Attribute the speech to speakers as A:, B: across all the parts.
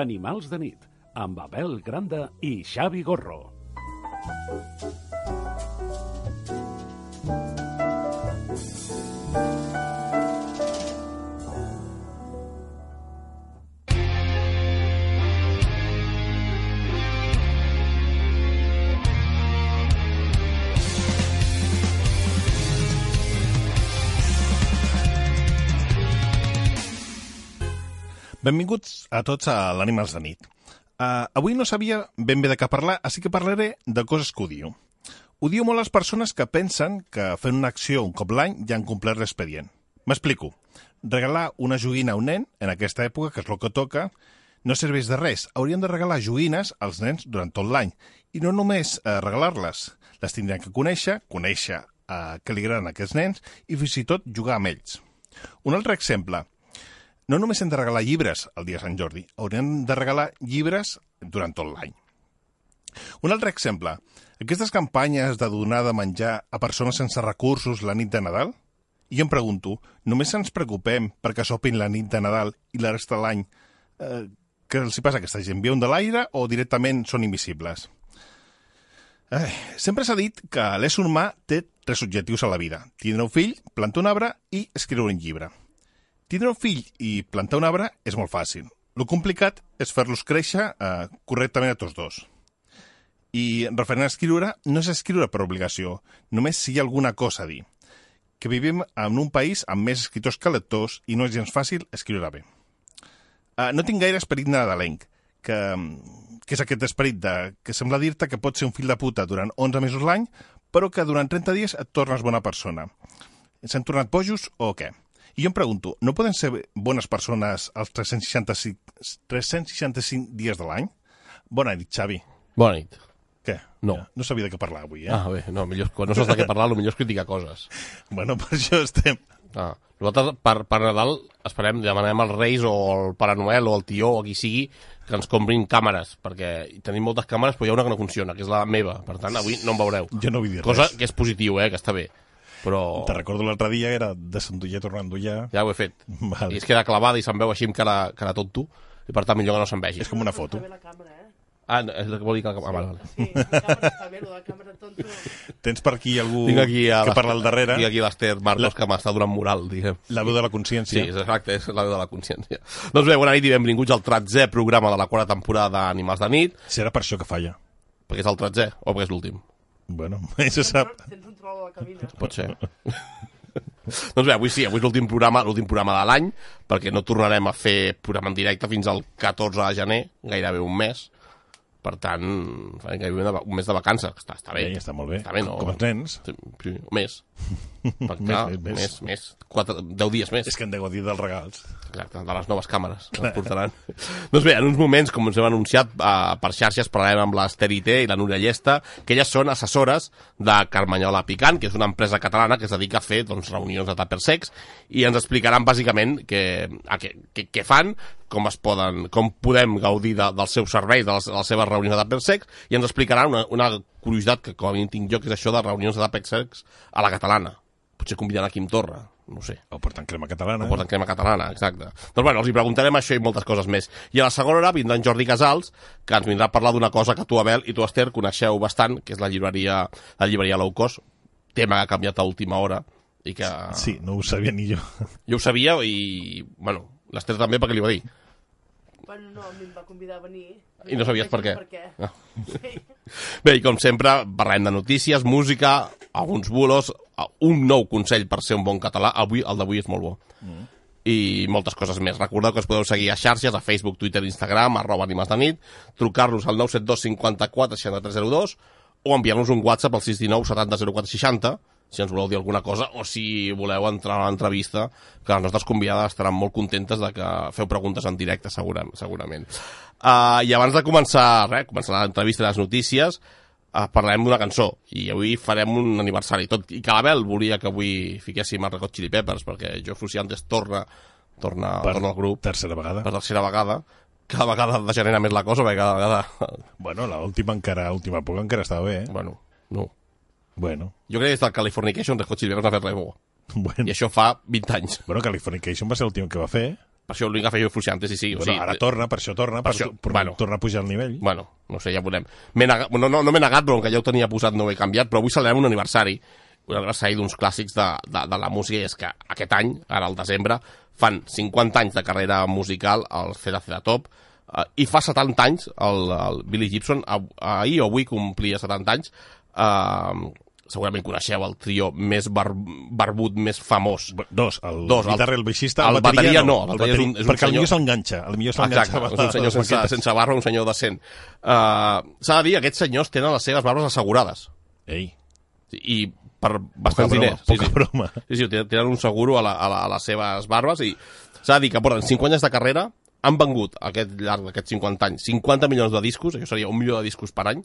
A: Animals de nit, amb Abel Granda i Xavi Gorro.
B: Benvinguts a tots a l'Animals de nit. Uh, avui no sabia ben bé de què parlar, així que parlaré de coses que odio. Odio molt les persones que pensen que fent una acció un cop l'any ja han complert l'expedient. M'explico. Regalar una joguina a un nen, en aquesta època, que és el que toca, no serveix de res. Hauríem de regalar joguines als nens durant tot l'any. I no només eh, regalar-les. Les tindran que conèixer, conèixer eh, què li agraden a aquests nens i fins i tot jugar amb ells. Un altre exemple. No només hem de regalar llibres el dia de Sant Jordi, haurem de regalar llibres durant tot l'any. Un altre exemple. Aquestes campanyes de donar de menjar a persones sense recursos la nit de Nadal? Jo em pregunto, només ens preocupem perquè sopin la nit de Nadal i la resta de l'any? Eh, què els hi passa a aquesta gent? Viuen de l'aire o directament són invisibles? Eh, sempre s'ha dit que l'ésser humà té tres objectius a la vida. Tindre un fill, plantar un arbre i escriure un llibre. Tindre un fill i plantar un arbre és molt fàcil. Lo complicat és fer-los créixer eh, correctament a tots dos. I referent a escriure, no és escriure per obligació, només si hi ha alguna cosa a dir. Que vivim en un país amb més escriptors que lectors i no és gens fàcil escriure bé. Eh, no tinc gaire esperit nadalenc, que, que és aquest esperit de, que sembla dir-te que pots ser un fill de puta durant 11 mesos l'any, però que durant 30 dies et tornes bona persona. S'han tornat bojos o què? I jo em pregunto, no poden ser bones persones els 365, 365 dies de l'any? Bona nit, Xavi.
C: Bona nit.
B: Què?
C: No.
B: No sabia de què parlar avui, eh?
C: Ah, bé, no, millor, quan no saps de què parlar, el millor és criticar coses.
B: Bueno, per això estem...
C: Ah. Nosaltres, per, per Nadal, esperem, demanem als Reis o al Pare Noel o al Tió o a qui sigui que ens comprin càmeres, perquè tenim moltes càmeres, però hi ha una que no funciona, que és la meva. Per tant, avui no em veureu.
B: Jo no vull dir
C: Cosa
B: res.
C: que és positiu, eh, que està bé. Però
B: Te recordo l'altre dia, era desendollar, tornar a endollar...
C: ja ho he fet.
B: Vale.
C: I es queda clavada i se'n veu així amb cara, cara tonto, i per tant millor que no se'n vegi.
B: És com una foto.
D: Està bé la càmera, eh?
C: Ah, no, és el que vol dir que... Ah, vale, vale.
D: Sí, la càmera està bé, lo de la càmera tonto.
B: Tens per aquí algú
C: Tinc aquí a
B: que parla al darrere,
C: Tinc aquí l'Ester Marcos,
B: La-
C: que m'està donant moral, diguem.
B: la veu de la
C: Sí,
B: consciència.
C: és exacte, és la veu de la consciència. Doncs bé, bona nit i benvinguts al 13è programa de la quarta temporada d'Animals de nit,
B: Serà per això que falla.
C: perquè és el 13è, o perquè és l'últim,
B: Bueno, això sap.
D: Tens un troll a la cabina.
C: pot ser. doncs bé, avui sí, avui és l'últim programa, l'últim programa de l'any, perquè no tornarem a fer programa en directe fins al 14 de gener, gairebé un mes. Per tant, farem gairebé una va- un mes de vacances, que està, està bé.
B: Bé, està molt bé.
C: Està bé, no?
B: Com els nens.
C: Sí, primer, un mes. Per clar,
B: més,
C: més,
B: més.
C: més, més. més. Quatre, deu dies més.
B: És que han de gaudir dels regals.
C: Exacte, de les noves càmeres que ens portaran. doncs bé, en uns moments, com ens hem anunciat eh, per xarxes, parlarem amb l'Esterité i la Núria Llesta, que elles són assessores de Carmanyola Picant, que és una empresa catalana que es dedica a fer doncs, reunions de tàper secs, i ens explicaran bàsicament què, a què, què, què fan, com es poden, com podem gaudir de, dels seus serveis, de les, de les seves reunions de tàper secs, i ens explicaran una, una curiositat que com a mínim tinc jo, que és això de reunions de tàper secs a la catalana. Potser convidant a Quim Torra, no ho sé.
B: O porten crema catalana. eh?
C: No porten crema catalana, exacte. Doncs bueno, els hi preguntarem això i moltes coses més. I a la segona hora vindrà en Jordi Casals, que ens vindrà a parlar d'una cosa que tu, Abel, i tu, Esther, coneixeu bastant, que és la llibreria, la llibreria low cost, tema que ha canviat a última hora i que
B: Sí, no ho sabia ni jo.
C: jo ho sabia i, bueno, l'Esther també perquè li va dir.
D: Bueno, no, a mi em va convidar a venir.
C: I no sabies per què.
D: Per què.
C: Ah.
D: Sí.
C: Bé, i com sempre, parlem de notícies, música, alguns bulos, un nou consell per ser un bon català. Avui, el d'avui és molt bo. i moltes coses més. Recordeu que us podeu seguir a xarxes, a Facebook, Twitter, Instagram, arroba Animes de Nit, trucar-nos al 972 54 6302 o enviar-nos un WhatsApp al 619 70 04 60 si ens voleu dir alguna cosa o si voleu entrar a l'entrevista, que les nostres convidades estaran molt contentes de que feu preguntes en directe, segura, segurament. Uh, I abans de començar, res, començar l'entrevista i les notícies, uh, parlarem d'una cançó i avui farem un aniversari tot i que l'Abel volia que avui fiquéssim el Record Chili Peppers perquè Joe Fruciantes torna torna,
B: Per
C: torna al grup
B: tercera vegada.
C: per tercera vegada cada vegada degenera més la cosa perquè cada vegada
B: Bueno, l'última encara, l'última època encara estava bé, eh?
C: bueno, no
B: Bueno,
C: jo crec que des del Californication Red Hot Chili Peppers no ha fet res bo
B: bueno.
C: i això fa 20 anys
B: Bueno, Californication va ser l'últim que va fer.
C: Per això l'únic que feia fluixantes, sí, sí.
B: Bueno, ara torna, per això torna, per,
C: per això-
B: tu- per
C: bueno.
B: tornar a pujar el nivell.
C: Bueno, no sé, ja veurem. M'he Negat, no, no, no m'he negat, però com que ja ho tenia posat no ho he canviat, però avui celebrem un aniversari, un aniversari d'uns clàssics de, de, de la música, i és que aquest any, ara al desembre, fan 50 anys de carrera musical al CDC de Top, eh, i fa 70 anys el, el Billy Gibson, a, ahir o avui complia 70 anys, eh, segurament coneixeu el trio més bar, barbut, més famós.
B: B- Dos, el
C: Dos,
B: Dos,
C: el-
B: guitarra, el, baixista,
C: el bateria no, el
B: el
C: bateria és un- és un
B: perquè
C: senyor-
B: potser s'enganxa, potser s'enganxa.
C: Exacte, és un senyor sense, sense barba, un senyor decent. Uh, S'ha de dir que aquests senyors tenen les seves barbes assegurades.
B: Ei,
C: I per
B: poca
C: bastants
B: broma,
C: diners.
B: poca
C: sí, sí.
B: broma.
C: Sí, sí, tenen- tenen un seguro a, la, a, la, a les seves barbes i s'ha de dir que porten 50 anys de carrera, han vengut aquest llarg d'aquests 50 anys 50 milions de discos, això seria un milió de discos per any,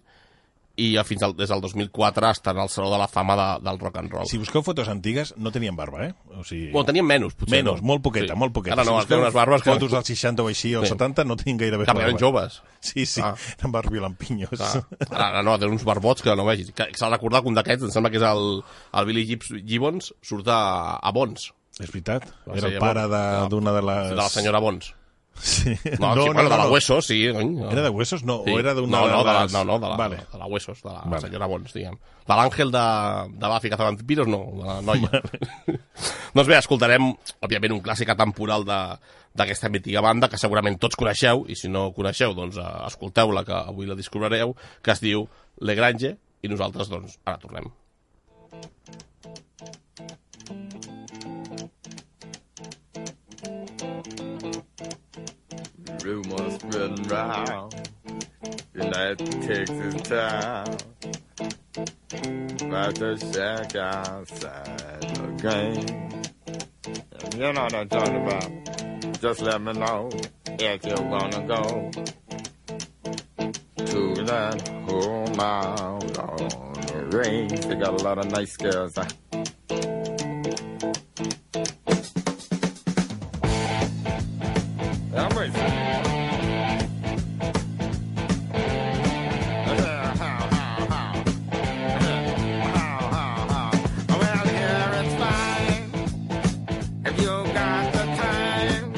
C: i ja fins al, des del 2004 estan al Saló de la Fama de, del Rock and Roll.
B: Si busqueu fotos antigues, no tenien barba, eh? O sigui...
C: Bueno, tenien menys, potser.
B: Menys,
C: no?
B: molt poqueta, molt poqueta.
C: Ara no,
B: si
C: es veuen unes barbes que,
B: Fotos dels 60 o així, o
C: Sí.
B: 70, no tenien gaire bé
C: que eren joves.
B: Sí, sí,
C: Ah.
B: ah. eren barbi lampinyos.
C: Clar. Ara, ara no, té uns barbots que no vegis. Que, que S'ha de recordar que un d'aquests, em sembla que és el, el Billy Gibbs, Gibbons, surt a, a Bons,
B: És veritat,
C: Va
B: era
C: ser
B: el pare de-
C: llavors.
B: d'una de, les...
C: de la senyora Bons.
B: Eh, Sí.
C: No, no, sí, bueno, de la Huesos, sí. No.
B: Era de Huesos? No,
C: Sí.
B: o era d'una
C: no, no, de la,
B: les-
C: no, no, de la,
B: Vale.
C: de la Huesos, de la
B: Vale.
C: senyora Bons, diguem. De l'Àngel de, de Buffy Cazavampiros, no, de la noia. doncs bé, escoltarem, òbviament, un clàssic atemporal de- d'aquesta mítica banda que segurament tots coneixeu, i si no coneixeu, doncs eh, escolteu-la, que avui la descobrireu, que es diu Le Grange, i nosaltres, doncs, ara tornem.
E: rumors spreading round. The night takes its time. About to shack outside the game. If you know what I'm talking about, just let me know if you wanna go to that home out on the range. They got a lot of nice girls. Huh? I'm ready. Well, here it's fine. If you got the time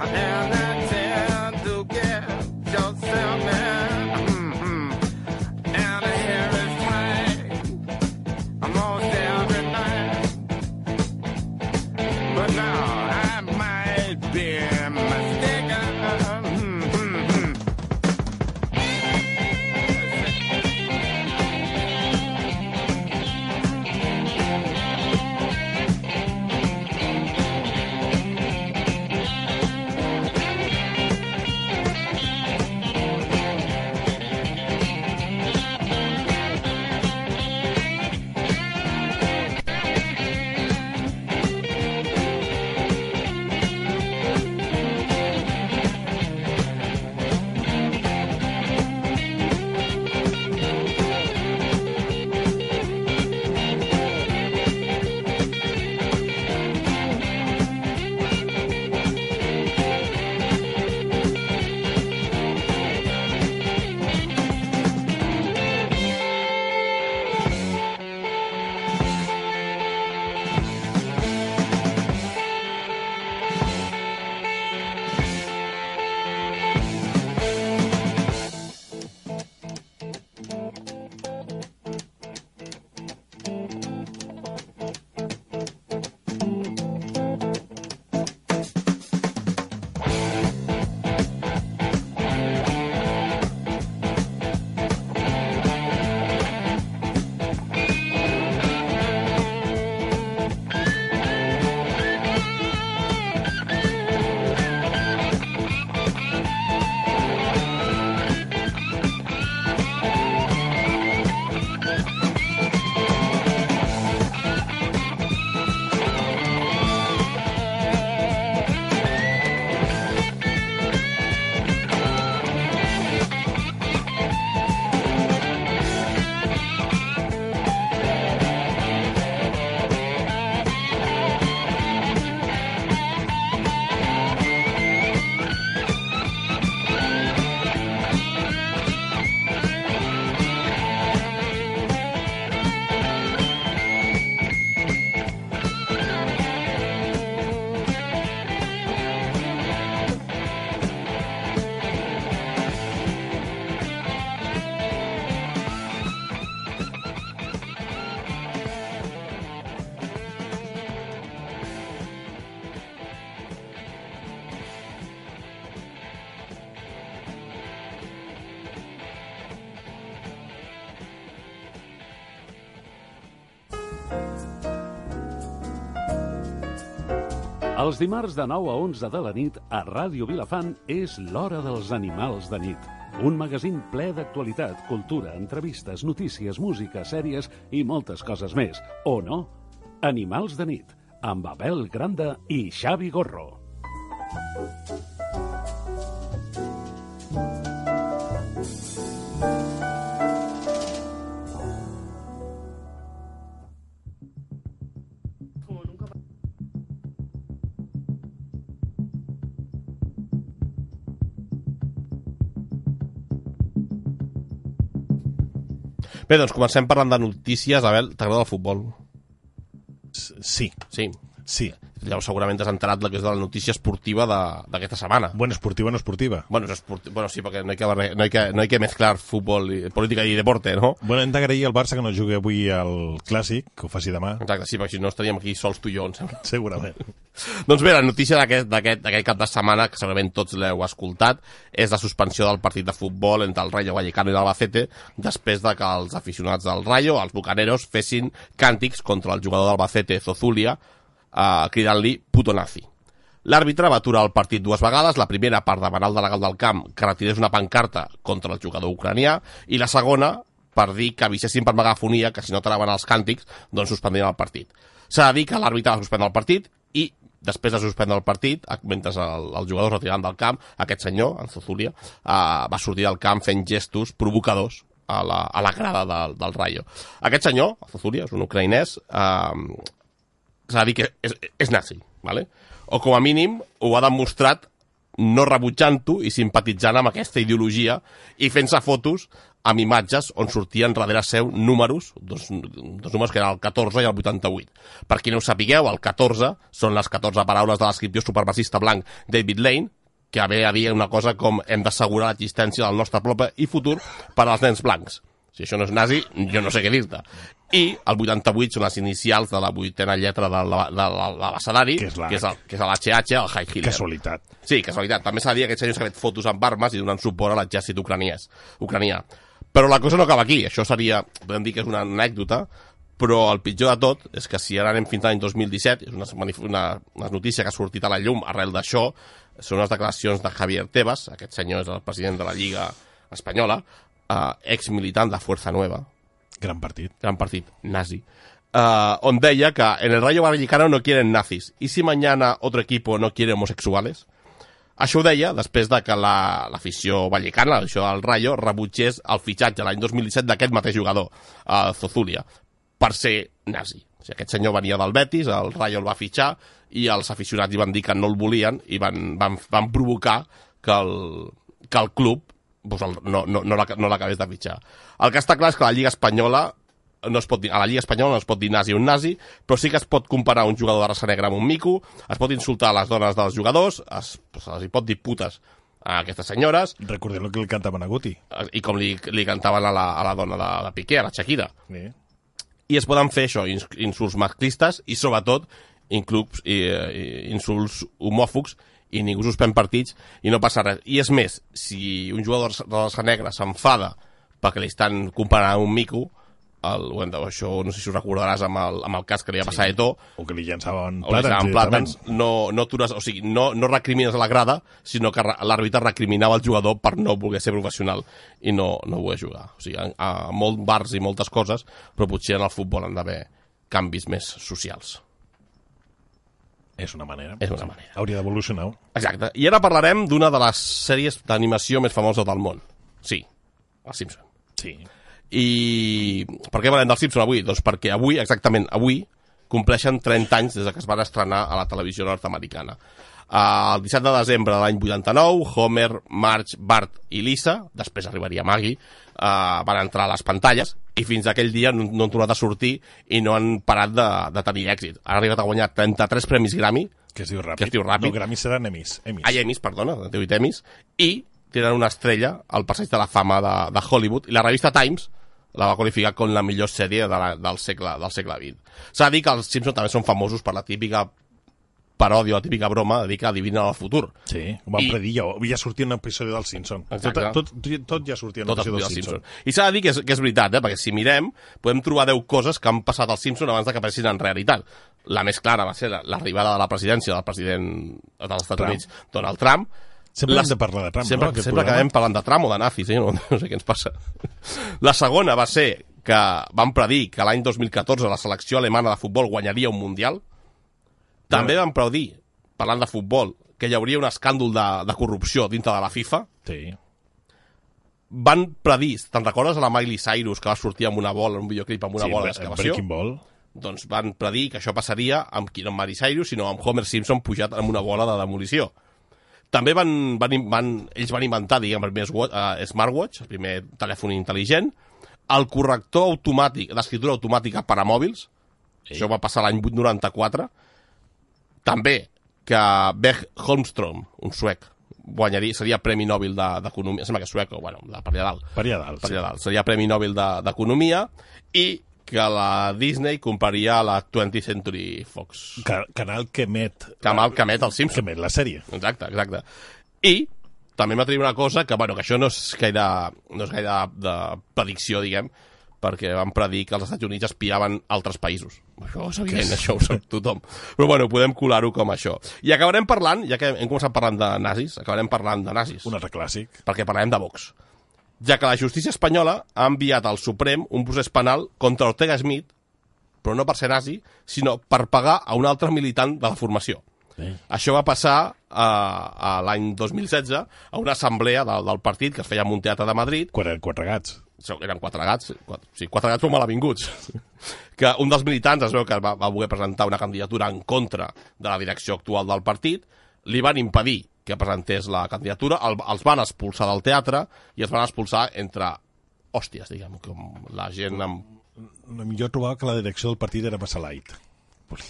E: and the to get yourself in. Mhm. And here it's fine. I'm Hmm,
A: Els dimarts de 9 a 11 de la nit a Ràdio Vilafant és l'Hora dels Animals de Nit. Un magazín ple d'actualitat, cultura, entrevistes, notícies, música, sèries i moltes coses més. O no? Animals de Nit, amb Abel Granda i Xavi Gorro.
D: Como nunca pa-
C: Bé, doncs comencem parlant de notícies. Abel, t'agrada el futbol?
B: Sí,
C: Sí.
B: sí.
C: Llavors segurament t'has enterat la que és de la notícia esportiva de- d'aquesta setmana.
B: Bueno, esportiva no esportiva.
C: Bueno, és esporti... bueno, sí, perquè no hi, que, barre- no, hi que, no hi que mezclar futbol, i, política i deporte, no?
B: Bueno, hem d'agrair al Barça que no jugui avui al Clàssic, que ho faci demà,
C: Exacte, sí, perquè si no estaríem aquí sols tu i jo, em sembla.
B: segurament.
C: Doncs bé, la notícia d'aquest d'aquest- d'aquest cap de setmana, que segurament tots l'heu escoltat, és la suspensió del partit de futbol entre el Rayo Vallecano i l'Albacete després de que els aficionats del Rayo, els bucaneros, fessin càntics contra el jugador d'Albacete, Zozulia, eh, cridant-li puto nazi. L'àrbitre va aturar el partit dues vegades, la primera per demanar al delegat del camp que retirés una pancarta contra el jugador ucranià i la segona per dir que avisessin per megafonia que si no ataraven els càntics, doncs suspendien el partit. S'ha de dir que l'àrbitre va suspendre el partit i després de suspendre el partit, mentre el, el jugador es retiraven del camp, aquest senyor, en Zuzulia, eh, va sortir del camp fent gestos provocadors a la, a la grada del, del Rayo. Aquest senyor, el Zuzulia, és un ucraïnès, eh, s'ha de dir que és, és nazi, ¿vale? o com a mínim ho ha demostrat no rebutjant-ho i simpatitzant amb aquesta ideologia i fent-se fotos amb imatges on sortien darrere seu números, dos, dos números que eren el 14 i el 88. Per qui no ho sapigueu, el 14 són les 14 paraules de l'escriptor supremacista blanc David Lane, que bé havia una cosa com hem d'assegurar l'existència del nostre propi i futur per als nens blancs. Si això no és nazi, jo no sé què dir-te. I el 88 són les inicials de la vuitena lletra de la- de la- de l'abecedari,
B: Que és l'H.
C: que és el, que és l'HH, el High Hitler.
B: Casualitat.
C: Sí, casualitat. També s'ha de dir que aquest senyor s'ha fet fotos amb armes i donant suport a l'exèrcit ucraniès, ucranià. Però la cosa no acaba aquí. Això seria, podem dir que és una anècdota, però el pitjor de tot és que si ara anem fins a l'any 2017, és una, manif- una, una notícia que ha sortit a la llum arrel d'això, són les declaracions de Javier Tebas, aquest senyor és el president de la Lliga Espanyola, eh, exmilitant de Fuerza Nueva,
B: Gran partit.
C: gran partit nazi, eh, on deia que en el Rayo Vallecano no quieren nazis, y si mañana otro equipo no quiere homosexuales? Això ho deia després de que la- l'afició la, vallecana, l'afició del Rayo, rebutgés el fitxatge l'any 2017 d'aquest mateix jugador, eh, Zozulia, per ser nazi. O sigui, aquest senyor venia del Betis, el Rayo el va fitxar i els aficionats li van dir que no el volien i van, van, van provocar que el, que el club doncs, el, no, no, no l'aca- no l'acabés de fitxar. El que està clar és que la Lliga Espanyola no es pot dir, a la Lliga Espanyola no es pot dir nazi un nazi, però sí que es pot comparar un jugador de raça negra amb un mico, es pot insultar a les dones dels jugadors, es, se les hi pot dir putes a aquestes senyores,
B: Recordem el que li cantaven a Guti.
C: eh, i com li, li cantaven a la, a la dona de, de Piqué, a la Shakira
B: Eh?
C: i es poden fer això, ins- insults masclistes i sobretot inclubs, i, eh, i, insults homòfogs i ningú suspèn partits i no passa res. I és més, si un jugador de raça negra s'enfada perquè li estan comparant un mico, el, ho hem de, això no sé si ho recordaràs amb el, amb el cas que li va passar sí. a Eto'o,
B: O que li llançaven
C: o plàtans,
B: plàtans.
C: en plàtans no, no, atures, o sigui, no, no recrimines a la grada, sinó que re- l'àrbitre recriminava el jugador per no voler ser professional i no, no voler jugar. O sigui, a, a molt bars i moltes coses, però potser en el futbol han d'haver canvis més socials.
B: És una manera.
C: És una manera.
B: Hauria d'evolucionar.
C: Exacte. I ara parlarem d'una de les sèries d'animació més famoses del món. Sí, el Simpson.
B: Sí.
C: I per què parlem del Simpson avui? Doncs perquè avui, exactament avui, compleixen 30 anys des de que es van estrenar a la televisió nord-americana. Eh, El 17 de desembre de l'any 89, Homer, Marge, Bart i Lisa, després arribaria Maggie, eh, van entrar a les pantalles i fins aquell dia no, no han tornat a sortir i no han parat de, de tenir èxit. Han arribat a guanyar 33 premis Grammy,
B: Que es diu ràpid.
C: Que es diu ràpid.
B: No, Grammy seran emis. emis.
C: Ai, Emmys, perdona, de 18 Emmys, i tenen una estrella al passeig de la fama de, de Hollywood, i la revista Times la va qualificar com la millor sèrie de la, del, segle, del segle XX. S'ha de dir que els Simpsons també són famosos per la típica paròdia o la típica broma de dir que adivinen el futur.
B: Sí, ho van
C: I-
B: predir, ja, ja sortia un episodi del Simpson. Tot,
C: Exacte.
B: tot, tot, tot ja sortia un
C: Tot
B: episodi
C: el
B: del
C: Simpson.
B: Simpson.
C: I s'ha de dir que és, que és veritat, eh? perquè si mirem, podem trobar 10 coses que han passat als Simpson abans de que apareixin en realitat. La més clara va ser la- l'arribada de la presidència del president dels Estats
B: Trump.
C: Units, Donald Trump.
B: Sempre
C: La-
B: hem de parlar de Trump,
C: sempre,
B: no? Aquest
C: Sempre
B: programa.
C: acabem parlant de Trump o de Nafis, eh? no, no sé què ens passa. La segona va ser que van predir que l'any 2014 la selecció alemana de futbol guanyaria un Mundial. També van predir, parlant de futbol, que hi hauria un escàndol de, de corrupció dintre de la FIFA
B: Sí.
C: van predir, te'n recordes a la Miley Cyrus que va sortir amb una bola, en un videoclip amb una
B: sí,
C: bola
B: Bre-
C: d'excavació?
B: Breaking Ball.
C: Doncs van predir que això passaria amb qui no amb Miley Cyrus, sinó amb Homer Simpson pujat amb una bola de demolició. També van, van, van, ells van inventar, diguem, el primer swa- eh, smartwatch, el primer telèfon intel·ligent, el corrector automàtic, l'escriptura automàtica per a mòbils, això va passar l'any 894, també que Berg Holmström, un suec, guanyaria, seria Premi Nobel de- d'Economia, sembla que és suec, o bueno, de per allà dalt,
B: Per allà dalt.
C: per
B: sí.
C: allà dalt. Seria Premi Nobel de- d'Economia i que la Disney compraria la 20th Century Fox.
B: Ca- Canal que emet,
C: Que amb el que emet el
B: que
C: Simpson.
B: emet la sèrie.
C: Exacte, exacte. I també m'atriu una cosa que, bueno, que això no és gaire, no és gaire de, de predicció, diguem, perquè van predir que els Estats Units espiaven altres països. Això és evident, això ho sap tothom. Però bueno, podem colar-ho com això. I acabarem parlant, ja que hem començat parlant de nazis, acabarem parlant de nazis
B: Un altre clàssic.
C: perquè parlem de Vox, ja que la justícia espanyola ha enviat al Suprem un procés penal contra Ortega Smith, però no per ser nazi, sinó per pagar a un altre militant de la formació.
B: Eh.
C: Això va passar a, a l'any 2016 a una assemblea del, del partit que es feia en un teatre de Madrid
B: Quatre, quatre gats.
C: Segur que eren quatre gats, quatre, sí, quatre gats però malavinguts, que un dels militants es veu que va, va voler presentar una candidatura en contra de la direcció actual del partit, li van impedir que presentés la candidatura, el, els van expulsar del teatre i es van expulsar entre hòsties, diguem, com la gent amb...
B: Jo trobava que la direcció del partit era massa light.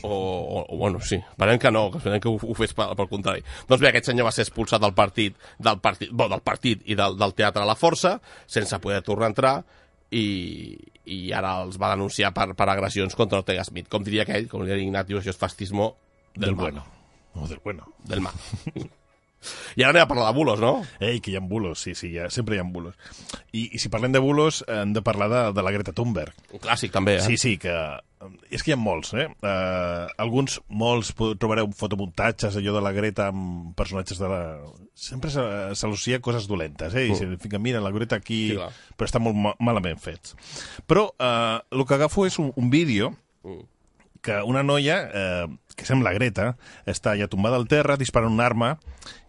C: O, o, o bueno, sí, esperem que no, que esperem que ho, ho fes pel, pel contrari. Doncs bé, aquest senyor va ser expulsat del partit, del partit, bo, del partit i del, del teatre a la força, sense poder tornar a entrar, i, i ara els va denunciar per, per agressions contra Ortega Smith. Com diria aquell, com diria Ignatius, això és fascismo
B: Del,
C: del, mal.
B: bueno. No, del bueno.
C: Del mal. I ara anem a parlar de bulos, no?
B: Ei, que hi ha bulos, sí, sí, hi ha, sempre hi ha bulos. I, I si parlem de bulos, hem de parlar de, de la Greta Thunberg.
C: Un clàssic, també, eh?
B: Sí, sí, que... És que hi ha molts, eh? Uh, alguns, molts, po- trobareu fotomuntatges, allò de la Greta amb personatges de la... Sempre se- s'al·lucia coses dolentes, eh? I
C: Mm.
B: se li fica, mira, la Greta aquí...
C: Sí,
B: Sí,
C: clar.
B: però està molt ma malament fets. Però uh, el que agafo és un, un vídeo que una noia, eh, que sembla Greta, està ja tombada al terra, disparant una arma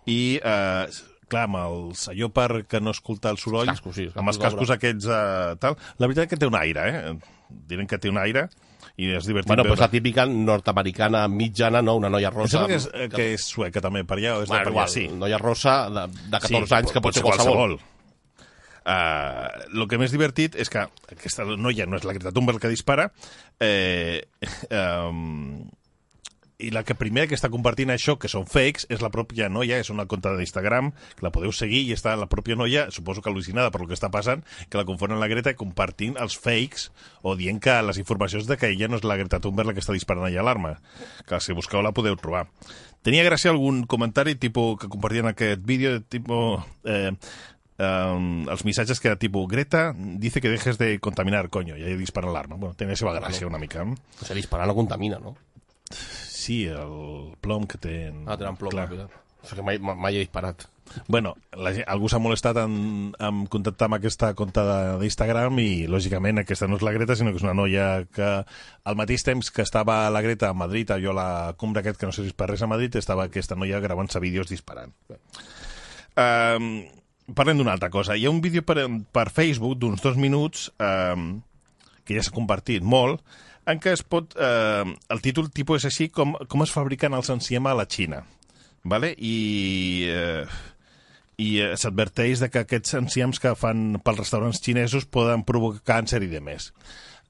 B: i, eh, clar, amb els, allò per que no escolta el soroll,
C: Els cascos, sí, els
B: amb els
C: cascos
B: cascos aquests, eh, tal. La veritat és que té un aire, eh? Direm que té un aire i és divertit
C: Bueno, doncs la
B: veure.
C: típica nord-americana mitjana, no? Una noia
B: Em
C: rosa...
B: sembla que és, eh, que és sueca també per allà, o és
C: Bueno,
B: de per allà,
C: igual,
B: sí.
C: noia rosa de, de 14 anys, que pot ser qualsevol.
B: Uh, el que més divertit és que aquesta noia no és la Greta Thunberg que dispara eh, um, i la que primera que està compartint això, que són fakes, és la pròpia noia, és una conta d'Instagram, que la podeu seguir i està la pròpia noia, suposo que al·lucinada per el que està passant, que la confonen la Greta compartint els fakes o dient que les informacions de que ella no és la Greta Thunberg la que està disparant allà l'arma. Que si busqueu la podeu trobar. Tenia gràcia algun comentari tipus, que compartien aquest vídeo, tipus... Eh, Um, els missatges que era tipus Greta dice que dejes de contaminar, coño i ahí disparen l'arma, bueno, tenia la seva gràcia una mica eh?
C: O sigui, disparar no contamina, no?
B: sí, el plom que ten
C: Ah, tenen plom.
B: Clar.
C: mira. O sigui, mai, mai he disparat.
B: Bueno, la, gent- algú s'ha molestat en, en contactar amb aquesta compte de- d'Instagram i, lògicament, aquesta no és la Greta, sinó que és una noia que, al mateix temps que estava la Greta a Madrid, allò a la cumbre aquest que no sé si és per res a Madrid, estava aquesta noia gravant-se vídeos disparant. Um, parlem d'una altra cosa. Hi ha un vídeo per, per Facebook d'uns dos minuts um, que ja s'ha compartit molt, en què es pot... Eh, el títol tipus és així com, com es fabriquen els enciema a la Xina. Vale? I... Eh, i eh, s'adverteix de que aquests enciams que fan pels restaurants xinesos poden provocar càncer i de més.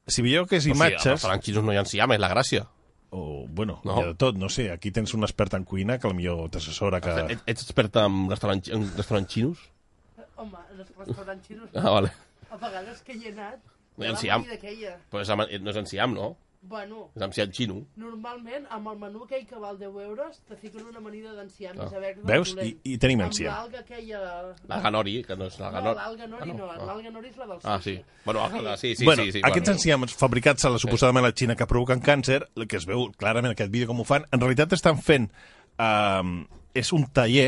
B: Si veieu que és
C: O sigui,
B: imatges...
C: els franquisos no hi ha enciam, és la gràcia.
B: O, bueno, no.
C: No.
B: hi ha de tot, no sé, aquí tens un expert en cuina que potser t'assessora que...
C: Et, ets experta en, restaurant, en restaurants xinos?
D: Home, els restaurants xinos,
C: Ah, vale.
D: a vegades que hi he anat,
C: No hi ha
D: la
C: enciam.
D: d'aquella.
C: Però és, ama- no és enciam, no?
D: Bueno,
C: És enciam xino.
D: normalment, amb el menú aquell que val 10 euros, te fiquen una amanida
C: Ah.
D: d'enciam i saber
B: Veus? I, i tenim
D: Amb
B: enciam.
D: l'alga aquella...
C: La ganori, que no és la
D: No,
C: ganori.
D: l'alga nori no, l'alga nori és la del
C: Ah,
D: sushi.
C: sí. Bueno, ah, sí, sí,
B: bueno,
C: sí, sí.
B: aquests enciams fabricats a la suposadament a la Xina que provoquen càncer, el que es veu clarament en aquest vídeo com ho fan, en realitat estan fent... Eh, és un taller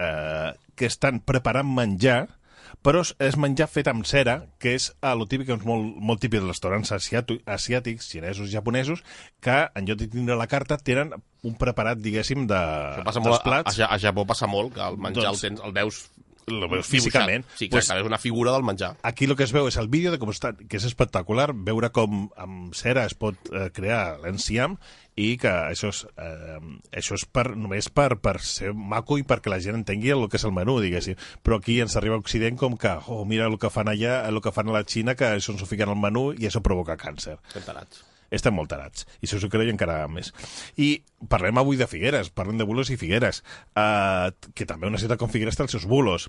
B: eh, que estan preparant menjar, però és- és menjar fet amb cera, que és eh, el típic, que és molt, molt típic dels restaurants asiàtu- asiàtics, xinesos, japonesos, que en lloc de tindre la carta tenen un preparat, diguéssim, de,
C: Això passa
B: dels
C: molt, a,
B: plats.
C: a, a Japó passa molt, que el menjar
B: Doncs-
C: el tens, el veus...
B: Lo veus
C: dibuixat.
B: físicament.
C: Sí,
B: Pues-
C: exacte, veus una figura del menjar.
B: Aquí el que es veu és el vídeo de com està, que és espectacular, veure com amb cera es pot eh, crear l'enciam i que això és, eh, això és per, només per, per ser maco i perquè la gent entengui el que és el menú, diguéssim. Però aquí ens arriba a Occident com que, oh, mira el que fan allà, el que fan a la Xina, que això ens ho fiquen al menú i això provoca càncer.
C: Estem tarats.
B: Estem molt tarats. I si us ho creu, encara més. I parlem avui de Figueres, parlem de bulos i Figueres, eh, que també una ciutat com Figueres té els seus bulos.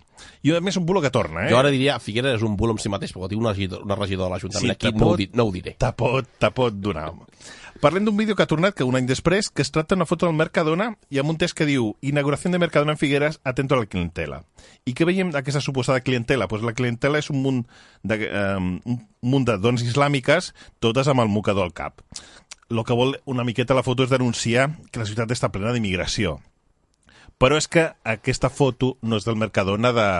B: I a més un bulo que torna, eh?
C: Jo ara diria, Figueres és un bulo amb si mateix, perquè té una, regidor- una regidora de
B: Sí,
C: l'Ajuntament. Aquí
B: te
C: no,
B: pot-
C: ho, di, no ho diré.
B: Te pot, te pot donar. Parlem d'un vídeo que ha tornat que un any després que es tracta d'una foto del Mercadona i amb un text que diu Inauguració de Mercadona en Figueres, atento a la clientela. I què veiem d'aquesta suposada clientela? Pues la clientela és un munt de, eh, un munt de dones islàmiques, totes amb el mocador al cap. El que vol una miqueta la foto és denunciar que la ciutat està plena d'immigració. Però és que aquesta foto no és del Mercadona de,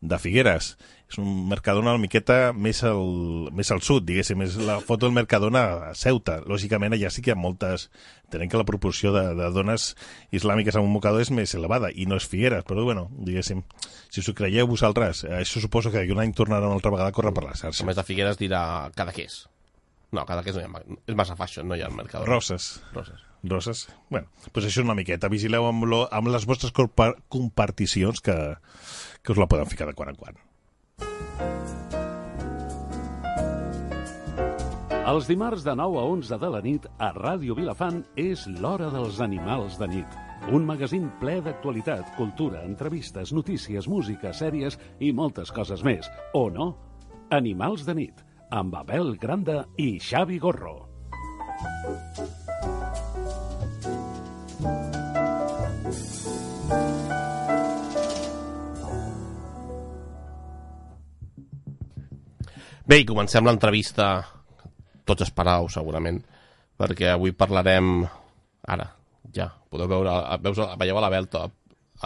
B: de Figueres. És un Mercadona una miqueta més al, més al sud, diguéssim. És la foto del Mercadona a Ceuta. Lògicament, allà sí que hi ha moltes... Tenen que la proporció de, de dones islàmiques amb un mocador és més elevada i no és Figueres, però bueno, diguéssim, si us ho creieu vosaltres, eh, això suposo que d'aquí un any tornarà una altra vegada a córrer per la
C: A
B: xarxa.
C: més de Figueres dirà Cadaqués. No, Cadaqués no hi ha... ma- És massa fashion, no hi ha el mercat.
B: Roses.
C: Roses.
B: Roses. bueno, doncs això és una miqueta. Vigileu amb, lo, amb les vostres corpa- comparticions que, que us la poden ficar de quan en quan.
A: Els dimarts de 9 a 11 de la nit a Ràdio Vilafant és l'Hora dels Animals de Nit. Un magazín ple d'actualitat, cultura, entrevistes, notícies, música, sèries i moltes coses més. O no? Animals de Nit, amb Abel Granda i Xavi Gorro.
C: Bé, i comencem l'entrevista. Tots esperau, segurament, perquè avui parlarem... Ara, ja. Podeu veure... Veus, veieu a la Belta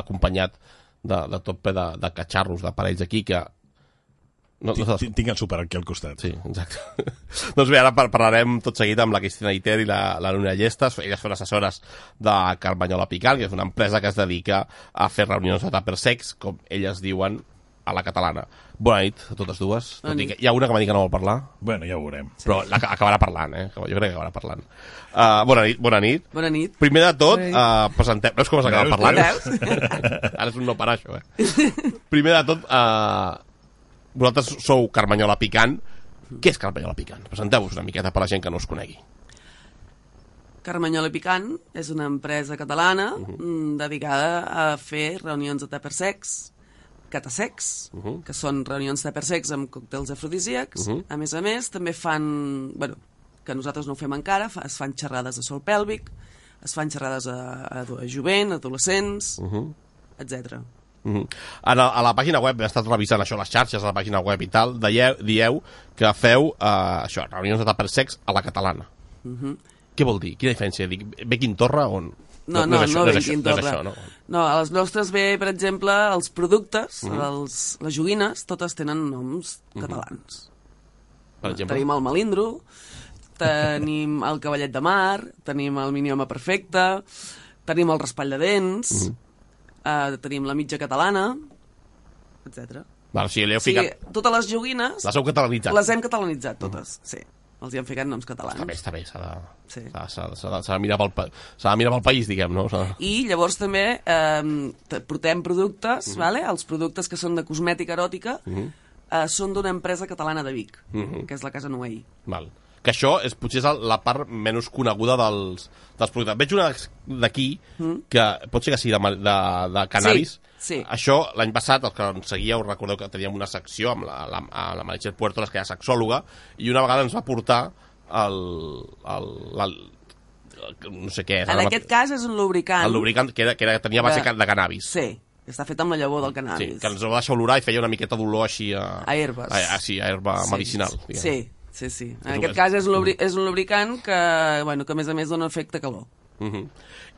C: acompanyat de, de tot ple de, de catxarros, d'aparells aquí, que... No, no se les
B: Tinc, tinc el súper aquí al costat.
C: Sí, exacte. doncs bé, ara par- parlarem tot seguit amb la Cristina Iter i la, la Núria Llestes. Elles són assessores de Carbanyola Picant, que és una empresa que es dedica a fer reunions de tàper secs, com elles diuen, a la catalana. Bona nit a totes dues. Tot i que hi ha una que m'ha dit que no vol parlar,
B: Bueno, ja ho veurem.
C: però la, que acabarà parlant, eh? Jo crec que acabarà parlant. Uh, bona nit, bona nit.
F: Bona nit.
C: Primer de tot,
F: Ei.
C: uh, presentem... Veus com has acabat
B: Veus,
C: parlant?
F: veus?
C: Ara és un no parar, això, eh? Primer de tot, uh, vosaltres sou Carmanyola Picant. Què és Carmanyola Picant? Presenteu-vos una miqueta per la gent que no us conegui.
F: Carmanyola Picant és una empresa catalana
C: Mhm.
F: mm, dedicada a fer reunions de tàper secs, catasecs,
C: Mhm.
F: que són reunions tàper secs amb còctels afrodisíacs. A més a més, també fan... Bueno, que nosaltres no ho fem encara, fa, es fan xerrades de sol pèlvic, es fan xerrades a, a, a jovent, adolescents,
C: Mhm.
F: etc.
C: Mm -hmm. a, la, a la pàgina web, he estat revisant això, les xarxes a la pàgina web i tal, dieu, dieu que feu uh, això, reunions de tàper secs a la catalana.
F: Uh-huh.
C: Què vol dir? Quina diferència? Dic, ve Quim Torra o... No,
F: No, no, no,
C: és
F: no,
C: és
F: vinguin
C: no és
F: d'ordre.
C: això, no?
F: no, a les nostres ve, per exemple, els productes,
C: Mhm.
F: els, les joguines, totes tenen noms catalans.
C: Per exemple,
F: Tenim el Malindro, tenim el Cavallet de Mar, tenim el Minioma Perfecte, tenim el Raspall de Dents,
C: Mhm.
F: eh, tenim la mitja catalana, etc.
C: Vale, o sigui, li heu
F: O sigui,
C: ficat...
F: totes les joguines
C: Les heu catalanitzat.
F: les hem catalanitzat totes, sí. Els hi han ficat noms catalans.
C: Està bé, està bé, s'ha de...
F: Sí.
C: s'ha- S'ha s'ha de, s'ha de mirar pel, pa- s'ha de mirar pel país, diguem, no? S'ha de-
F: I llavors també eh, te- portem productes,
C: Mhm.
F: vale? els productes que són de cosmètica eròtica, eh, són d'una empresa catalana de Vic,
C: Mhm.
F: que és la Casa Noell.
C: Val. Que això és potser és el- la part menys coneguda dels, dels productes. Veig una d'aquí, que pot ser que sigui de, ma- de, de cannabis.
F: Mm. Sí, sí.
C: Això, l'any passat, els que ens seguíeu, recordeu que teníem una secció amb la, la, a la Meritxell Puerto, que era sexòloga, i una vegada ens va portar el, el, el, el, no sé què és.
F: En
C: ara
F: aquest
C: mateix.
F: cas és un lubricant.
C: El lubricant que, era, que era, tenia base
F: De-
C: de, cannabis.
F: Sí, que està fet amb la llavor del
C: Sí,
F: cannabis.
C: que ens va deixar olorar i feia una miqueta d'olor així a...
F: A herbes.
C: A, a, sí, a herba sí, medicinal. diguem.
F: Sí, sí, sí. En
C: És
F: aquest
C: un-
F: cas és, un lubri és un lubricant que, bueno, que a més a més dona efecte calor.
C: Mhm.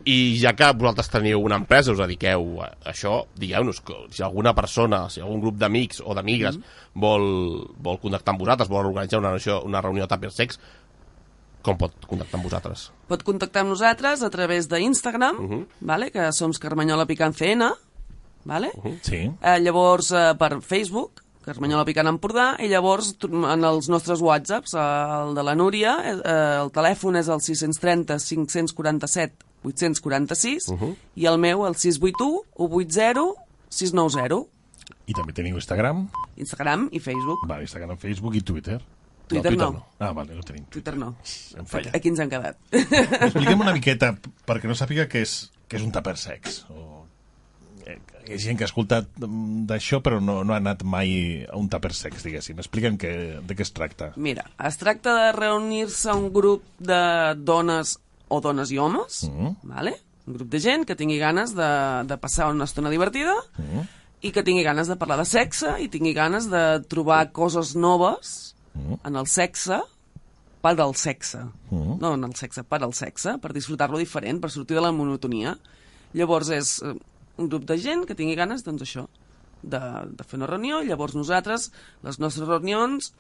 C: I ja que vosaltres teniu una empresa, us dediqueu a això, digueu-nos, que si alguna persona, si algun grup d'amics o d'amigues
F: Mhm.
C: vol, vol contactar amb vosaltres, vol organitzar una, això, una reunió de Tupper Sex, com pot contactar amb vosaltres? Mhm.
F: Pot contactar amb nosaltres a través d'Instagram,
C: Mm.
F: vale? que som Carmanyola Picant CN, vale?
B: Sí.
F: eh, llavors eh, per Facebook, Carmanyola Picant Empordà, i llavors tu- en els nostres whatsapps, eh, el de la Núria, eh, eh, el telèfon és el 630 547 846
G: Mhm.
F: i el meu el 681 180 690.
B: I també teniu Instagram.
F: Instagram i Facebook.
B: Va, Instagram, Facebook i Twitter.
F: Twitter
C: Twitter
F: no.
C: no.
B: Ah, vale, no tenim.
F: Twitter no.
B: Em falla.
F: Aquí ens hem quedat.
B: Expliquem una miqueta, perquè no sàpiga què és, què és un tupper sex. O... eh, Hi ha gent que ha escoltat mm, d'això però no, no ha anat mai a un tupper sex, diguéssim. Explica'm què, de què es tracta.
F: Mira, es tracta de reunir-se un grup de dones o dones i homes,
G: Mm.
F: vale? un grup de gent que tingui ganes de, de passar una estona divertida i que tingui ganes de parlar de sexe i tingui ganes de trobar coses noves en el sexe per al sexe. No en el sexe, per al sexe, per disfrutar-lo diferent, per sortir de la monotonia. Llavors és eh, un grup de gent que tingui ganes, doncs això, de, de fer una reunió. Llavors nosaltres, les nostres reunions,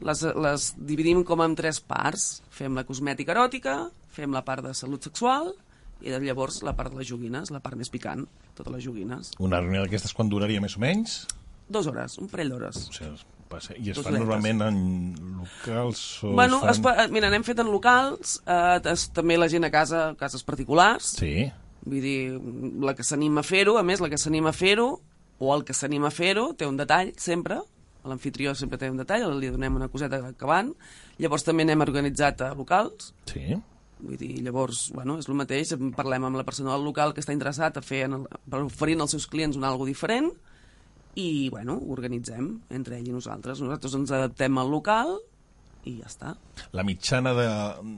F: les, les dividim com en tres parts. Fem la cosmètica eròtica, fem la part de salut sexual i llavors la part de les joguines, la part més picant, totes les joguines.
B: Una reunió d'aquestes quan duraria més o menys?
F: Dues hores, un parell d'hores.
B: O sigui, es passa... I es
F: Dos
B: fan
F: metres.
B: normalment en locals o
F: Bueno,
B: es
F: es,
B: fan...
F: fa- eh, mira, n'hem fet en locals, eh, es, també la gent a casa, cases particulars,
B: Sí.
F: vull dir, la que s'anima a fer-ho, a més, la que s'anima a fer-ho, o el que s'anima a fer-ho, té un detall, sempre, l'anfitrió sempre té un detall, li donem una coseta acabant, llavors també n'hem organitzat a locals,
B: Sí.
F: Vull dir, llavors, bueno, és el mateix, en parlem amb la persona del local que està interessat a fer, en el, per oferint als seus clients un algo diferent i, bueno, ho organitzem entre ell i nosaltres. Nosaltres ens adaptem al local i ja està.
B: La mitjana de-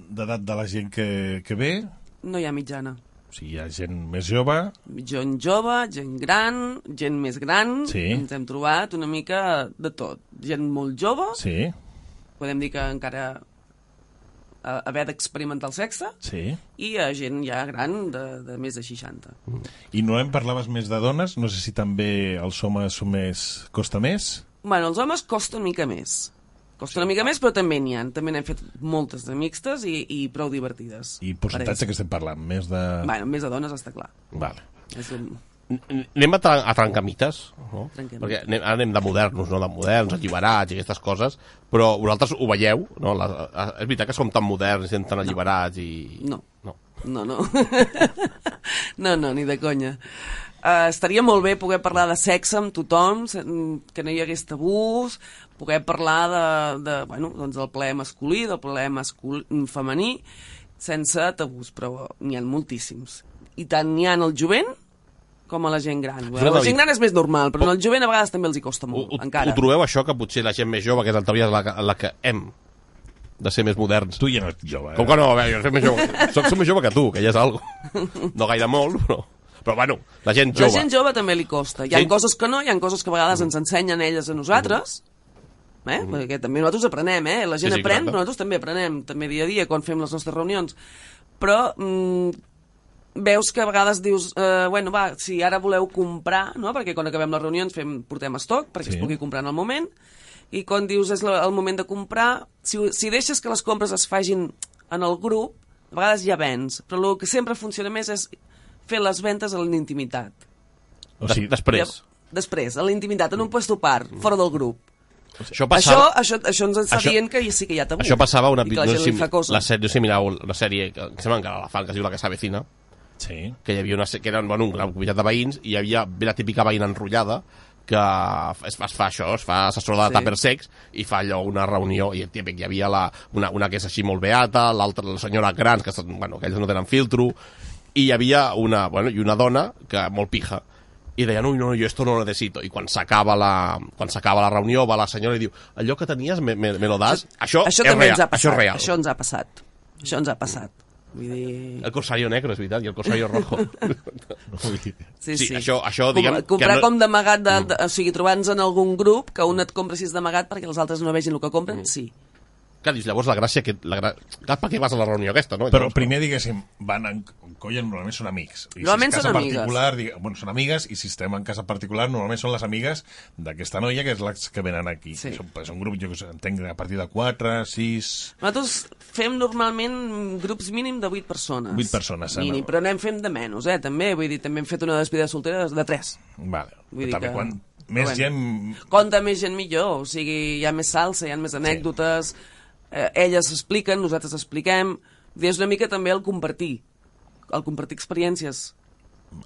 B: d'edat de, de la gent que, que ve,
F: No hi ha mitjana.
B: o sigui, hi ha gent més jove,
F: Gent jove, gent gran, gent més gran,
B: Sí.
F: ens hem trobat una mica de tot. Gent molt jove,
B: sí,
F: podem dir que encara a, haver d'experimentar el sexe,
B: sí.
F: i a gent ja gran de, de més de 60.
B: I no em parlaves més de dones, no sé si també els homes són més... costa més?
F: Bueno, els homes costa una mica més. Costa una mica més, però també n'hi ha. També n'hem fet moltes de mixtes i, i prou divertides.
B: I percentatge
F: Per ells.
B: que estem parlant, més de...
F: Bueno, més de dones, està clar.
B: Vale.
F: És un...
C: N- n- Anem a, tra a trencar mites, no?
F: Trenquem.
C: Perquè anem, ara anem de modernos, no? De moderns, alliberats i aquestes coses, però vosaltres ho veieu, no? La, a, és veritat que som tan moderns i estem tan alliberats i...
F: No.
C: no.
F: No, no. no, no, ni de conya. Uh, estaria molt bé poder parlar de sexe amb tothom, se- mm, que no hi hagués tabús, poder parlar de, de, bueno, doncs del plaer masculí, del plaer mascul femení, sense tabús, però n'hi ha moltíssims. I tant n'hi ha en el jovent com a la gent gran. Bueno, la
C: David.
F: gent gran és més normal, però en el jovent a vegades també els hi costa
C: Ho,
F: molt,
C: ho,
F: encara.
C: ho trobeu això que potser la gent més jove, que és en teoria la, que- la que hem de ser més moderns?
B: Tu ja no ets jove, eh?
C: Com que no? A veure, jo soc més jove, soc, soc més jove que tu, que ja és algo. No gaire molt, però... Però, bueno, la gent jove.
F: La gent jove també li costa. Hi ha
C: Sí.
F: coses que no, hi ha coses que a vegades ens ensenyen elles a nosaltres, eh? perquè també nosaltres aprenem, eh? la gent
C: Mm-hmm. Sí, sí, clar.
F: aprèn, però nosaltres també aprenem, també dia a dia, quan fem les nostres reunions. Però mm, veus que a vegades dius, eh, bueno, va, si ara voleu comprar, no? perquè quan acabem les reunions fem, portem estoc, perquè
B: Sí.
F: sí. es pugui comprar en el moment, i quan dius és la, el moment de comprar, si, ho- si deixes que les compres es fagin en el grup, a vegades ja vens, però el que sempre funciona més és fer les ventes a la intimitat.
B: O sigui,
C: Des- Després. Mm.
F: Llavors, Després, a la intimitat, en un puesto part, fora del grup.
C: Això
F: Això,
C: passava...
F: això, això ens està
C: Això-
F: això, dient que hi- sí que hi ha tabú.
C: Això passava a una...
F: I que la gent li
C: si-
F: fa cosa.
C: la sèrie, no sé si mirau una sèrie que, que sembla encara la fan, que es diu La que s'avecina,
B: Sí.
C: que hi havia una, se- que era bueno, un gran comitat de veïns i hi havia bé la típica veïna enrotllada que es, es fa això, es fa assessora de
F: Sí.
C: sí. tàper sex i fa allò una reunió i el típic hi havia la, una, una que és així molt beata, l'altra, la senyora grans, que, són- bueno, que ells no tenen filtro, i hi havia una, bueno, i una dona que molt pija i deia, no, no, jo esto no lo necesito. I quan s'acaba la, quan s'acaba la reunió va la senyora i diu, allò que tenies me, me, me lo das? Això,
F: això
C: és
F: també
C: real,
F: ens ha passat.
C: això és real.
F: Això ens ha passat. Això ens ha passat. Vull dir...
C: El corsario negro, és veritat, i el corsario rojo.
F: Sí,
C: sí,
F: sí.
C: això- això, diguem, que
F: Comprar
C: no- Mm.
F: com d'amagat, de, de, o sigui, trobar-nos en algun grup que un et compra si és d'amagat perquè els altres no vegin el que
C: Mm.
F: compren, sí.
C: Clar, dius, llavors la gràcia... Que, la gra... Clar, per què vas a la reunió aquesta, no?
B: Però primer, diguéssim, van en colla, normalment són amics. I
F: Normalment
B: si és casa
F: són amigues.
B: particular, digue... bueno, són amigues, i si estem en casa particular, normalment són les amigues d'aquesta noia, que és les que venen aquí.
F: Sí.
B: Sí. Són, és un grup, jo que sé, entenc, a partir de 4, 6...
F: Nosaltres fem normalment grups mínim de 8 persones.
B: Vuit persones, eh,
F: Mínim,
B: no?
F: però anem fent de menys, eh, també. Vull dir, també hem fet una despedida soltera de 3.
B: Vale.
F: Vull dir
B: També
F: que-
B: quan
F: Però
B: més
F: bueno.
B: gent
F: Conta més gent millor, o sigui, hi ha més salsa, hi ha més anècdotes, eh, elles s'expliquen, nosaltres expliquem. Vull dir, És una mica també el compartir, el compartir experiències.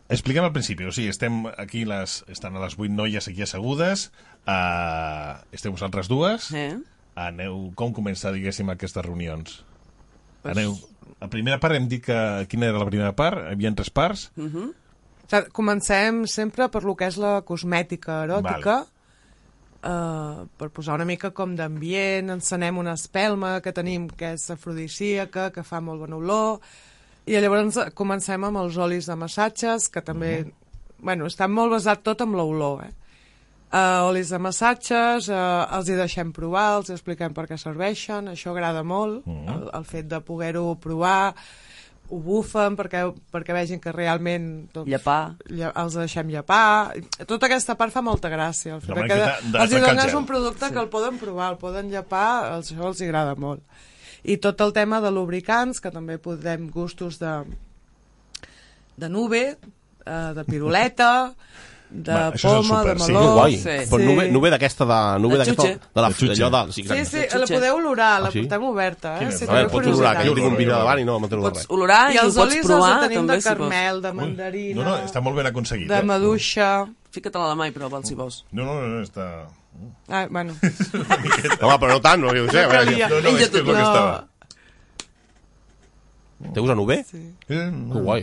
B: Expliquem al principi, o sigui, estem aquí les, estan a les vuit noies aquí assegudes, uh, esteu vosaltres dues,
F: Eh?
B: aneu, com comença, diguéssim, aquestes reunions? Aneu, la primera part hem dit que quina era la primera part, hi havia tres parts, mm
F: Mhm.
B: -hmm.
H: O sigui, comencem sempre per lo que és la cosmètica eròtica, uh, per posar una mica com d'ambient, encenem una espelma que tenim que és afrodisíaca, que fa molt bona olor, i llavors eh, comencem amb els olis de massatges, que també... Bueno, està molt basat tot amb l'olor, eh? Uh, olis de massatges, uh, els hi deixem provar, els hi expliquem per què serveixen, això agrada molt, el, el fet de poder-ho provar, ho bufen perquè, perquè vegin que realment... Doncs,
F: Llepar.
H: lle els deixem llepar. Tota aquesta part fa molta gràcia. El fet
B: Una
H: que
B: miqueta de
H: els hi
B: trencar el
H: dones
B: gel.
H: un producte sí. que el poden provar, el poden llepar, els, això els hi agrada molt. I tot el tema de lubricants, que també podem gustos de, de nube, eh, de piruleta, de
B: Va, això és el
H: poma,
B: súper,
H: de
B: sí.
H: meló...
C: Que guai.
F: Sí.
C: Però nube, nube d'aquesta de... Nube
F: De
C: d'aquesta...
F: xutxe.
C: De la...
B: De xutxe.
C: Allò de... Sí,
H: Sí,
C: gran-
H: sí,
F: xutxes.
H: la podeu olorar, la
C: Ah, sí?
H: portem oberta.
B: Quina
H: Eh?
B: és?
H: Si
C: A veure,
H: teniu
C: pots olorar, que jo
H: curiositat.
C: tinc un vidre davant i no me'n dono res.
F: Pots olorar i,
H: I els
F: el pots
H: olis
F: provar,
H: els tenim
F: també,
H: de carmel, de mandarina,
B: No, no, està molt ben aconseguit.
H: de
B: eh?
H: maduixa...
F: si vols. Fica't-la a la mà i prova'l, si vols.
B: No, no, no, està...
H: Ah, bueno.
C: Home, però no tant, no, jo ho sé. a veure,
H: calia.
B: No, no, és que és el que
H: No.
B: estava.
C: Té gust a nube? Sí.
B: Eh, no.
C: Que guai.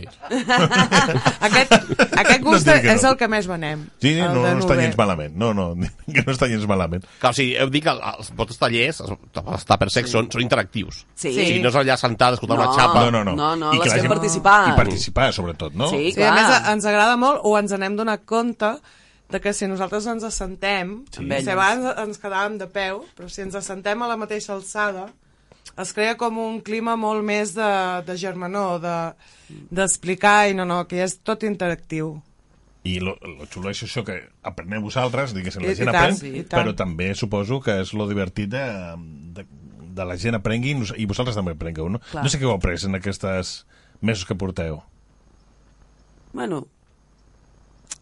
H: Aquest, aquest gust
B: No et diré que
H: és
B: no.
H: el que més venem.
B: Sí, sí,
H: el
B: no, no
H: Ah, de eh.
B: està
H: Nube.
B: gens malament. No, no, que no està gens malament.
C: Clar, o sigui, heu dit que els vots tallers, els tàpersecs, són, són interactius.
F: Sí.
C: O sigui, no és allà sentada, escoltant
F: No.
C: una xapa.
B: No, no, no.
F: No, no,
B: I que
F: les
B: la
F: fem
B: gent-
F: participar.
B: I participar, sobretot, no?
F: Sí,
H: Sí, a més,
F: clar.
H: a- ens agrada molt o ens anem donant compte de que si nosaltres ens assentem, sí.
F: Amb elles.
H: si abans ens quedàvem de peu, però si ens assentem a la mateixa alçada, es crea com un clima molt més de, de germanor, de- d'explicar, de, i no, no, que és tot interactiu.
B: I lo, lo xulo és això que apreneu vosaltres, diguéssim, la
H: I-
B: gent
H: i tant,
B: aprèn,
H: sí, i tant.
B: però també suposo que és lo divertit de, de, de la gent aprengui i nos- i vosaltres també aprengueu, no?
F: Clar.
B: No sé què heu après en aquestes mesos que porteu.
F: Bueno,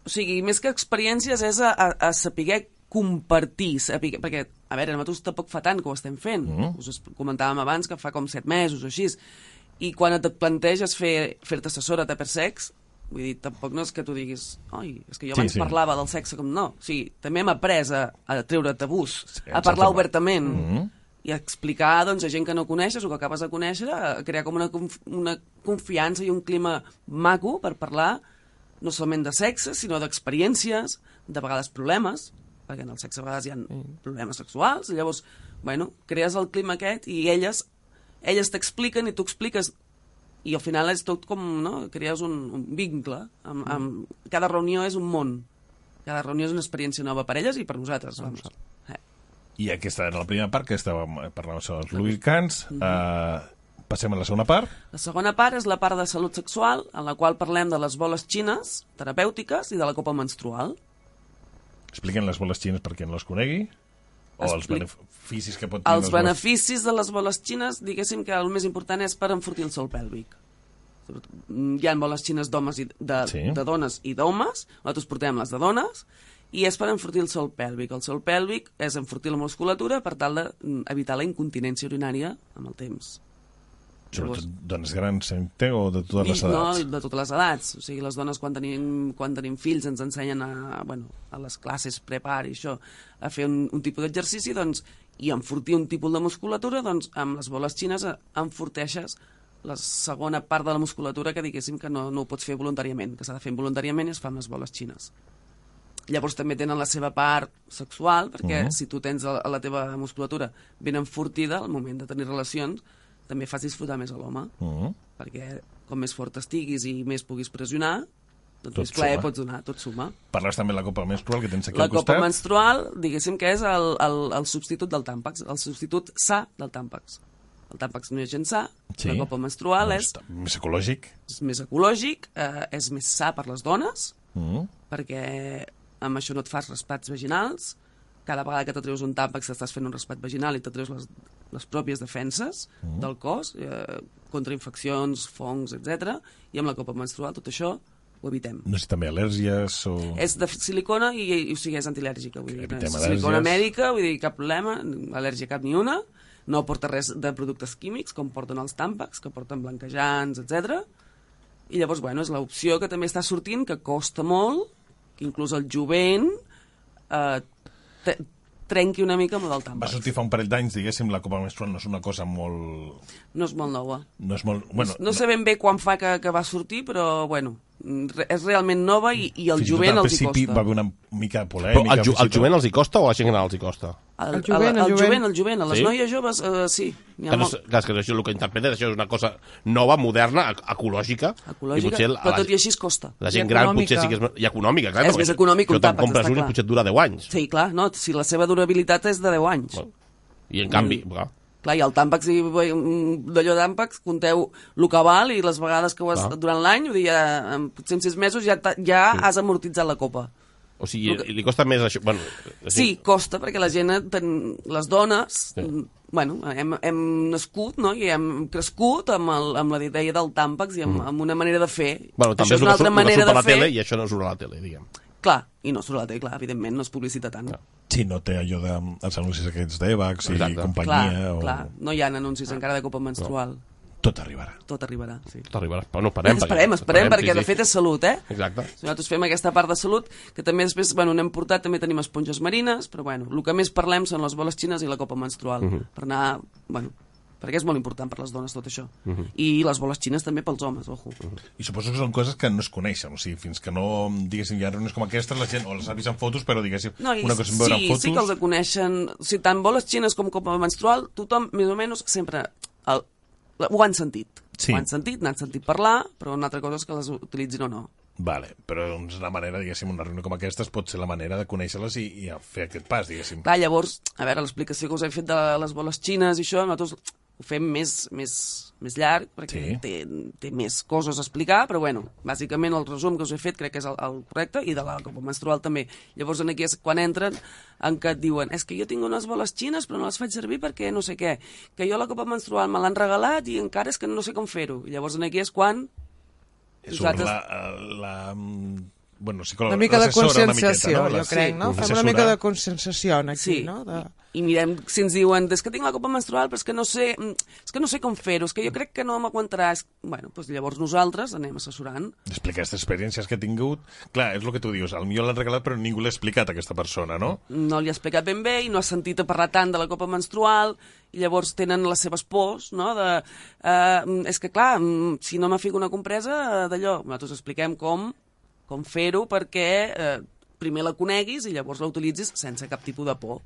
F: o sigui, més que experiències és a, a, a saber compartir, saber, perquè, a veure, nosaltres tampoc fa tant que ho estem fent. Mm.
B: Mm-hmm.
F: Us es- comentàvem abans que fa com set mesos o així. I quan et planteges fer- fer-te fer assessora de per sex, vull dir, tampoc no és que tu diguis oi, és que
B: Sí,
F: jo abans
B: sí.
F: sí, parlava del sexe com no. O sigui, també hem après a, a treure tabús, sí,
B: en
F: a
B: certa
F: parlar
B: manera.
F: obertament.
B: Mm-hmm.
F: Mm -hmm i a explicar doncs, a gent que no coneixes o que acabes de conèixer, a crear com una, conf una confiança i un clima maco per parlar no solament de sexe, sinó d'experiències, de vegades problemes, perquè en el sexe a vegades hi ha problemes sexuals, i llavors, bueno, crees el clima aquest i elles elles t'expliquen i tu expliques i al final és tot com, no?, crees un, un vincle. Amb, amb... Cada reunió és un món. Cada reunió és una experiència nova per elles i per nosaltres. Vamos. Eh.
B: I aquesta era la primera part, que estàvem eh, parlant sobre els lubricants.
F: Mhm.
B: Mm -hmm. uh, passem a la segona part.
F: La segona part és la part de salut sexual, en la qual parlem de les boles xines, terapèutiques, i de la copa menstrual.
B: Expliquem les boles xines per qui no les conegui. O els
F: Expli-
B: beneficis que pot tenir
F: Els
B: les boles-
F: beneficis de les boles xines, diguéssim que el més important és per enfortir el sol pèlvic. Mm, Hi ha boles xines d'homes i de, sí.
B: Sí.
F: de dones i d'homes, nosaltres portem les de dones, i és per enfortir el sol pèlvic. El sol pèlvic és enfortir la musculatura per tal d'evitar la incontinència urinària amb el temps.
B: Sobretot dones grans, senteu, o de totes les
F: I-
B: edats.
F: No, de totes les edats. O sigui, les dones quan tenim, quan tenim fills ens ensenyen a, bueno, a les classes prepar i això, a fer un, un tipus d'exercici doncs, i enfortir un tipus de musculatura, doncs amb les boles xines eh, enforteixes la segona part de la musculatura que diguéssim que no, no ho pots fer voluntàriament, que s'ha de fer voluntàriament i es fa amb les boles xines. Llavors també tenen la seva part sexual,
B: Mm.
F: perquè si tu tens a la teva musculatura ben enfortida, al moment de tenir relacions, també fas disfrutar més a l'home.
B: Mm-hmm.
F: Perquè com més fort estiguis i més puguis pressionar, doncs
B: Tot
F: més plaer
B: suma.
F: pots donar, tot suma.
B: Parles també de la copa menstrual que tens aquí
F: la
B: al
F: copa
B: costat.
F: menstrual, diguéssim que és el, el, el substitut del tàmpax, el substitut sa del tàmpax. El tàmpax no és gens sa,
B: Sí.
F: sí. la copa menstrual
B: Doncs
F: és,
B: Més ecològic.
F: és més ecològic, eh, és més sa per les dones,
B: Mm.
F: perquè amb això no et fas respats vaginals, cada vegada que t'atreus un tàmpax estàs fent un respat vaginal i t'atreus les, les pròpies defenses del cos, eh, contra infeccions, fongs, etc. I amb la copa menstrual tot això ho evitem.
B: No sé, també al·lèrgies o...
F: És de silicona i, i o sigui, és antial·lèrgica. Vull dir,
B: Evitem
F: no és
B: al·lèrgies.
F: silicona mèdica, vull dir, cap problema, al·lèrgia cap ni una. No porta res de productes químics, com porten els tàmpacs, que porten blanquejants, etc. I llavors, bueno, és l'opció que també està sortint, que costa molt, que inclús el jovent eh, te- trenqui una mica amb el del
B: Va
F: tàmpax.
B: sortir fa un parell d'anys, diguéssim, la copa menstrual no és una cosa molt...
F: No és molt nova.
B: No és molt... Bueno,
F: No sé ben bé quan fa que, que va sortir, però, bueno, re- és realment nova i, i el
B: fins i tot
F: jovent
B: al
F: els hi
B: principi
F: costa.
B: va haver una mica de polèmica.
C: Però el, ju
B: fins i
C: el
B: tot.
C: jovent els hi costa o a la gent gran els hi costa?
F: El,
H: El jovent, el
F: el,
H: jovent.
F: jovent, el jovent, a les
C: Sí?
F: sí? noies joves, uh, sí. N'hi ha
C: Que no,
F: molt,
C: és- clar, és que això és el que interpreten, això és una cosa nova, moderna, ec- ecològica.
F: ecològica,
C: I potser la,
F: però
C: la,
F: tot i així es costa.
C: la
H: I
C: gent gran
H: econòmica.
C: potser sí que és... I econòmica, clar.
F: És
C: perquè
F: més econòmic
C: això
F: un
C: te'n
F: tàmpax,
C: compres
F: està
C: un i
F: clar.
C: potser et dura 10 anys.
F: Sí, clar, no, si la seva durabilitat és de 10 anys.
C: Bueno, I en
F: Mm.
C: canvi, clar,
F: Clar, i el tàmpax, i mm, d'allò d'àmpax, conteu el que val i les vegades que ho has,
C: Clar.
F: durant l'any, vull dir, ja, en, potser en 6 mesos ja, t'ha- ja sí. has amortitzat la copa.
C: o sigui, li costa més això... Bueno,
F: Sí, costa, perquè la gent, ten, les dones,
C: Sí.
F: sí. bueno, hem, hem nascut no? i hem crescut amb, el, amb la idea del tàmpax i amb, mm. amb una manera de fer.
C: Bueno, també
F: Això és una
C: que surt-
F: altra
C: el que
F: manera
C: surt
F: de
C: a la
F: fer.
C: tele i això no surt a la tele, diguem.
F: Clar, i no surt a la tele, clar, evidentment, no es publicita tant. Clar,
B: Sí, no té allò de els anuncis aquests d'Evax i
C: Exacte.
B: companyia.
F: clar,
B: o...
F: clar, no hi ha anuncis encara de copa menstrual.
B: Tot arribarà.
F: Tot arribarà, sí.
C: T'arribaràs, però no parem.
F: esperem, esperem, perquè de fet és salut, eh?
C: Exacte.
F: Si nosaltres fem aquesta part de salut, que també després, bueno, n'hem portat, també tenim esponges marines, però bueno, el que més parlem són les boles xines i la copa menstrual, per anar, bueno, perquè és molt important per les dones tot això.
B: Mhm.
C: Mhm.
F: I les boles xines també pels homes, ojo.
B: I suposo que són coses que no es coneixen, o sigui, fins que no, diguéssim, hi ha reunions com aquestes, la gent o les ha vist en fotos, però diguéssim,
F: No, i
B: una cosa és veure en
F: sí,
B: fotos...
F: sí que els coneixen, o sigui, tant boles xines com copa menstrual, tothom més o menys sempre el, la- ho han sentit.
B: Sí.
F: Ho han sentit, n'han sentit parlar, però una altra cosa és que les utilitzin o no.
B: Vale, però doncs, una manera, diguéssim, una reunió com aquesta pot ser la manera de conèixer-les i, i fer aquest pas, diguéssim.
F: Clar, llavors, a veure, l'explicació que us he fet de les boles xines i això, nosaltres ho fem més, més, més llarg, perquè
B: Sí.
F: té, té més coses a explicar, però bueno, bàsicament el resum que us he fet crec que és el, el correcte, i de la copa menstrual també. Llavors en aquí és quan entren en què et diuen, és que jo tinc unes boles xines però no les faig servir perquè no sé què, que jo la copa menstrual me l'han regalat i encara és que no sé com fer-ho. I Llavors en aquí és quan
B: Surt
F: nosaltres-
B: la, la, mm, bueno, psicòloga,
H: Una mica de
B: l'assessora, una
H: conscienciació,
B: miqueta, no?
H: jo crec, no? Fem una
B: L'assessora.
H: mica de conscienciació en aquí,
F: Sí,
H: no? De...
F: I, i mirem si ens diuen és que tinc la copa menstrual però és que no sé, mm, és que no sé com fer-ho, és que jo crec que no m'aguantarà. És... Bueno, doncs llavors nosaltres anem assessorant.
B: Explicar aquestes experiències que ha tingut. Clar, és el que tu dius, potser l'han regalat però ningú l'ha explicat a aquesta persona, no?
F: No li ha explicat ben bé i no ha sentit a parlar tant de la copa menstrual i llavors tenen les seves pors, no? De, eh, mm, és que clar, mm, si no m'afico una compresa eh, d'allò, nosaltres expliquem com, com fer-ho perquè eh, primer la coneguis i llavors la utilitzis sense cap tipus de por.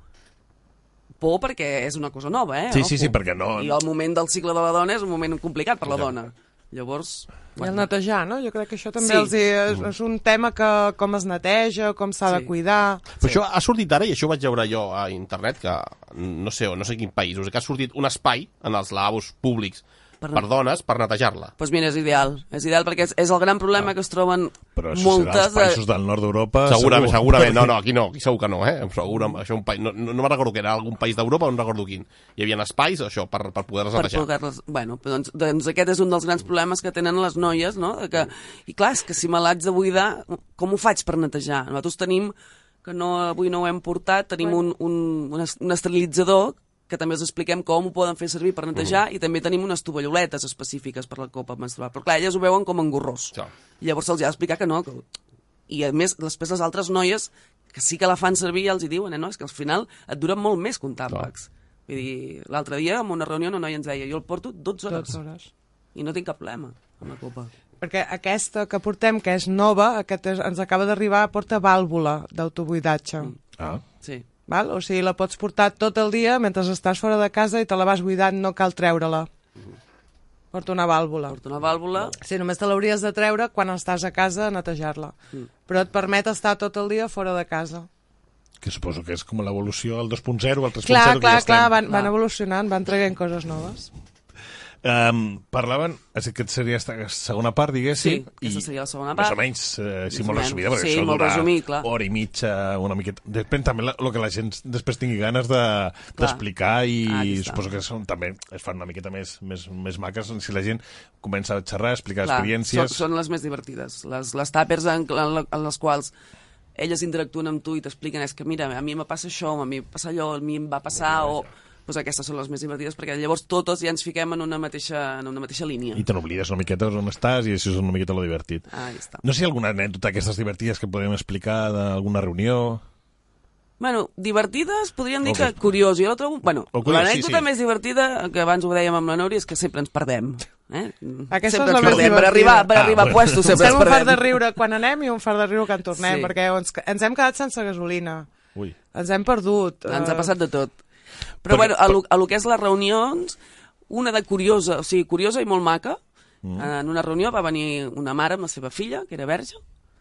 F: Por perquè és una cosa nova, eh?
B: Sí, sí, sí,
F: Ojo.
B: perquè no...
F: I el moment del cicle de la dona és un moment complicat per la dona. Llavors,
H: I el netejar, no? Jo crec que això també
F: Sí.
H: els hi, és, és un tema que com es neteja, com s'ha de
F: Sí.
H: cuidar...
C: Però això ha sortit ara, i això ho vaig veure jo a internet, que no sé on, no sé quin país, o sigui que ha sortit un espai en els lavabos públics per,
F: Per-
C: per dones per netejar-la.
F: doncs mira, és ideal. És ideal perquè és, és el gran problema que es troben
B: Però això serà
F: moltes...
B: als països del nord d'Europa...
C: Segurament,
B: segur.
C: segurament, no, no, aquí no, aquí segur que no, eh? Segura,
F: Mm.
C: això un país, no, no, no me'n recordo que era algun país d'Europa, no recordo quin. Hi havia espais, això, per, per poder-les
F: per
C: netejar.
F: poder-les... Bueno, però doncs, doncs aquest és un dels grans problemes que tenen les noies, no? De Que, I clar, és que si me l'haig de buidar, com ho faig per netejar? Nosaltres tenim, que no, avui no ho hem portat, tenim un, un, un, es- un esterilitzador que també els expliquem com ho poden fer servir per netejar i també tenim unes tovalloletes específiques per la copa menstrual. Però clar, elles ho veuen com engorrós.
C: Clar.
F: Llavors se'ls ha d'explicar que no, que... I a més, després les altres noies que sí que la fan servir ja els hi diuen, eh, no? És que al final et dura molt més que un tàmpax. Vull dir, l'altre dia en una reunió una noia ens deia jo el porto 12 hores,
H: 12 hores.
F: i no tinc cap problema amb la copa.
H: Perquè aquesta que portem, que és nova, aquest és, ens acaba d'arribar, porta vàlvula d'autobuidatge. Mm.
B: Ah.
F: Sí.
H: Val? O sigui, la pots portar tot el dia mentre estàs fora de casa i te la vas buidant, no cal treure-la. Porta una vàlvula.
F: Mm. Porta una vàlvula.
H: Sí, només te l'hauries de treure quan estàs a casa a netejar-la.
F: Mm.
H: Però et permet estar tot el dia fora de casa.
B: Que suposo que és com l'evolució al 2.0, al 3.0
H: Clar,
B: que
H: clar,
B: ja
H: clar,
B: estem.
H: van, van evolucionant, van traient coses noves.
B: Um, parlaven, és que seria esta segona part, diguéssim.
F: Sí, aquesta seria la segona
B: Més
F: part.
B: o menys, eh, sí,
F: o
B: molt
F: menys.
B: resumida, perquè
F: Sí,
B: això
F: molt
B: dura
F: resumit, clar.
B: hora i mitja, una miqueta. Depèn també el que la gent després tingui ganes de- d'explicar de,
F: Ah,
B: i
F: aquí està.
B: suposo que són, també es fan una miqueta més, més, més maques si la gent comença a xerrar, a explicar
F: Clar,
B: experiències.
F: Són, són les més divertides. Les, les tàpers en, en, la- en les quals elles interactuen amb tu i t'expliquen és que mira, a mi em passa això, a mi em passa allò, a mi em va passar, o... Doncs aquestes són les més divertides perquè llavors totes ja ens fiquem en una mateixa, en una mateixa línia.
B: I te n'oblides una miqueta on estàs i això és una miqueta lo divertit.
F: Ah, ja està.
B: No sé si hi ha alguna anècdota d'aquestes divertides que podem explicar d'alguna reunió...
F: Bueno, divertides, podríem dir
B: Ok.
F: que curiós. Jo la trobo... Bueno,
B: O curiós,
F: l'anècdota
B: sí, sí.
F: més divertida, que abans ho dèiem amb la Nori, és que sempre ens perdem. Eh?
H: Aquesta
F: sempre
H: és la més
F: ens perdem. Per
H: divertida.
F: arribar, per
B: Ah,
F: arribar
B: bueno.
F: a puestos sempre
H: Estem
F: ens
H: un fart
F: perdem.
H: de riure quan anem i un fart de riure quan tornem,
F: Sí.
H: sí. perquè ens, ens hem quedat sense gasolina,
B: Ui.
H: ens hem perdut.
F: Ens
H: eh,
F: ha passat de tot. Però, bueno, a lo, a lo que és les reunions, una de curiosa, o sigui, curiosa i molt maca, mm. en una reunió va venir una mare amb la seva filla, que era verge,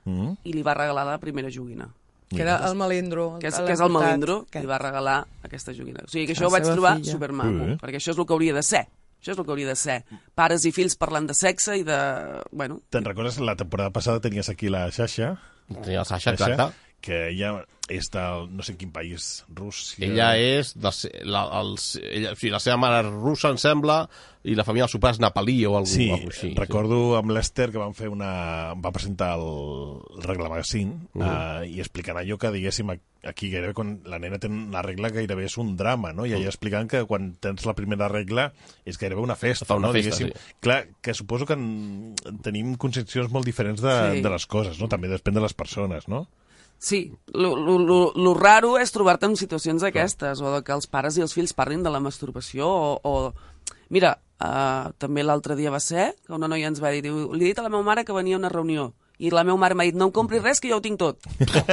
B: Mm?
F: i li va regalar la primera joguina,
H: Que era el melindro.
F: que és,
H: l'hem
F: que és el
H: portat,
F: melindro, que
H: aquest.
F: li va regalar aquesta joguina. O sigui que
H: La
F: això ho vaig
H: seva
F: trobar
H: filla.
F: supermaco,
B: Ui.
F: perquè això és el que hauria de ser. Això és el que hauria de ser. Pares i fills parlant de sexe i de... Bueno,
B: Te'n recordes? La temporada passada tenies aquí la Xaixa.
C: Tenia la Sasha,
B: Xaixa,
C: exacte.
B: Que ella és del no sé quin país, Rússia...
C: Ella és... De, se- la, els, ella, o sigui, la seva mare és russa, em sembla, i la família del sopar és nepalí o algú,
B: Sí,
C: algo així.
B: recordo amb l'Ester que van fer una... va presentar el, el regla magazine uh -huh. i explicant allò que, diguéssim, a- aquí gairebé quan la nena té una regla gairebé és un drama, no? I allà explicant que quan tens la primera regla és gairebé una festa,
C: Fa una
B: no?
C: festa,
B: Diguéssim.
C: sí.
B: Clar, que suposo que en, tenim concepcions molt diferents de,
F: Sí.
B: sí. de les coses, no? També depèn de les persones, no?
F: Sí, lo, lo, lo, lo raro és trobar-te en situacions d'aquestes, o de que els pares i els fills parlin de la masturbació, o... o... Mira, uh, també l'altre dia va ser que una noia ens va dir, diu, li he dit a la meva mare que venia a una reunió, i la meva mare m'ha dit, no em compri res, que jo ho tinc tot. eh?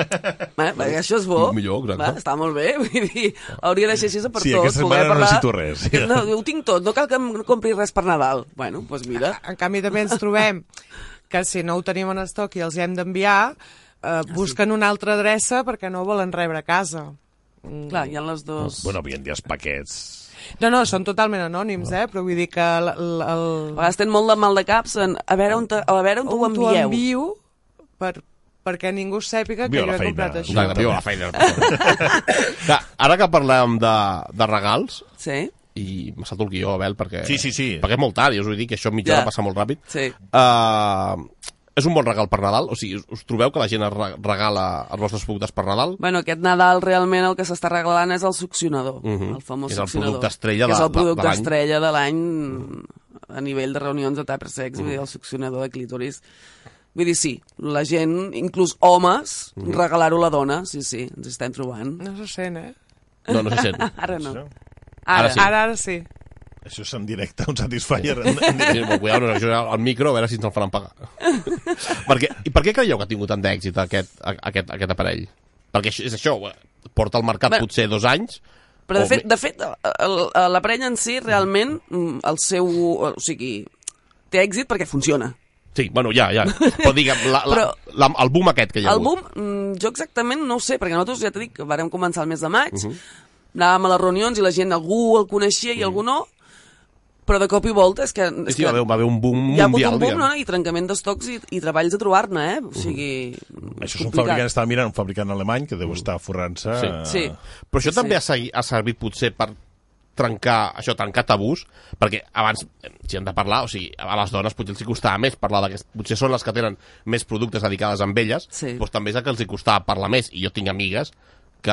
F: Perquè això és bo.
C: Millor, exacte.
F: Va, està molt bé, vull dir, hauria de ser així per
B: Sí,
F: tot.
B: aquesta
F: poder
B: mare no
F: parlar-
B: necessito res.
F: Aquest, No, ho tinc tot, no cal que em compri res per Nadal. Bueno, doncs mira,
H: En canvi, també ens trobem que si no ho tenim en estoc i els hi hem d'enviar,
F: Ah,
H: eh, busquen una altra adreça perquè no ho volen rebre a casa. Mm.
F: clar, hi ha les dues...
B: Bueno, avui en dia els paquets...
H: No, no, són totalment anònims, eh? però vull dir que el, el,
F: A
H: el,
F: vegades tenen molt de mal de caps en a veure on, te, a veure on, t'ho
H: on t'ho
F: envieu.
H: envio per, perquè ningú sàpiga que
B: Viu
H: jo
B: la
H: he comprat
B: feina.
H: això.
C: Exacte, viu la feina. Clar, Ara que parlàvem de, de regals,
F: Sí.
C: i m'ha saltat el guió, Abel, perquè...
B: Sí, sí, sí.
C: Perquè és molt tard, jo us vull dir que això mitja
F: Ja.
C: hora passa molt ràpid.
F: Sí.
C: Uh, és un bon regal per Nadal? O sigui, us, us trobeu que la gent es re- regala els vostres productes per Nadal?
F: Bueno, aquest Nadal realment el que s'està regalant és el succionador, el
C: Mm.
F: famós
C: És el
F: succionador.
C: producte estrella
F: que és
C: de-
F: el
C: de-
F: producte
C: de l'any.
F: estrella de l'any mm, a nivell de reunions de tàper sex,
C: Mm.
F: vull dir, el succionador de clítoris. Vull dir, sí, la gent, inclús homes,
C: Mm-hmm.
F: regalar-ho a la dona, sí, sí, ens hi estem trobant.
H: No se sent, eh?
C: No, no se sent.
F: Ara no.
B: Això,
F: Ara,
C: sí.
H: Ara, ara sí.
B: això és en directe, un Satisfyer. En, en directe.
C: Sí, però Cuidado, no, això al micro, a veure si ens el faran pagar. perquè, I per què creieu que ha tingut tant d'èxit aquest, a- aquest, aquest aparell? Perquè això, és això, eh, porta al mercat
F: Bueno.
C: potser dos anys...
F: Però, de
C: o
F: fet,
C: me-
F: de fet el- el- la parella en si, realment, mm, el seu... O sigui, té èxit perquè funciona.
C: Sí, bueno, ja, ja. Però diguem, la, la,
F: Però-
C: la, el boom aquest que hi ha
F: El
C: hagut.
F: boom, mm, jo exactament no ho sé, perquè nosaltres ja t'he dit que vàrem començar el mes de maig,
C: Mhm.
F: anàvem a les reunions i la gent, algú el coneixia i algú no, però de cop i volta és que... És
C: Sí, sí, va
F: que
C: haver, va haver un boom mundial.
F: hi ha hagut un boom
C: diguem.
F: no? i trencament d'estocs i, i treballs a trobar-ne, eh? O sigui...
C: Mhm.
B: Això és un fabricant, estava mirant un fabricant alemany que deu estar forrant-se...
C: Mm. Sí.
B: eh,
F: Sí.
C: Però això també ha, segui, ha servit potser per trencar, això, trencar tabús, perquè abans, eh, si hem de parlar, o sigui, a les dones potser els hi costava més parlar d'aquest, potser són les que tenen més productes dedicades amb elles,
F: Sí.
C: doncs també és el que els hi costava parlar més, i jo tinc amigues que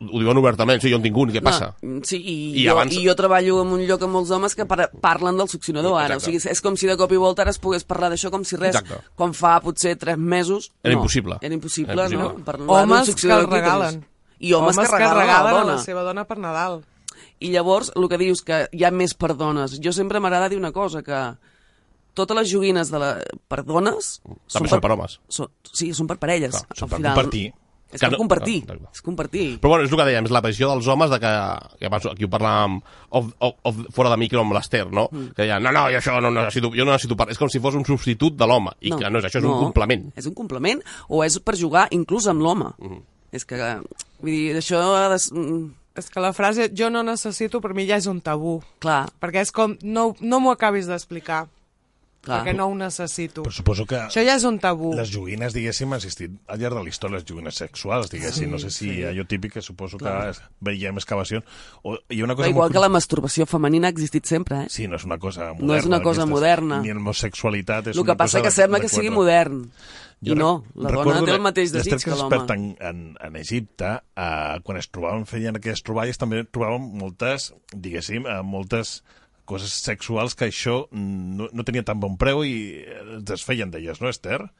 C: ho diuen obertament, o sigui, jo en tinc un, i què passa?
F: No, mm, sí, i,
C: I
F: I, jo,
C: abans-
F: abans... i jo treballo en un lloc amb molts homes que par parlen del succionador ara.
C: Exacte.
F: O sigui, és com si de cop i volta ara es pogués parlar d'això com si res,
C: Exacte.
F: quan fa potser tres mesos...
C: Era
F: no,
C: impossible.
F: Era impossible,
C: Era impossible.
F: no? Parlar d'un
H: Homes que
F: succionador
H: el
F: de clítoris.
H: regalen.
F: Doncs. I homes,
H: Homes
F: que regalen, a la dona.
H: la seva dona per Nadal.
F: I llavors, el que dius, que hi ha més per dones. Jo sempre m'agrada dir una cosa, que totes les joguines de la... per dones...
C: També són per homes.
F: Són, sí, són per parelles.
C: Clar,
B: són
F: al
B: per
F: final.
B: compartir.
F: És
C: Que
F: per
C: no-
F: compartir.
C: Ah, d'acord.
F: És compartir.
C: Però bueno, és el que dèiem, és la posició dels homes de que, que abans aquí ho parlàvem of, of, of, fora de micro amb l'Ester, no? Mm. Que deia, no, no, jo això no necessito, jo no necessito parlar. És com si fos un substitut de l'home, i que no és això, és un complement.
F: És un complement, o és per jugar inclús amb l'home. És que, vull dir, això... ha de s- mm,
H: És que la frase jo no necessito per mi ja és un tabú.
F: Clar,
H: Perquè és com, no, no m'ho acabis d'explicar,
F: clar.
H: perquè no ho necessito.
B: Però suposo que
H: Això ja és un tabú.
B: les joguines, diguéssim, han existit al llarg de la història, les joguines sexuals, diguéssim. no sé si allò típic que suposo que veiem excavacions. O, hi ha una cosa
F: Però igual
B: molt
F: que la masturbació femenina ha existit sempre, eh?
B: Sí, no és una cosa moderna.
F: No és una cosa
B: d'aquestes.
F: moderna.
B: Ni l'homosexualitat és
F: el que
B: una
F: passa
B: cosa
F: que
B: de-
F: sembla
B: de
F: que sigui
B: quatre.
F: modern. I
B: rec-
F: no, la dona
B: recordo
F: té el
B: la- les
F: mateix desig
B: tres
F: que
B: experts en,
F: l'home.
B: en, en Egipte, eh, quan es trobaven, feien aquestes troballes, també trobaven moltes, diguéssim, eh, moltes coses sexuals que això mm, no, no tenia tan bon preu i eh, es desfeien d'elles, no, Esther?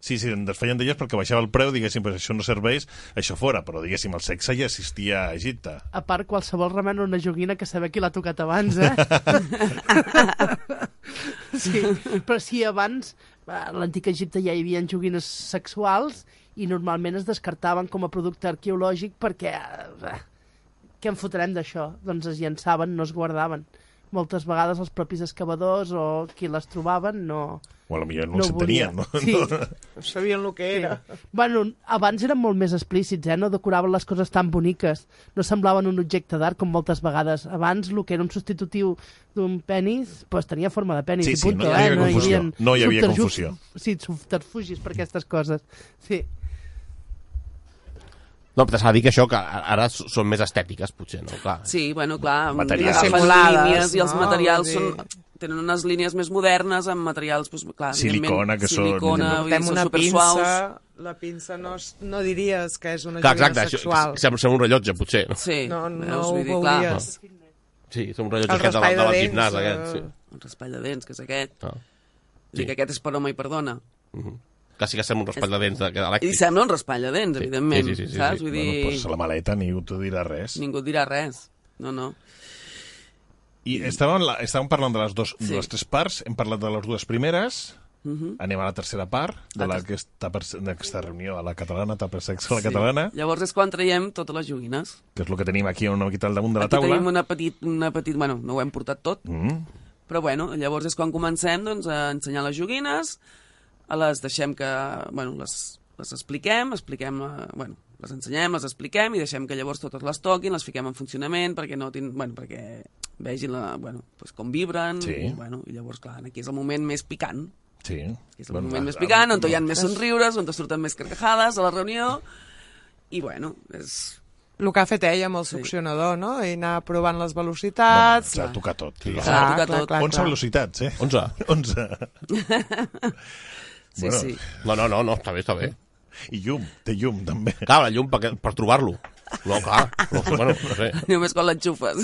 B: Sí, sí, en desfeien d'elles perquè baixava el preu, diguéssim, pues això no serveix, això fora, però diguéssim, el sexe ja existia a Egipte.
D: A part, qualsevol remena una joguina que saber qui l'ha tocat abans, eh? sí, però sí, abans eh, a l'antic Egipte ja hi havia joguines sexuals i normalment es descartaven com a producte arqueològic perquè... eh, Què en fotrem d'això? Doncs es llançaven, no es guardaven. Moltes vegades els propis excavadors o qui les trobaven no,
B: O potser no,
D: no
B: no
D: ho
B: ho
D: volia.
B: entenien, no?
D: Sí.
H: No sabien el que era.
D: Sí. Bueno, abans eren molt més explícits, eh? no decoraven les coses tan boniques, no semblaven un objecte d'art com moltes vegades. Abans el que era un substitutiu d'un penis pues, tenia forma de penis
B: Sí,
D: i
B: sí,
D: punto,
B: no hi havia
D: eh? no
B: confusió.
D: havia,
B: No hi havia
D: subterfugis-
B: confusió.
D: Sí, subterfugis per aquestes coses. Sí.
C: No, però s'ha de dir que això, que ara s- són més estètiques, potser, no? Clar.
F: Sí, bueno, clar,
B: Materials.
F: agafen
H: Simulades,
F: línies i els
H: no?
F: materials
H: Vull dir-
F: són, tenen unes línies més modernes amb materials, doncs, clar,
B: Silicona, que són-
F: silicona,
B: Portem
F: vull dir,
H: Fem
F: són
H: una pinça,
F: supersuaus.
H: la pinça no, es- no diries que és una
C: Clar,
H: joguina
C: exacte, això,
H: sexual.
C: sembla, sembla un rellotge, potser. No?
F: Sí,
H: No, no
F: veus?
H: ho
F: Vull dir, clar,
H: veuries.
C: Sí, és un rellotge
H: El
C: aquest de, la,
H: raspall
C: de
H: de
C: la
H: dents,
C: gimnàs,
H: eh.
C: aquest, sí.
F: un raspall de dents, que és aquest.
C: Ah.
F: Vull dir que aquest és per home i per dona.
C: Que Mm-hmm. sí que sembla un raspall de dents de- de
F: I
C: elèctric.
F: sembla un raspall de dents, evidentment,
C: Sí, sí, sí, sí,
F: saps?
C: sí.
F: Vull
B: Bueno,
F: dir,
B: pues la maleta ningú t'ho dirà res.
F: ningú et dirà res. No, no.
B: I estàvem, la, estàvem parlant de les, dos,
F: Sí. Mhm.
B: de les tres parts, hem parlat de les dues primeres, anem a la tercera part de
F: La
B: la- aquesta per- d'aquesta reunió a la catalana, tapersex a la catalana,
F: Llavors és quan traiem totes les joguines.
B: que és el que tenim aquí una miqueta al damunt de la
F: Aquí
B: taula.
F: tenim una petit, una petit... Bueno, no ho hem portat tot,
B: Mm.
F: Però bueno, llavors és quan comencem doncs, a ensenyar les joguines, a les deixem que... Bueno, les, les expliquem, expliquem... eh, Bueno, les ensenyem, les expliquem i deixem que llavors totes les toquin, les fiquem en funcionament perquè no tin... Bueno, perquè vegin la, bueno, doncs com vibren.
B: Sí.
F: Bueno, I llavors, clar, aquí és el moment més picant.
B: Sí.
F: És el moment més picant, on hi ha més somriures, on surten més carcajades a la reunió. I bueno, és...
H: El que ha fet ella amb el succionador, no? I anar provant les
B: Bueno,
H: velocitats...
B: s'ha de tocar tot. Sí.
F: S'ha de tocar
H: clar,
F: tot.
H: clar,
B: 11
H: clar.
B: velocitats, eh?
C: 11.
B: 11.
F: Sí,
B: Bueno.
F: sí.
C: No, no, no, no, està bé, està bé.
B: I llum, té llum, també.
C: Clar, la llum per, per trobar-lo. No, clar. No, bueno, no sé.
F: Només quan l'enxufes.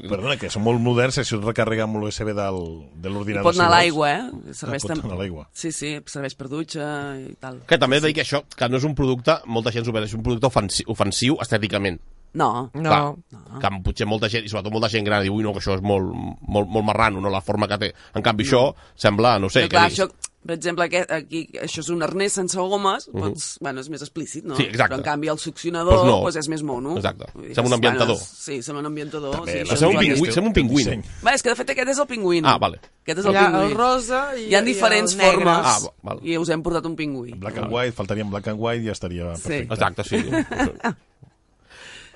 B: Perdona, que són molt moderns, això es recarrega amb l'USB del, de l'ordinador.
F: Pot anar a
B: si vols.
F: l'aigua, eh? Serveix
B: Ah, pot
F: tam-
B: anar a l'aigua.
F: Sí, sí, serveix per dutxa i tal.
C: Que també dic que això, que no és un producte, molta gent s'ho veu, és un producte ofensiu, ofensiu estèticament.
F: No,
H: No.
C: Clar,
F: Ah.
C: que potser molta gent, i sobretot molta gent gran, diu, ui, no, que això és molt, molt, molt marrano, no, la forma que té. En canvi, això sembla, no sé,
F: Mm. Però clar,
C: que
F: això, per exemple, aquest, aquí, això és un arnès sense gomes, uh -huh. doncs, bueno, és més explícit, no?
C: Mhm. Sí, exacte.
F: Però, en canvi, el succionador
C: Doncs
F: doncs
C: no.
F: no. doncs és més mono.
C: Exacte.
F: Vull dir,
C: Sembla un
F: és- bueno,
C: ambientador.
F: és- sí, sembla un ambientador.
B: També
F: sí,
B: les
F: això és
C: Sembla un
F: un
B: joguines
C: pingüí,
B: té-
C: sembla un
B: té
C: pingüí.
B: disseny.
F: Va, és que de fet aquest és el pingüí.
C: Ah, vale.
F: Aquest és
H: Hi
F: el
H: ha
F: pingüí.
H: el rosa i
F: Hi ha diferents
H: i el negre.
F: formes
C: Ah, va- val.
F: i us hem portat un pingüí.
B: Black and white, faltaria en black and white i ja estaria
F: Sí.
B: perfecte. Ah,
C: Exacte, sí.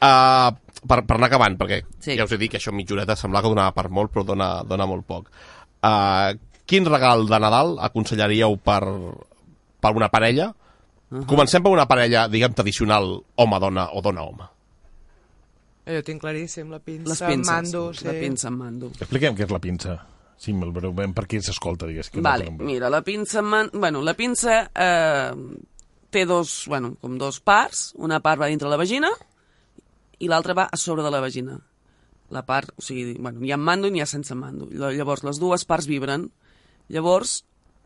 C: Uh, per, per anar acabant, perquè sí.
F: Sí.
C: ja us he dit que això mitja horeta semblava que donava per molt, però dona, dona molt poc. Uh, quin regal de Nadal aconsellaríeu per, per una parella? Uh -huh. Comencem per una parella, diguem, tradicional, home-dona o dona-home.
H: Jo Ah, tinc claríssim, la pinça,
F: Les pinces.
H: mando, sí.
F: La pinça en mando.
B: Expliquem què és la pinça. Sí, molt breument, per qui s'escolta, digués. Que
F: Vale,
B: no
F: mira, la pinça... en Man... Bueno, la pinça eh, té dos, bueno, com dos parts. Una part va dintre la vagina i l'altra va a sobre de la vagina. La part, o sigui, bueno, hi ha amb mando i n'hi ha sense mando. Lla- Llavors, les dues parts vibren. Llavors,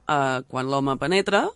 F: eh, quan l'home penetra,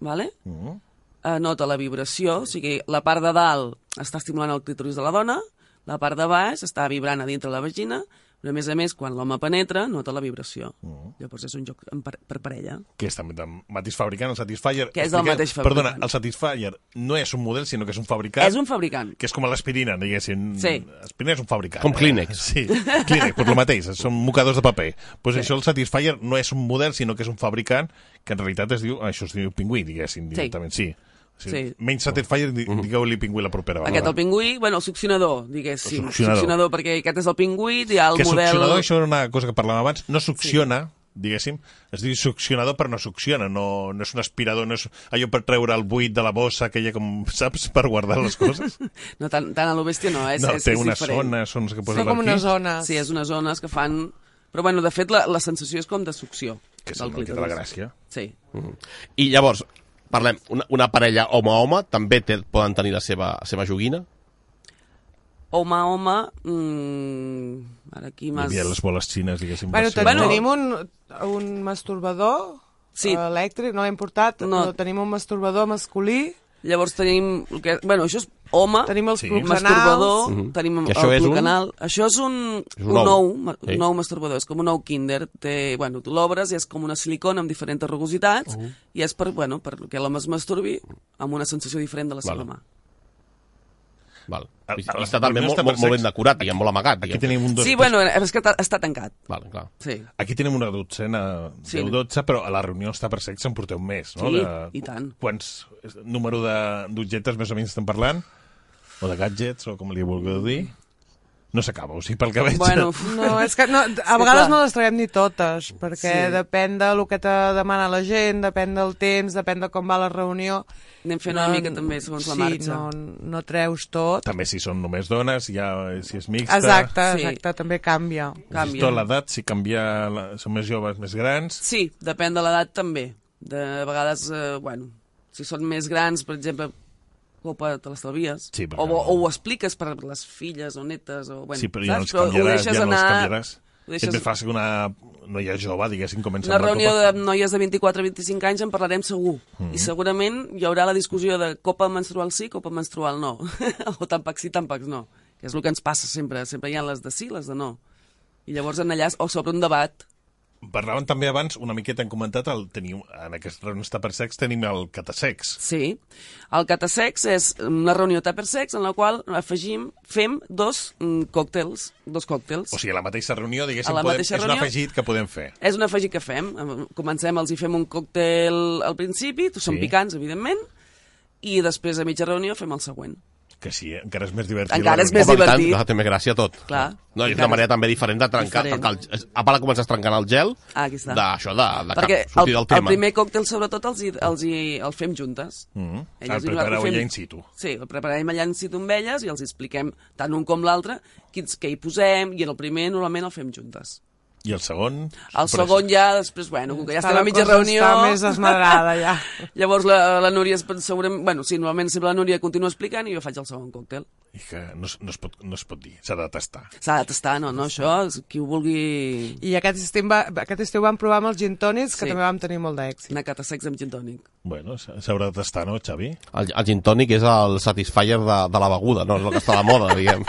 F: vale? eh, nota la vibració, o sigui, la part de dalt està estimulant el clítoris de la dona, la part de baix està vibrant a dintre la vagina, Però, a més a més, quan l'home penetra, nota la vibració. Mm. Llavors és un joc en per, per parella.
B: que és també del mateix fabricant, el Satisfyer.
F: Que és del
B: Expliquem-
F: mateix fabricant.
B: Perdona, el Satisfyer no és un model, sinó que és un fabricant,
F: És un fabricant.
B: que és com l'aspirina, diguéssim.
F: Sí.
B: Aspirina és un fabricant. eh?
C: Com Kleenex.
B: Sí, Kleenex, doncs el mateix, són mocadors de paper. Doncs pues això, el Satisfyer no és un model, sinó que és un fabricant que en realitat es diu, això es diu pingüí, diguéssim, directament, sí. O sigui,
F: Sí.
B: Menys Satisfyer, di- digueu-li pingüí la propera vegada.
F: Aquest, el pingüí, bueno, el succionador, diguéssim.
B: El succionador.
F: succionador perquè aquest és el pingüí, hi ha el
B: que
F: model...
B: succionador, això era una cosa que parlàvem abans, no succiona, diguéssim, es diu succionador però no succiona, no, no és un aspirador, no és allò per treure el buit de la bossa, aquella com, saps, per guardar les coses.
F: No, tant, tant a lo bèstia no, eh? és,
B: no,
F: és,
B: té
F: és
B: unes
F: diferent.
B: zones, zones que posa
H: Són com
B: aquí.
H: unes zones.
F: Sí, és unes zones que fan... Però, bueno, de fet, la, la sensació és com de succió.
B: Que és
F: del
B: el que té
F: clítoris.
B: la gràcia.
F: Sí.
C: Mm. I llavors, parlem, una, una parella home-home també té, poden tenir la seva, la seva joguina?
F: Home, home... Mmm, ara aquí
B: Hi
F: m'has...
B: havia les boles xines, diguéssim.
H: Bueno, ten
F: Bueno.
H: bueno, tenim un, un masturbador sí.
F: Sí.
H: elèctric, no l'hem portat,
F: No.
H: no. però tenim un masturbador masculí,
F: Llavors tenim... el Que, bueno, això és home,
H: tenim els
B: Sí.
H: sí. clubs
F: masturbador,
H: anals...
F: tenim
C: Mhm. Que
F: el
C: això és un-
F: plucanal. Això és un,
C: És un
F: un,
C: ou.
F: nou, ma-
C: Sí.
F: un nou masturbador, és com un nou kinder. Té, bueno, tu l'obres i és com una silicona amb diferents rugositats
C: Oh.
F: i és per, bueno, per que l'home es masturbi amb una sensació diferent de la
C: Val.
F: seva mà.
C: Val.
B: A-
C: I,
B: a
C: i
B: les
C: està també
B: reunions
C: molt,
B: de
C: molt, molt ben
B: parsecs-
C: decorat, diguem, molt amagat.
B: Aquí
C: Diguem.
B: tenim un dos.
F: Sí, bueno, és que ta- està tancat.
C: Val, clar.
F: Sí.
B: Aquí tenim una dotzena,
F: Sí.
B: 10-12, però a la reunió està per sexe en porteu més, no?
F: Sí, i tant.
B: Quants número de- d'objectes més o menys estem parlant? O de gadgets, o com li vulgueu dir? No s'acaba, o sigui, pel que veig...
F: Bueno,
H: No, és que no, a vegades no les traiem ni totes, perquè
F: Sí.
H: sí. depèn del que te demana la gent, depèn del temps, depèn de com va la reunió.
F: anem fent una mica també segons la
H: sí,
F: marxa.
H: no, no treus tot.
B: També si són només dones, ja, si és mixta...
H: Exacte,
F: Sí.
H: exacte, també canvia.
B: Fins i
F: Canvia.
B: tot l'edat, si canvia... La... Són més joves, més grans...
F: Sí, depèn de l'edat també. De vegades, eh, bueno, si són més grans, per exemple, copa te l'estalvies.
B: Sí, perquè
F: o,
B: no.
F: o, o ho expliques per les filles o netes. O, bueno,
B: sí, però ja no els
F: saps?
B: canviaràs,
F: ho deixes
B: ja no els
F: anar...
B: canviaràs.
F: ho deixes-
B: És més fàcil que una noia jove, diguéssim, comença
F: Una
B: amb la
F: reunió
B: copa. Mm.
F: de noies de 24-25 anys en parlarem segur. I segurament hi haurà la discussió de copa menstrual sí, copa menstrual no. o tampax sí, tampax no. Que és el que ens passa sempre. Sempre hi ha les de sí, les de no. I llavors en allà o sobre un debat.
B: Parlaven també abans, una miqueta hem comentat, el, teniu, en aquests reunions tapersecs tenim el catasex.
F: Sí. El catasex és una reunió tapersex en la qual afegim, fem dos mm, còctels, dos còctels.
B: O sigui, a la mateixa reunió, diguéssim,
F: A la
B: podem,
F: mateixa
B: és
F: reunió?
B: un afegit que podem fer.
F: És un afegit que fem. Comencem, els hi fem un còctel al principi, són
B: Sí.
F: picants, evidentment, i després a mitja reunió fem el següent.
B: Que sí, eh? encara és més divertit.
F: Encara
B: la
F: és
B: reunió.
F: més
C: Home, i
F: divertit.
C: clar, té més gràcia tot.
F: Clar.
C: No, és
F: Encara.
C: una manera també diferent de trencar.
F: Diferent.
C: Diferent. El, a part comences trencant el gel,
F: Ah, aquí està.
C: d'això, de, de
F: Perquè
C: cap, sortir
F: el,
C: del tema.
F: el primer còctel, sobretot, els, hi, els, hi, els fem juntes.
B: Mhm.
C: Ah,
F: Elles
B: El
F: i nosaltres
B: prepareu
F: fem-
B: allà in situ.
F: Sí, el preparem allà in situ amb elles i els hi expliquem tant un com l'altre quins que hi posem i en el primer normalment el fem juntes.
B: I el segon...
F: El
B: sorpresa.
F: segon ja, després, bueno, com que ja
H: Està
F: estem a
H: la
F: mitja
H: cosa
F: reunió...
H: està més desmadrada, ja.
F: Llavors la, la Núria, es- segurament... Bueno, sí, normalment sempre la Núria continua explicant i jo faig el segon còctel.
B: I que no, es- no, es pot, no es pot dir, s'ha de tastar.
F: S'ha de tastar, no, no, això, és qui ho vulgui...
H: I aquest estiu, va, aquest estiu vam provar amb els gintònics, que
F: Sí.
H: també vam tenir molt d'èxit.
F: Una cata sex amb gin tònic.
B: Bueno, s'ha- s'haurà de tastar, no, Xavi?
C: El, el gin tònic és el satisfier de, de la beguda, no és el que està de moda, diguem.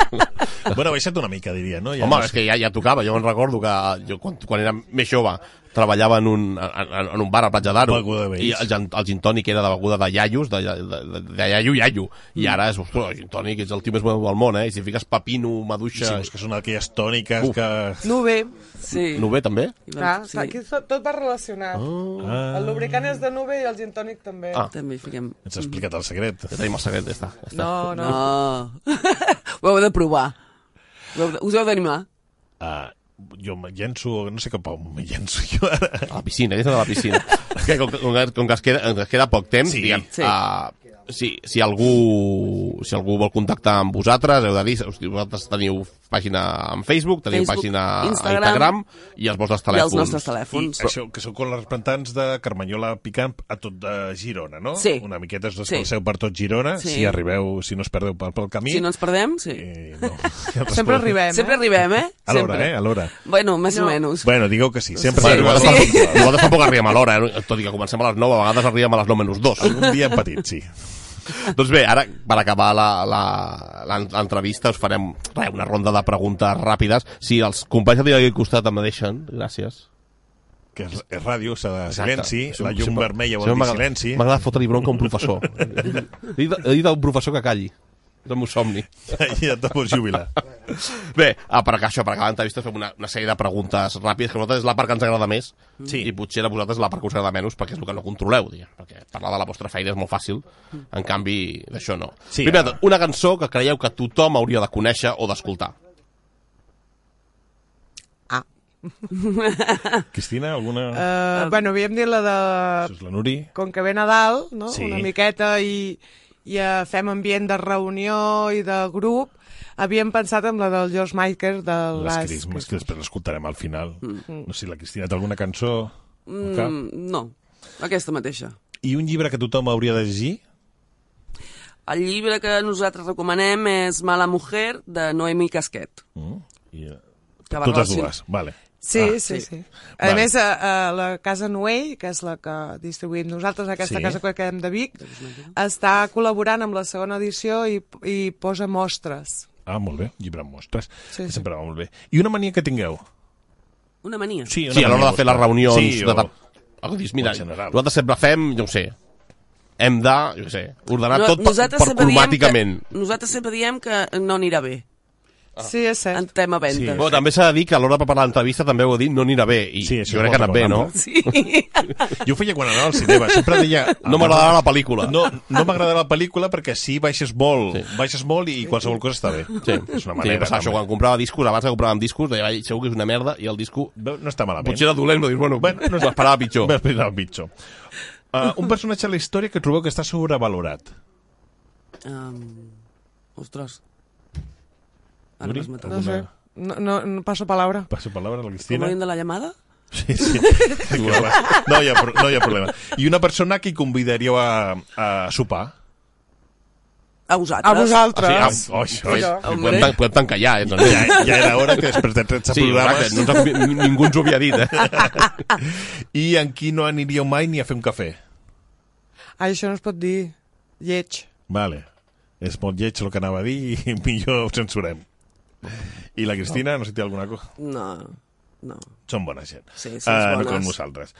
B: bueno, ha baixat una mica, diria, no?
C: Home, és que ja, ja tocava. Jo me'n recordo que jo, quan, quan era més jove treballava en un, en, en- en un bar a Platja d'Aro
B: Beguda de vells.
C: i el, gin- el gin tònic era de beguda de iaios, de, de, de, de iaio, iaio. I
B: Mm.
C: ara és, ostres, el gin tònic és el tio més bo del món, eh? I si fiques pepino,
B: I si
C: maduixa...
B: busques una d'aquelles tòniques
C: Uf.
B: que...
H: No bé,
F: Sí.
C: Nové també?
F: I
H: clar,
F: vam-
H: doncs, sí. aquí tot, tot va relacionat. Oh. El lubricant és de nube i el gintònic també.
C: Ah.
F: També hi fiquem...
B: Ens ha explicat el secret.
C: Ja tenim el secret, ja està. Ja està.
H: No, no.
C: Ah.
F: No. ho heu de provar. Ho heu de- Us heu d'animar.
B: Ah, jo me llenço, no sé cap a on me llenço jo ara.
C: A la piscina, ja està a la piscina. que com, com, que- com que es queda, ens queda poc temps,
B: Sí.
C: sí. diguem,
F: Sí.
C: sí. Uh, si, si, algú, si algú vol contactar amb vosaltres, heu de dir, hosti, vosaltres teniu pàgina en Facebook, teniu
F: Facebook,
C: pàgina
F: Instagram.
C: a Instagram, i els vostres
F: I
C: telèfons.
F: els nostres
B: I
F: telèfons.
B: això, que sou com les representants de Carmanyola Picamp a tot de Girona, no?
F: Sí.
B: Una miqueta us
F: Sí.
B: desplaceu per tot Girona,
F: Sí.
B: si arribeu, si no us perdeu pel, pel camí.
F: Si no ens perdem, sí.
B: Eh, no. Ja us
H: Sempre
B: respondré.
H: arribem,
F: Sempre
H: eh?
F: arribem, eh?
B: A l'hora,
F: Sempre.
B: eh? A l'hora.
F: Bueno, més o menys.
B: Bueno, digueu que sí, sempre
C: Sí,
B: sí, arribeu.
C: nosaltres,
B: Sí.
C: sí. nosaltres tampoc arribem a l'hora, eh? tot i que comencem a les 9, a vegades arribem a les 9 menys 2.
B: Un dia petit, sí.
C: doncs bé, ara, per acabar la- la- l'en- l'entrevista, us farem re, una ronda de preguntes ràpides. Si els companys de Diari al costat em deixen, gràcies.
B: Que és, és ràdio, s'ha de
C: Exacte.
B: silenci,
C: Això-
B: la llum
C: això-
B: vermella
C: això
B: vol dir
C: m'agrada-
B: silenci.
C: M'agrada fotre-li bronca a un professor. he, dit, he dit al professor que calli. És el meu somni.
B: I ja et pots jubilar.
C: Bé, ah, per, acabar això, per acabar l'entrevista fem una, una sèrie de preguntes ràpides, que a nosaltres és la part que ens agrada més, sí. i potser a vosaltres la part que us agrada menys, perquè és el que no controleu, diguem, perquè parlar de la vostra feina és molt fàcil, en canvi, d'això no.
B: Sí,
C: Sí, Primer,
B: ara-
C: de tot, una cançó que creieu que tothom hauria de conèixer o d'escoltar.
B: Cristina, alguna...
H: Uh, bueno, havíem dit la de...
B: Això és la Nuri.
H: Com que ve Nadal, no?
B: Sí.
H: Sí. una miqueta, i, i eh, fem ambient de reunió i de grup, havíem pensat en la del George Michael de
B: Les Mm.
H: Last
B: Christmas, que després l'escoltarem al final. No sé si la Cristina té alguna cançó al cap.
F: Mm, no, aquesta mateixa.
B: I un llibre que tothom hauria de llegir?
F: El llibre que nosaltres recomanem és Mala Mujer, de Noemi Casquet.
B: Mm? I, eh,
F: Que va
B: totes
F: relacion-
B: dues, vale.
H: Sí,
B: Ah,
H: ah, sí, sí, sí. A
B: Val.
H: més, eh, a, a la Casa Noell, que és la que distribuïm nosaltres, aquesta
B: Sí.
H: sí. casa que quedem de Vic,
F: Doncs
H: està col·laborant amb la segona edició i, i posa mostres.
B: Ah, molt bé, llibre amb mostres. Sí,
H: Sí, sí.
B: Sempre va molt bé. I una mania que tingueu?
F: Una mania.
C: Sí, a l'hora de fer les reunions...
B: Sí,
C: de...
B: o...
C: Algú dius, mira,
B: en general.
C: nosaltres sempre fem, jo ho sé, hem de, jo ho sé, ordenar
F: No-
C: tot per, per
F: sempre diem
C: cromàticament.
F: Que, nosaltres sempre diem que no anirà bé
H: Ah. Sí, és
F: en
H: cert.
F: tema ventes.
C: Però també s'ha de dir que a l'hora de preparar l'entrevista també ho he dit, no anirà bé. I
B: Sí,
C: sí,
B: això
C: jo crec
B: ho
C: que ha anat bé, no?
B: recordem.
F: Sí.
B: Jo ho feia quan anava al cinema, sempre deia... "Ah,
C: No m'agradarà la pel·lícula.
B: No, no m'agradarà la pel·lícula perquè sí, baixes molt,
C: Sí.
B: sí. baixes molt i qualsevol cosa està bé.
C: Sí,
B: És una
C: sí,
B: manera.
C: passava això, quan comprava discos, abans que compràvem discos, deia, "Ai, segur que és una merda, i el disco
B: No, no està malament.
C: potser era dolent, però dius, bueno,
B: Bueno,
C: no m'esperava pitjor.
B: Vas pensar el pitjor. Uh, un personatge a la història que trobeu que està sobrevalorat.
F: Um, ostres. Ara
B: Nuri,
F: m'has matat.
H: No sé. No, no, no passo paraula.
B: Passo paraula a la
F: Com
B: Cristina.
F: veiem de la llamada?
B: Sí, sí. no, hi ha, pro- no hi ha problema. I una persona que convidaríeu a, a sopar.
F: A vosaltres.
H: A vosaltres.
C: Ah,
B: Ah,
C: sí,
B: oh, això és...
C: Fes,
F: Hombre.
C: podem, tan- podem tancar ja, eh? Doncs,
B: Ja, ja era hora que després de 13
C: Sí,
B: programes...
C: exacte, no, ens ha- ni- ningú ens ho havia dit, eh?
B: I en qui no aniríeu mai ni a fer un cafè.
H: Ai, això no es pot dir. Lleig.
B: Vale. És molt lleig el que anava a dir i millor ho censurem. I la Cristina, no sé si té alguna cosa...
F: No, no.
B: Són bona gent.
F: Sí, sí,
B: Ah,
F: bones.
B: no com nosaltres.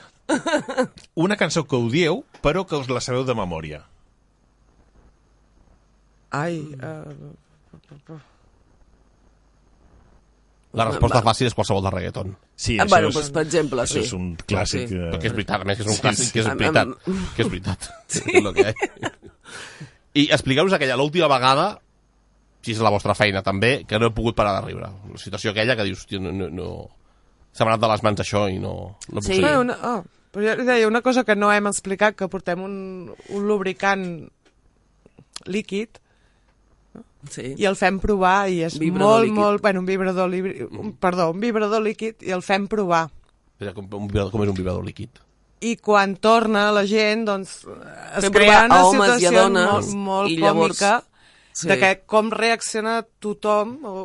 B: Una cançó que odieu, però que us la sabeu de memòria.
H: Ai,
F: Mm.
H: uh,
C: La resposta fàcil és qualsevol de reggaeton.
B: Sí,
F: Ah,
B: això,
F: bueno,
B: és,
F: doncs, per exemple,
B: això
F: sí.
B: és un clàssic.
F: Sí.
B: eh,
C: Perquè és veritat, a més, que és un
B: Sí,
C: clàssic,
B: sí.
C: que és
F: Am-
C: veritat.
F: am-
C: Que és veritat. És el que hi ha. I expliqueu-nos aquella, l'última vegada, si és la vostra feina també, que no he pogut parar de riure. La situació aquella que dius, hòstia, no... no, no... S'ha anat de les mans això i no, no puc
F: Sí.
C: seguir.
H: Bé, una, oh, però jo li deia una cosa que no hem explicat, que portem un, un lubricant líquid
F: Sí.
H: i el fem provar i és
F: Vibrador
H: molt,
F: líquid.
H: molt... Bueno, un vibrador, libri, un, perdó, un vibrador líquid i el fem provar.
C: Espera, com, un vibrador, com és un vibrador líquid?
H: I quan torna la gent, doncs, es
F: Fem
H: crea
F: provar
H: una
F: a homes i a
H: situació
F: dones,
H: molt, molt
F: i llavors-
H: còmica
F: sí.
H: de que com reacciona tothom o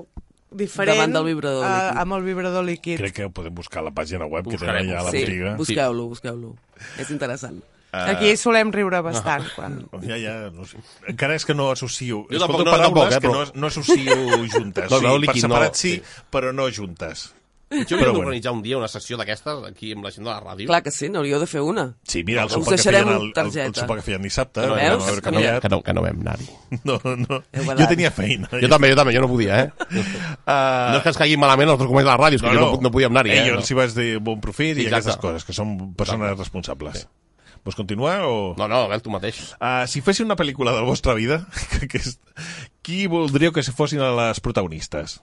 H: diferent
F: Davant del vibrador
H: eh,
F: líquid.
H: amb el vibrador líquid.
B: Crec que podem buscar a la pàgina web que
C: Buscarem.
B: tenen allà a la
F: sí.
B: botiga.
F: Busqueu-lo, busqueu-lo. És interessant.
B: Eh.
H: Aquí solem riure bastant. Quan...
B: Doncs Ja, ja, no sé. Encara és que no associo...
C: Jo
B: Escolto
C: tampoc, no,
B: paraules
C: tampoc, eh,
B: que
C: però-
B: no, no associo juntes. No, no,
C: No, no,
B: sí, per
C: líquid no,
B: separat sí,
C: sí.
B: però no juntes.
C: Jo
B: Però
C: hauria
B: bueno.
C: d'organitzar un dia una sessió d'aquestes aquí amb la gent de la ràdio.
F: Clar que sí, n'hauríeu de fer una.
B: Sí, mira, el
F: Us
B: sopar, que
F: deixarem
B: feien, el,
F: un
B: el, el
F: targeta.
B: sopar que feien dissabte.
C: No,
B: vam
F: veus?
B: haver
C: que, no,
B: canviat.
C: que, no, que no vam anar-hi.
B: No, no.
F: Heu
B: Jo
F: guardat.
B: tenia feina.
C: Jo també, jo també, jo no podia, eh?
B: Uh,
C: No és que ens caiguin malament els documents de la ràdio, és que no, jo no, no podíem anar-hi, eh?
B: Eh, jo els hi vaig dir bon profit i
C: Exacte.
B: aquestes coses, que són persones responsables. Vols continuar o...?
C: No, no, Abel, tu mateix.
B: Uh, si fessin una pel·lícula de la vostra vida, que, que és... qui voldríeu que se fossin a les protagonistes?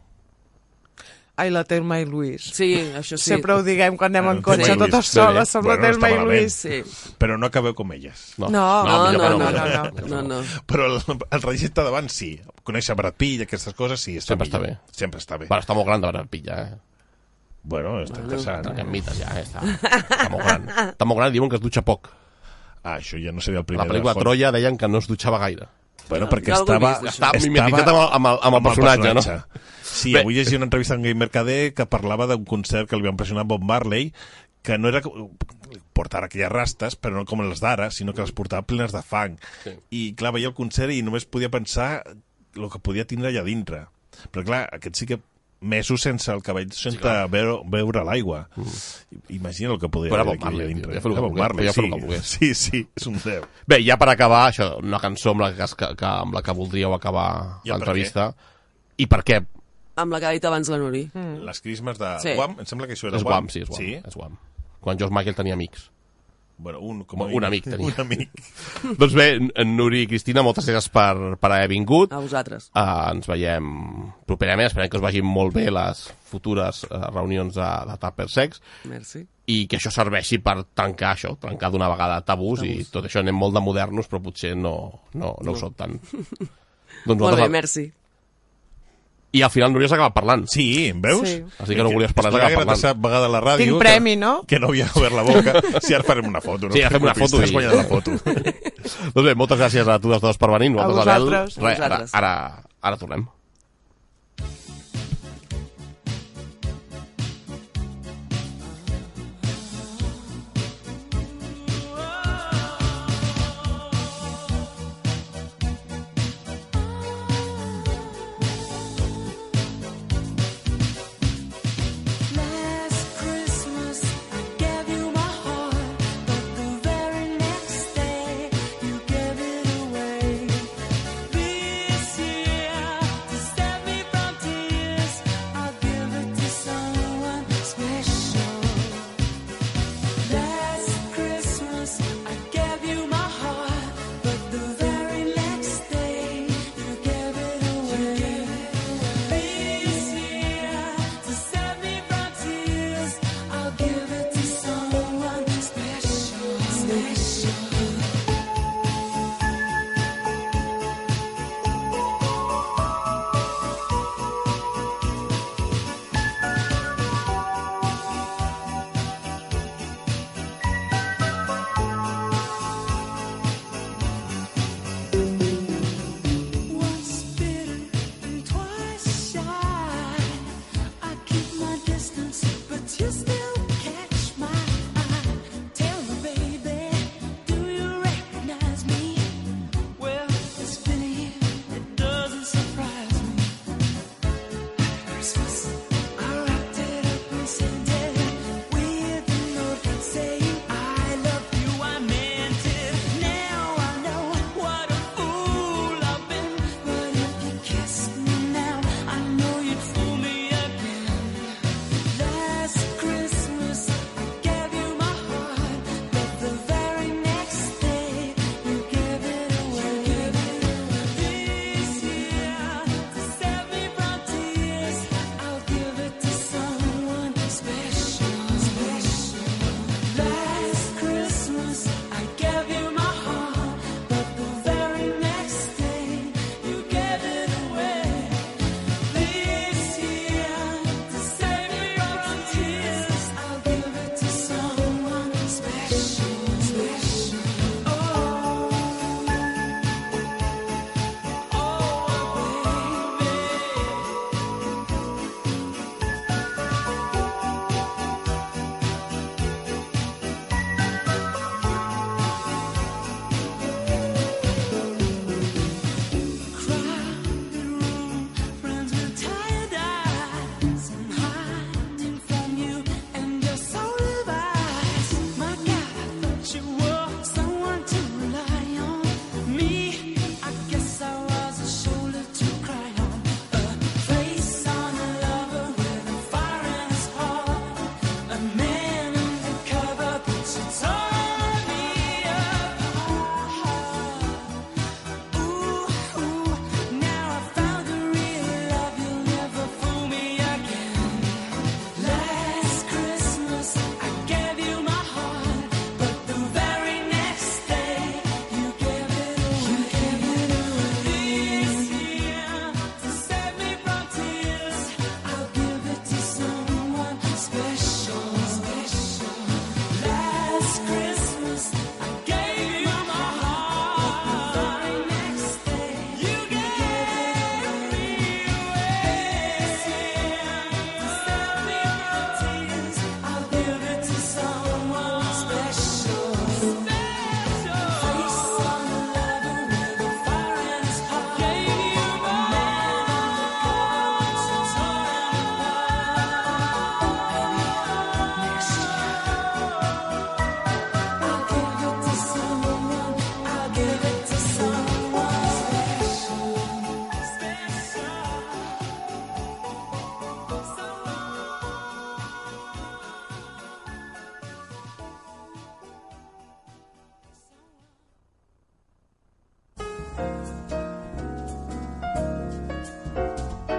H: Ai, la Telma i Lluís.
F: Sí, això sí.
H: Sempre ho diguem quan anem
B: Telma
H: en
B: i
H: cotxe,
B: Lluís. Bé,
H: totes
B: bé.
H: soles, som la
B: Bueno, no
H: Telma
B: està
H: i
B: malament.
H: Lluís.
F: Sí.
B: Però no acabeu com elles.
C: No,
H: No,
F: No,
C: millor
F: no,
C: que
F: no,
C: millor que
H: no,
C: millor que
F: no, no.
B: Però el, el trajecte davant sí. Conèixer Brad Pitt i aquestes coses sí. Està
C: Sempre està
B: millor.
C: bé.
B: Sempre està bé.
C: Bueno, està molt gran de Brad Pitt, ja, eh?
B: Bueno, està interessant.
C: Trenquem mites, ja, eh? Està, està molt gran. Està molt gran i diuen que es dutxa poc.
B: Ah, això ja no seria el
C: A
B: primer.
C: la pel·lícula
B: de Hollywood.
C: Troia deien que no es dutxava gaire.
B: Bueno, perquè
F: Jo algú he
B: estava...
F: vist, això.
C: Està mimetitzat amb el, amb el, amb el personatge, no?
B: Sí,
C: Bé.
B: avui llegia una entrevista amb Guim Mercader que parlava d'un concert que li va impressionar Bob Marley que no era que portar aquelles rastes, però no com les d'ara, sinó que les portava plenes de fang.
C: Sí.
B: I clar, veia el concert i només podia pensar el que podia tindre allà dintre. Però clar, aquest sí que mesos sense el cavall, sense
C: clar. Mm.
B: veure, veure l'aigua. Imagina el que podria
C: Però era
B: haver
C: Bob
B: aquí allà
C: Marley,
B: dintre.
C: ja fa el que
B: Era Bob
C: volgués,
B: Marley,
C: ja fa el
B: sí.
C: que volgués.
B: Sí, sí, és un déu.
C: Bé, ja per acabar, això, una cançó amb la que, que, que, amb la que voldríeu acabar
B: I el
C: l'entrevista. I per què?
F: Amb la que ha dit abans la Nuri.
H: Mm.
B: Les crismes de
F: Sí.
B: Guam, em sembla que això era
C: és
B: Guam.
C: guam, sí, és guam. Sí? És guam. Quan George Michael tenia amics.
B: Bueno, un, com
C: Un amic tenia.
B: Un amic.
C: doncs bé, en Nuri i Cristina, moltes gràcies per, per haver vingut.
F: A vosaltres.
C: Uh, ens veiem properament, esperem que us vagin molt bé les futures uh, reunions de, de Tupper Sex
F: Merci.
C: i que això serveixi per tancar això, trencar d'una vegada tabús, i tot això anem molt de modernos, però potser no, no, no, ho som tant. doncs
F: Molt bé,
C: nosaltres-
F: merci.
C: I al final Núria s'ha acabat parlant.
B: Sí, em veus?
H: Sí.
C: Així que no volies parlar,
B: Està
C: s'ha acabat
B: la tercera vegada a la ràdio.
H: Tinc
B: que-
H: premi, no?
B: Que no havia obert la boca. Si ara farem una foto. No?
C: Sí, ara fem una foto
B: Estàs
C: i-
B: guanyant la foto.
C: Doncs bé, moltes gràcies a tu les dues per venir. Nosaltres, Abel,
H: vosaltres, a
C: res, ara,
F: vosaltres.
C: ara, ara tornem.
G: Last Christmas I gave you my heart, but the very next day you gave it away. This year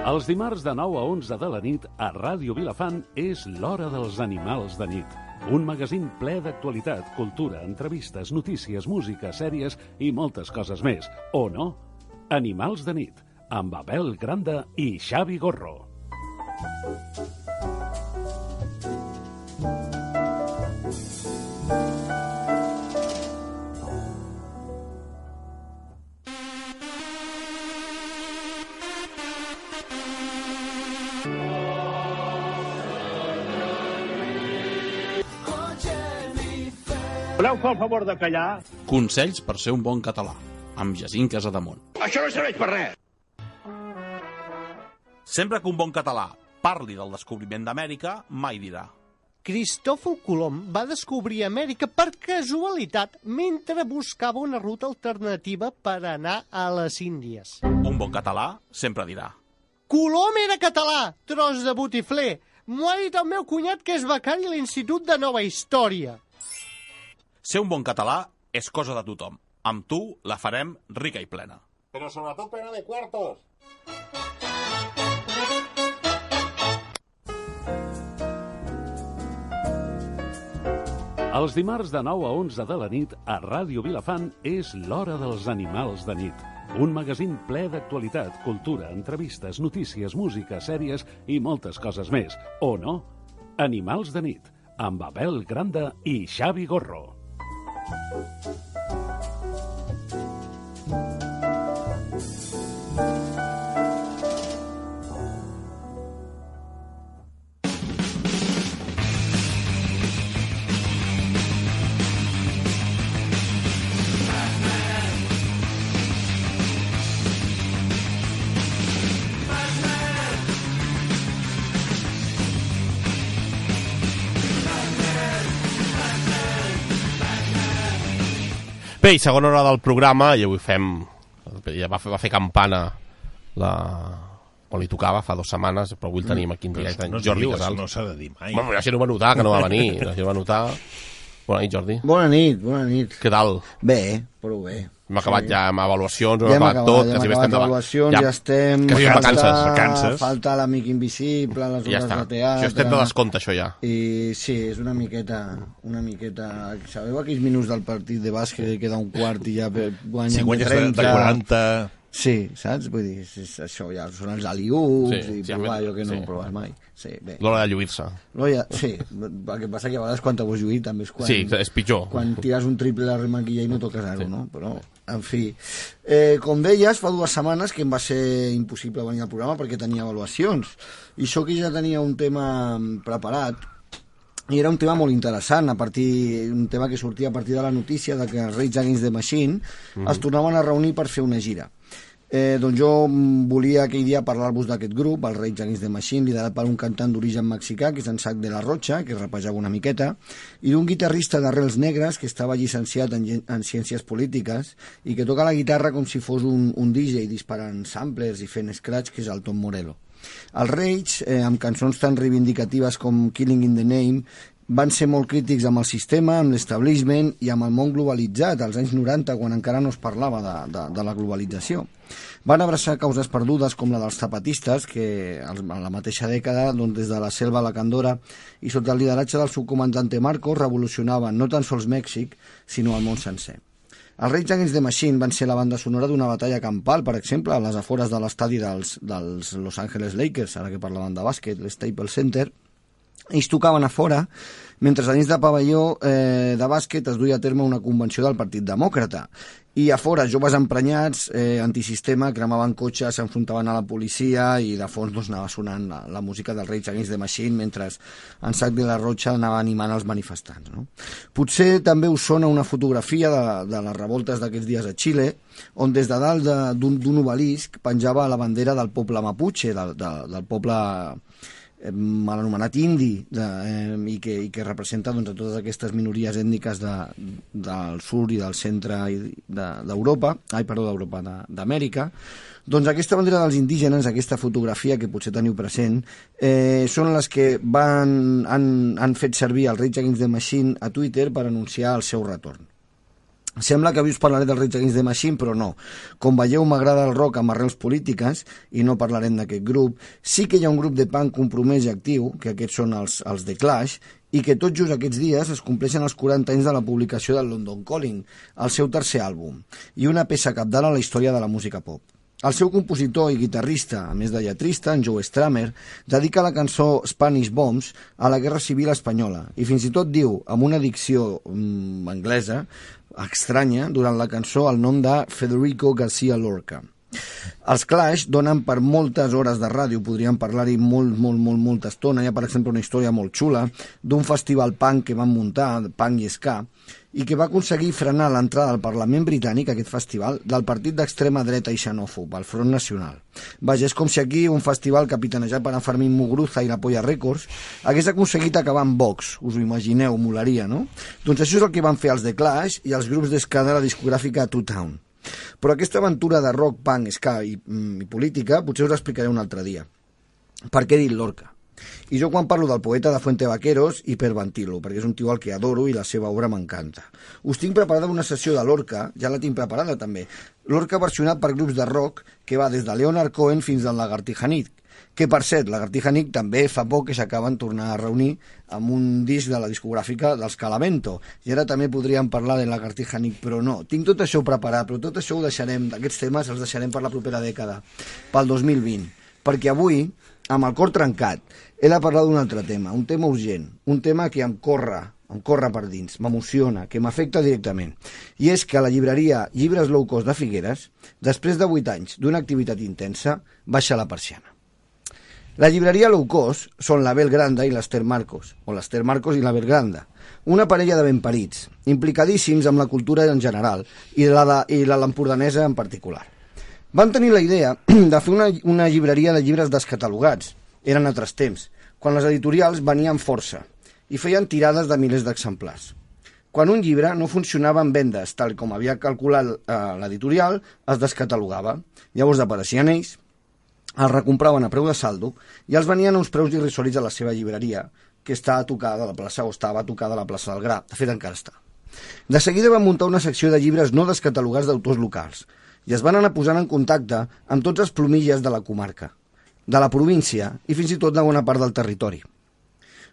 A: Els dimarts de 9 a 11 de la nit a Ràdio Vilafant és l'Hora dels Animals de Nit. Un magazín ple d'actualitat, cultura, entrevistes, notícies, música, sèries i moltes coses més. O no? Animals de nit, amb Abel Granda i Xavi Gorro.
I: Voleu fer el favor de callar?
J: Consells per ser un bon català, amb Jacint Casademont.
I: Això no serveix per res.
J: Sempre que un bon català parli del descobriment d'Amèrica, mai dirà.
K: Cristòfol Colom va descobrir Amèrica per casualitat mentre buscava una ruta alternativa per anar a les Índies.
J: Un bon català sempre dirà.
K: Colom era català, tros de botifler. M'ho ha dit el meu cunyat que és becari a l'Institut de Nova Història.
J: Ser un bon català és cosa de tothom. Amb tu la farem rica i plena.
I: Però sobretot pena de quartos.
A: Els dimarts de 9 a 11 de la nit a Ràdio Vilafant és l'Hora dels Animals de Nit. Un magazín ple d'actualitat, cultura, entrevistes, notícies, música, sèries i moltes coses més. O no? Animals de nit, amb Abel Granda i Xavi Gorro.
C: Bé, i segona hora del programa, i avui fem... Ja va fer, va fer campana la... quan li tocava, fa dues setmanes, però avui el tenim aquí en
B: Però
C: directe.
B: això no es
C: Jordi
B: diu, això
C: Casals.
B: no s'ha de dir mai.
C: Bueno, la gent ho va notar, que no va venir. La gent ho va notar... Bona nit, Jordi.
L: Bona nit, bona nit.
C: Què tal?
L: Bé, prou bé.
C: Hem acabat ja amb avaluacions, ho
L: Ja
C: hem
L: hem
C: acabat
L: acabat,
C: tot.
L: ja hem
C: quasi bé
L: acabat
C: estem davant.
L: avaluacions, ja, ja estem...
C: Quasi bé
L: falta-
C: vacances, vacances.
L: Falta l'amic invisible, les
C: Ja
L: obres
C: està.
L: de teatre...
C: Això estem de descompte, això ja.
L: I sí, és una miqueta... Una miqueta... Sabeu aquells minuts del partit de bàsquet que queda un quart i ja pe- guanyen
B: Si guanyes de, de 40...
L: Sí, saps? Vull dir, és, és això ja són els aliuts
C: Sí,
L: sí, i
C: sí,
L: provar
C: a mi-
L: allò que no
C: sí.
L: sí. proves mai. Sí, bé.
C: L'hora de lluir-se.
L: No, ja, sí, el que passa que a vegades quan t'ho lluir també és quan...
C: Sí, és pitjor.
L: Quan tires un triple de remenquilla i no toques aro, no? Però, en fi... Eh, com deies, fa dues setmanes que em va ser impossible venir al programa perquè tenia avaluacions. I això que ja tenia un tema mm, preparat, i era un tema molt interessant, a partir, un tema que sortia a partir de la notícia de que els Rage Against the Machine
M: Mhm.
L: es tornaven a reunir per fer una gira. Eh, doncs jo mm, volia aquell dia parlar-vos d'aquest grup, el Rage Against the Machine, liderat per un cantant d'origen mexicà, que és en Sac de la Rocha, que rapejava una miqueta, i d'un guitarrista d'arrels negres que estava llicenciat en, gen- en ciències polítiques i que toca la guitarra com si fos un, un DJ disparant samplers i fent scratch, que és el Tom Morello. Els Rage, eh, amb cançons tan reivindicatives com Killing in the Name, van ser molt crítics amb el sistema, amb l'establishment i amb el món globalitzat, als anys 90, quan encara no es parlava de, de, de la globalització. Van abraçar causes perdudes com la dels zapatistes, que als- en la mateixa dècada, doncs, des de la selva a la Candora i sota el lideratge del subcomandante Marcos, revolucionaven no tan sols Mèxic, sinó el món sencer. Els Rage Against the Machine van ser la banda sonora d'una batalla campal, per exemple, a les afores de l'estadi dels, dels Los Angeles Lakers, ara que parlaven de bàsquet, l'Staples Center, ells tocaven a fora, mentre a dins de pavelló eh, de bàsquet es duia a terme una convenció del Partit Demòcrata. I a fora, joves emprenyats, eh, antisistema, cremaven cotxes, s'enfrontaven a la policia i de fons doncs, anava sonant la, la música del Rage Against the Machine mentre en Sac de la Rocha anava animant els manifestants. No? Potser també us sona una fotografia de, de les revoltes d'aquests dies a Xile, on des de dalt de- d'un d'un obelisc penjava la bandera del poble Mapuche, del, de, del poble eh, mal anomenat indi de, eh, i, que, i que representa doncs, a totes aquestes minories ètniques de, del sud i del centre i de- d'Europa, de, ai, perdó, d'Europa, de- d'Amèrica, doncs aquesta bandera dels indígenes, aquesta fotografia que potser teniu present, eh, són les que van, han, han fet servir el Rage Against the Machine a Twitter per anunciar el seu retorn. Sembla que avui us parlaré del Rage Against the Machine, però no. Com veieu, m'agrada el rock amb arrels polítiques i no parlarem d'aquest grup. Sí que hi ha un grup de punk compromès i actiu, que aquests són els, els The Clash, i que tot just aquests dies es compleixen els 40 anys de la publicació del London Calling, el seu tercer àlbum, i una peça capdalt a la història de la música pop. El seu compositor i guitarrista, a més de lletrista, en Joe Stramer, dedica la cançó Spanish Bombs a la Guerra Civil Espanyola i fins i tot diu, amb una dicció mm, anglesa, estranya, durant la cançó el nom de Federico García Lorca. Els Clash donen per moltes hores de ràdio, podríem parlar-hi molt, molt, molt, molta estona. Hi ha, per exemple, una història molt xula d'un festival punk que van muntar, punk i ska, i que va aconseguir frenar l'entrada al Parlament britànic, aquest festival, del partit d'extrema dreta i xenòfob, el Front Nacional. Vaja, és com si aquí un festival capitanejat per en Fermín Mugruza i la Polla Records hagués aconseguit acabar amb Vox, us ho imagineu, molaria, no? Doncs això és el que van fer els The Clash i els grups d'escada de la discogràfica Two Town. Però aquesta aventura de rock, punk, ska i, mm, i política potser us l'explicaré un altre dia. Per què he dit Lorca? I jo quan parlo del poeta de Fuente Vaqueros hiperventilo, perquè és un tio al que adoro i la seva obra m'encanta. Us tinc preparada una sessió de Lorca, ja la tinc preparada també. Lorca versionat per grups de rock que va des de Leonard Cohen fins al Lagartijanik, que per cert, Lagartijanic també fa poc que s'acaben tornar a reunir amb un disc de la discogràfica dels Calamento. I ara també podríem parlar de Lagartijanic, però no. Tinc tot això preparat, però tot això ho deixarem, aquests temes els deixarem per la propera dècada, pel 2020. Perquè avui, amb el cor trencat, he de parlar d'un altre tema, un tema urgent, un tema que em corre, em corre per dins, m'emociona, que m'afecta directament. I és que la llibreria Llibres Low Cost de Figueres, després de 8 anys d'una activitat intensa, baixa la persiana. La llibreria low cost són la Belgranda i l'Ester Marcos, o l'Ester Marcos i la Belgranda, una parella de benparits, implicadíssims amb la cultura en general i la, de, i la l'empordanesa en particular. Van tenir la idea de fer una, una llibreria de llibres descatalogats. Eren altres temps, quan les editorials venien força i feien tirades de milers d'exemplars. Quan un llibre no funcionava en vendes, tal com havia calculat eh, l'editorial, es descatalogava. Llavors apareixien ells, els recompraven a preu de saldo i els venien a uns preus irrisoris a la seva llibreria, que està a tocar de la plaça o estava a tocar de la plaça del Gra, de fet encara està. De seguida van muntar una secció de llibres no descatalogats d'autors locals i es van anar posant en contacte amb tots els plomilles de la comarca, de la província i fins i tot de bona part del territori.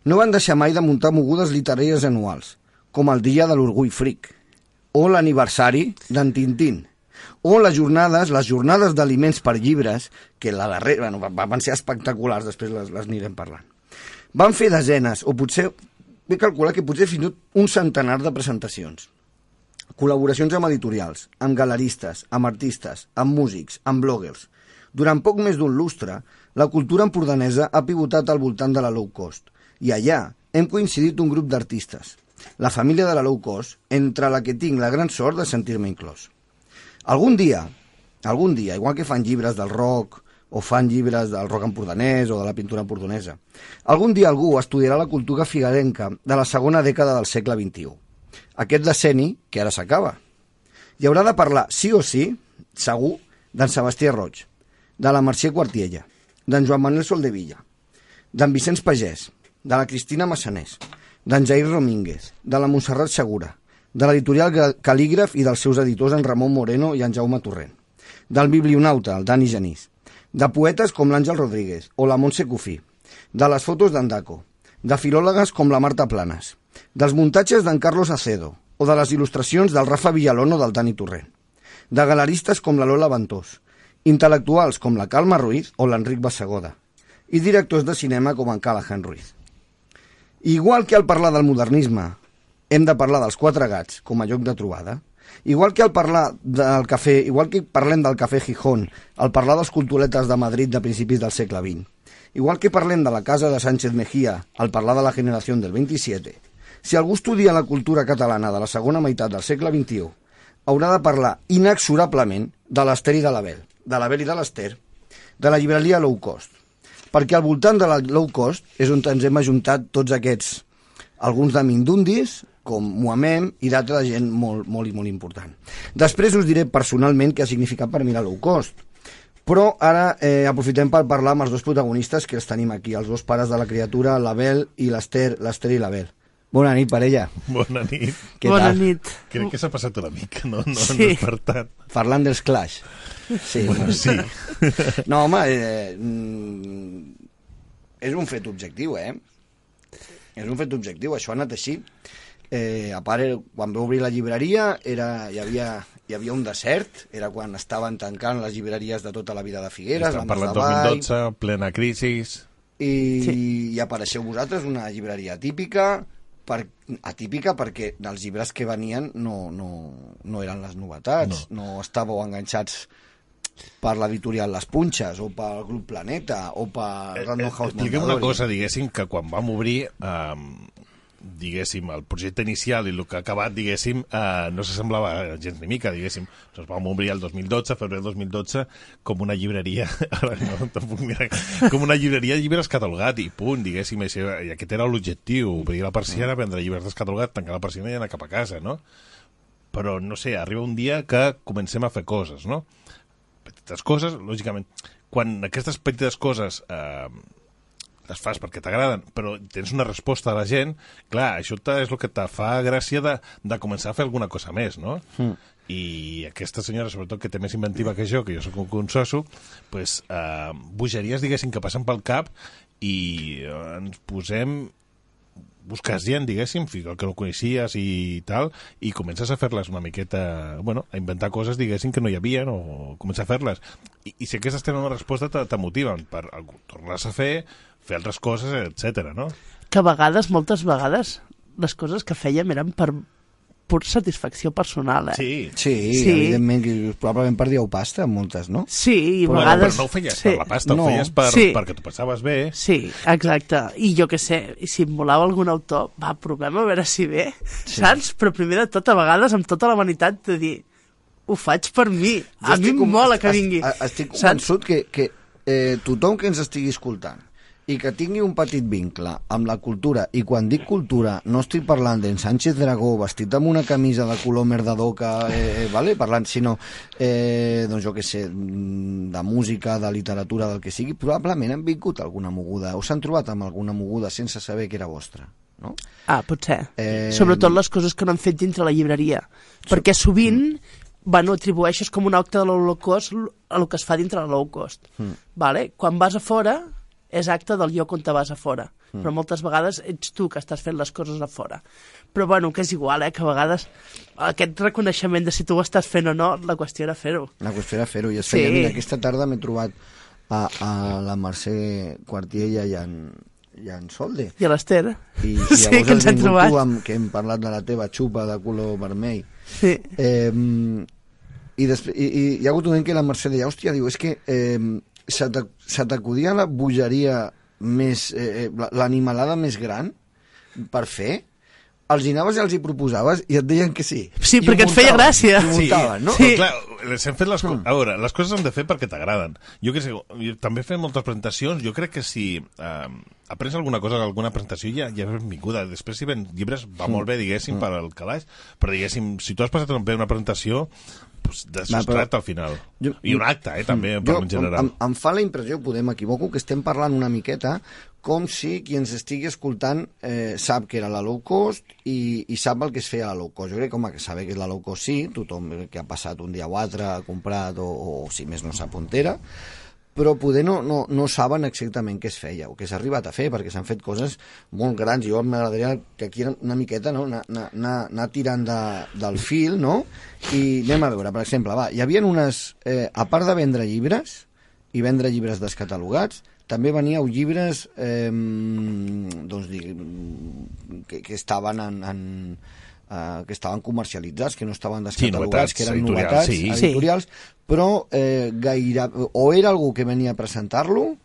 L: No van deixar mai de muntar mogudes literàries anuals, com el Dia de l'Orgull Fric, o l'aniversari d'en Tintín, o les jornades, les jornades d'aliments per llibres, que la darrera, bueno, va- van ser espectaculars, després les, les anirem parlant. Van fer desenes, o potser, vull calcular que potser fins i tot un centenar de presentacions. Col·laboracions amb editorials, amb galeristes, amb artistes, amb músics, amb bloggers. Durant poc més d'un lustre, la cultura empordanesa ha pivotat al voltant de la low cost. I allà hem coincidit un grup d'artistes, la família de la low cost, entre la que tinc la gran sort de sentir-me inclòs. Algun dia, algun dia, igual que fan llibres del rock o fan llibres del rock empordanès o de la pintura empordanesa, algun dia algú estudiarà la cultura figarenca de la segona dècada del segle XXI. Aquest deceni que ara s'acaba. I haurà de parlar, sí o sí, segur, d'en Sebastià Roig, de la Mercè Quartiella, d'en Joan Manuel Soldevilla, d'en Vicenç Pagès, de la Cristina Massaners, d'en Jair Romínguez, de la Montserrat Segura, de l'editorial Gal- Calígraf i dels seus editors en Ramon Moreno i en Jaume Torrent, del biblionauta, el Dani Genís, de poetes com l'Àngel Rodríguez o la Montse Cofí, de les fotos d'en Daco, de filòlegues com la Marta Planes, dels muntatges d'en Carlos Acedo o de les il·lustracions del Rafa Villalón o del Dani Torrent, de galeristes com la Lola Ventós, intel·lectuals com la Calma Ruiz o l'Enric Bassegoda, i directors de cinema com en Callahan Ruiz. Igual que al parlar del modernisme hem de parlar dels quatre gats com a lloc de trobada, igual que al parlar del cafè, igual que parlem del cafè Gijón, al parlar dels culturetes de Madrid de principis del segle XX, igual que parlem de la casa de Sánchez Mejía al parlar de la generació del 27, si algú estudia la cultura catalana de la segona meitat del segle XXI, haurà de parlar inexorablement de l'Ester i de l'Abel, de l'Abel i de l'Ester, de la llibreria low cost, perquè al voltant de la low cost és on ens hem ajuntat tots aquests, alguns de mindundis, com Mohamem i d'altra gent molt, molt i molt important. Després us diré personalment què ha significat per mi la low cost, però ara eh, aprofitem per parlar amb els dos protagonistes que els tenim aquí, els dos pares de la criatura, l'Abel i l'Ester, l'Ester i l'Abel. Bona nit, parella.
B: Bona nit.
L: Què Bona tal? nit.
B: Crec que s'ha passat una mica, no? no,
L: Sí.
B: sí. no per tant.
L: Parlant dels Clash. Sí.
B: Bueno, sí.
L: No, home, eh, mm, és un fet objectiu, eh? És un fet objectiu, això ha anat així. Eh, a part, eh, quan va obrir la llibreria, era, hi, havia, hi havia un desert, era quan estaven tancant les llibreries de tota la vida de Figueres,
B: Estan
L: la
B: parlant
L: Masdavall,
B: 2012, plena crisi.
L: i, sí. i apareixeu vosaltres una llibreria típica per, atípica perquè dels llibres que venien no, no, no eren les novetats, no, no estàveu enganxats per l'editorial Les Punxes o pel Grup Planeta o per Random House
B: eh, Expliquem una
L: Mondadori.
B: cosa, diguéssim, que quan vam obrir, eh, diguéssim, el projecte inicial i el que ha acabat, diguéssim, eh, no s'assemblava gens ni mica, diguéssim. Ens vam obrir el 2012, febrer del 2012, com una llibreria, ara no, tampoc mira, com una llibreria de llibres catalogat i punt, diguéssim, això, i aquest era l'objectiu, obrir la persiana, vendre llibres descatalogats, tancar la persiana i anar cap a casa, no? Però, no sé, arriba un dia que comencem a fer coses, no? Petites coses, lògicament, quan aquestes petites coses eh, les fas perquè t'agraden, però tens una resposta de la gent, clar, això te- és el que te fa gràcia de, de començar a fer alguna cosa més, no? Mm. I aquesta senyora, sobretot, que té més inventiva que jo, que jo sóc un consoso, pues, eh, bogeries, diguéssim, que passen pel cap i eh, ens posem busques gent, diguéssim, fins al que no coneixies i tal, i comences a fer-les una miqueta, bueno, a inventar coses, diguéssim, que no hi havia, o començar a fer-les. I, I si aquestes tenen una resposta, te, te motiven per algú- tornar-les a fer, fer altres coses, etc. no?
D: Que a vegades, moltes vegades, les coses que fèiem eren per pur satisfacció personal, eh?
L: sí, sí, evidentment, que probablement perdíeu pasta, moltes, no?
D: Sí, i a Però- vegades- però no ho
B: feies
D: sí. per la pasta, ho feies per- Sí. perquè
B: t'ho passaves bé.
D: Sí, exacte. I jo que sé, i si em volava algun autor, va, provem a veure si ve, sí. saps? Però primer de tot, a vegades, amb tota la vanitat de dir, ho faig per mi, a mi em mola que vingui.
L: Est- Estic convençut que, que eh, tothom que ens estigui escoltant i que tingui un petit vincle amb la cultura, i quan dic cultura no estic parlant d'en Sánchez Dragó vestit amb una camisa de color merda d'oca, eh, eh, vale? parlant, sinó, eh, doncs jo que sé, mm, de música, de literatura, del que sigui, probablement han vingut a alguna moguda, o s'han trobat amb alguna moguda sense saber que era vostra. No? Eh,
D: Ah, potser. Sobretot les coses que no han fet dintre la llibreria. Perquè sovint, bueno, atribueixes com un acte de l'Holocaust a lo que es fa dintre de l'Holocaust. Mm. Vale? Quan vas a fora, és acte del lloc on te vas a fora.
M: Mm.
D: Però moltes vegades ets tu que estàs fent les coses a fora. Però bueno, que és igual, eh? que a vegades aquest reconeixement de si tu ho estàs fent o no, la qüestió era fer-ho.
L: La qüestió era fer-ho. I es
D: Sí.
L: feia, mira, aquesta tarda m'he trobat a, a la Mercè Quartiella i en, i en Solde.
D: I a l'Ester.
L: I, i
D: Sí, que ens
L: has
D: hem
L: vingut
D: trobat.
L: Tu amb, que hem parlat de la teva xupa de color vermell.
D: Sí.
L: Eh, i, després, i, I hi ha hagut un moment que la Mercè deia, hòstia, diu, és que eh, se t'ac- se t'acudia la bogeria més, eh, eh, la- l'animalada més gran per fer? Els hi anaves i els hi proposaves i et deien que sí.
D: Sí,
L: I ho
D: perquè et feia
L: muntaven,
D: gràcia.
L: i ho muntaven, no?
B: Sí. Però, clar, les hem fet les, co- a veure, les coses s'han de fer perquè t'agraden. Jo que sé, jo també fem moltes presentacions, jo crec que si eh, aprens alguna cosa d'alguna presentació ja, ja és benvinguda. Després si vens llibres va
L: Mm.
B: molt bé, diguéssim,
L: Mm.
B: per al calaix, però diguéssim, si tu has passat bé una presentació, doncs
L: Va, però-
B: desastrat al final. I un acte, eh, també,
L: Mm.
B: per
L: Jo,
B: en general.
L: Em, em, em fa la impressió, poder m'equivoco, que estem parlant una miqueta com si qui ens estigui escoltant eh, sap que era la low cost i, i sap el que es feia a la low cost. Jo crec que, home, que saber que és la low cost sí, tothom que ha passat un dia o altre ha comprat o, o, o si més no sap on era, però poder no, no, no saben exactament què es feia o què s'ha arribat a fer, perquè s'han fet coses molt grans. Jo m'agradaria que aquí una miqueta no, anar, anar- anar, anar tirant de, del fil, no? I anem a veure, per exemple, va, hi havia unes... Eh, a part de vendre llibres i vendre llibres descatalogats, també veníeu llibres eh, doncs, digui- que, que estaven en, en eh, que estaven comercialitzats, que no estaven descatalogats,
B: novetats
L: que eren
B: editorials,
L: novetats,
B: sí. Sí.
L: editorials, editorials, però eh, gaire, o era algú que venia a presentar-lo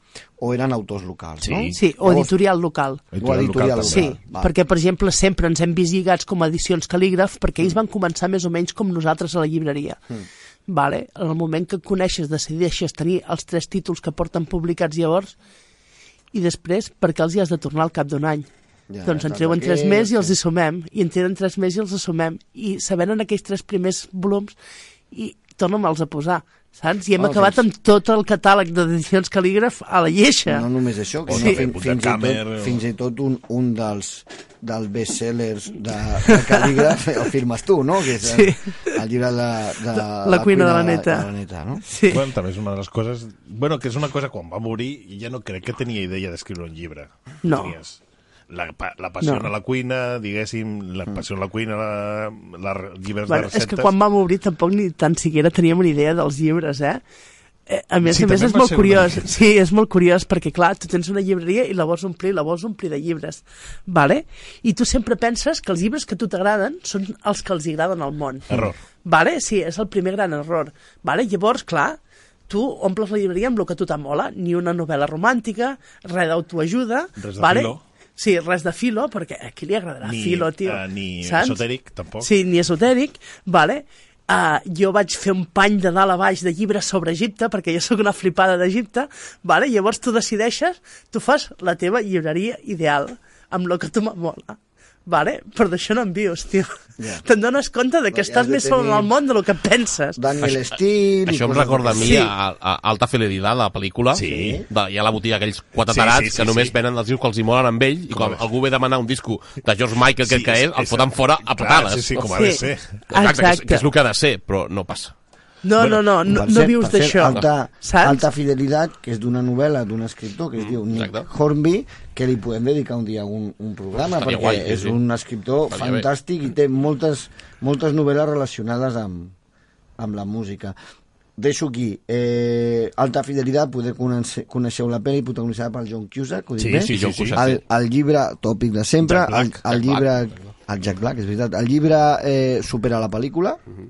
L: o eren autors locals, no?
D: sí o editorial local.
L: Editorial O editorial local,
D: Sí,
L: també. Val.
D: perquè, per exemple, sempre ens hem vist lligats com a edicions calígraf perquè ells van començar més o menys com nosaltres a la llibreria.
G: Mm.
D: Vale? En el moment que et coneixes, decideixes tenir els tres títols que porten publicats llavors i després perquè els hi has de tornar al cap d'un any.
M: Ja,
D: Ja, doncs en
M: tant
D: treuen tres
M: d'aquells,
D: més i els
M: sí.
D: hi sumem, i en tenen tres més i els hi sumem, i se venen aquells tres primers volums i torna'm-els a posar. saps? I hem
L: Ah,
D: acabat
L: doncs.
D: amb tot el catàleg d'edicions calígraf a la lleixa.
L: No només això, que
D: Sí.
L: sí. fins,
D: Puta
L: fins, i
D: Kammer,
L: tot,
D: o-
L: fins i tot un, un dels, dels best-sellers de, de Calígraf el firmes tu, no? Que és el, el llibre de, de
D: La cuina de la neta.
L: De la neta no?
D: Sí.
B: Bueno, també és una de les coses... Bueno, que és una cosa, quan va morir, ja no crec que tenia idea d'escriure un llibre.
D: No.
B: Tenies la, pa- la passió
D: No.
B: no. a la cuina, diguéssim,
L: Mm.
B: la passió a la cuina, la, la, re- llibres
D: Bueno,
B: de
D: és
B: receptes...
D: que quan vam obrir tampoc ni tan siquiera teníem una idea dels llibres, eh? Eh, A més
B: Sí,
D: a
B: també
D: més és
B: va
D: molt
B: ser una
D: curiós,
B: mica.
D: sí, és molt curiós perquè clar, tu tens una llibreria i la vols omplir, la vols omplir de llibres, vale? I tu sempre penses que els llibres que a tu t'agraden són els que els hi agraden al món.
B: Error.
D: Vale? Sí, és el primer gran error. Vale? Llavors, clar, tu omples la llibreria amb el que a tu t'amola, ni una novel·la romàntica, res d'autoajuda...
B: Res de
D: vale?
B: filo.
D: Sí, res de filo, perquè a qui li agradarà
B: Ni,
D: filo, tio?
B: eh, ni
D: saps?
B: esotèric, tampoc.
D: Sí, ni esotèric, vale? Uh, jo vaig fer un pany de dalt a baix de llibres sobre Egipte, perquè jo sóc una flipada d'Egipte, vale? llavors tu decideixes, tu fas la teva llibreria ideal, amb el que tu m'amola. Vale? Però d'això no en vius, tio.
L: Ja.
D: Yeah. Te'n dones compte de que
L: Has
D: estàs
L: de
D: més sobre
L: tenir
D: el món del que penses.
L: Daniel
C: Això-
L: Steele... i
C: Això em
L: coses
C: recorda a mi
L: d'aquestes.
C: a, a Alta Fidelidad, la pel·lícula. Sí. De, hi ha la botiga aquells quatre
B: Sí,
C: tarats
B: sí, sí,
C: que només
B: sí.
C: venen els discos que els hi molen amb ell i
B: Com ha
C: quan
B: de
C: algú ve a demanar un disco de George Michael,
B: Sí,
C: crec que
B: és-
C: és, el
B: és-
C: foten fora a
B: clar,
C: patades.
B: sí, sí, com ha de Sí. ser.
C: Exacte, que és, que
D: Exacte.
C: és el que ha de ser, però no passa.
D: No,
C: Bueno,
D: no, no, no,
L: Per
D: no
L: cert-
D: vius
L: per cert,
D: d'això.
L: Alta,
D: saps?
L: alta fidelitat, que és d'una novel·la d'un escriptor que es diu Nick Hornby, que li podem dedicar un dia un, un programa,
C: Estaria
L: perquè
C: guai, sí,
L: és
C: sí.
L: un escriptor
C: Estaria bé.
L: fantàstic i té moltes, moltes novel·les relacionades amb, amb la música. Deixo aquí. Eh, Alta Fidelitat, poder conèixer, coneixeu la pel·li protagonitzada per John Cusack, ho dic
C: Sí,
L: bé?
C: sí, John Cusack,
L: El, el llibre tòpic de sempre,
C: Jack Black,
L: el, el
C: Jack
L: llibre... El Jack Black, és veritat. El llibre eh, supera la pel·lícula,
C: Mhm.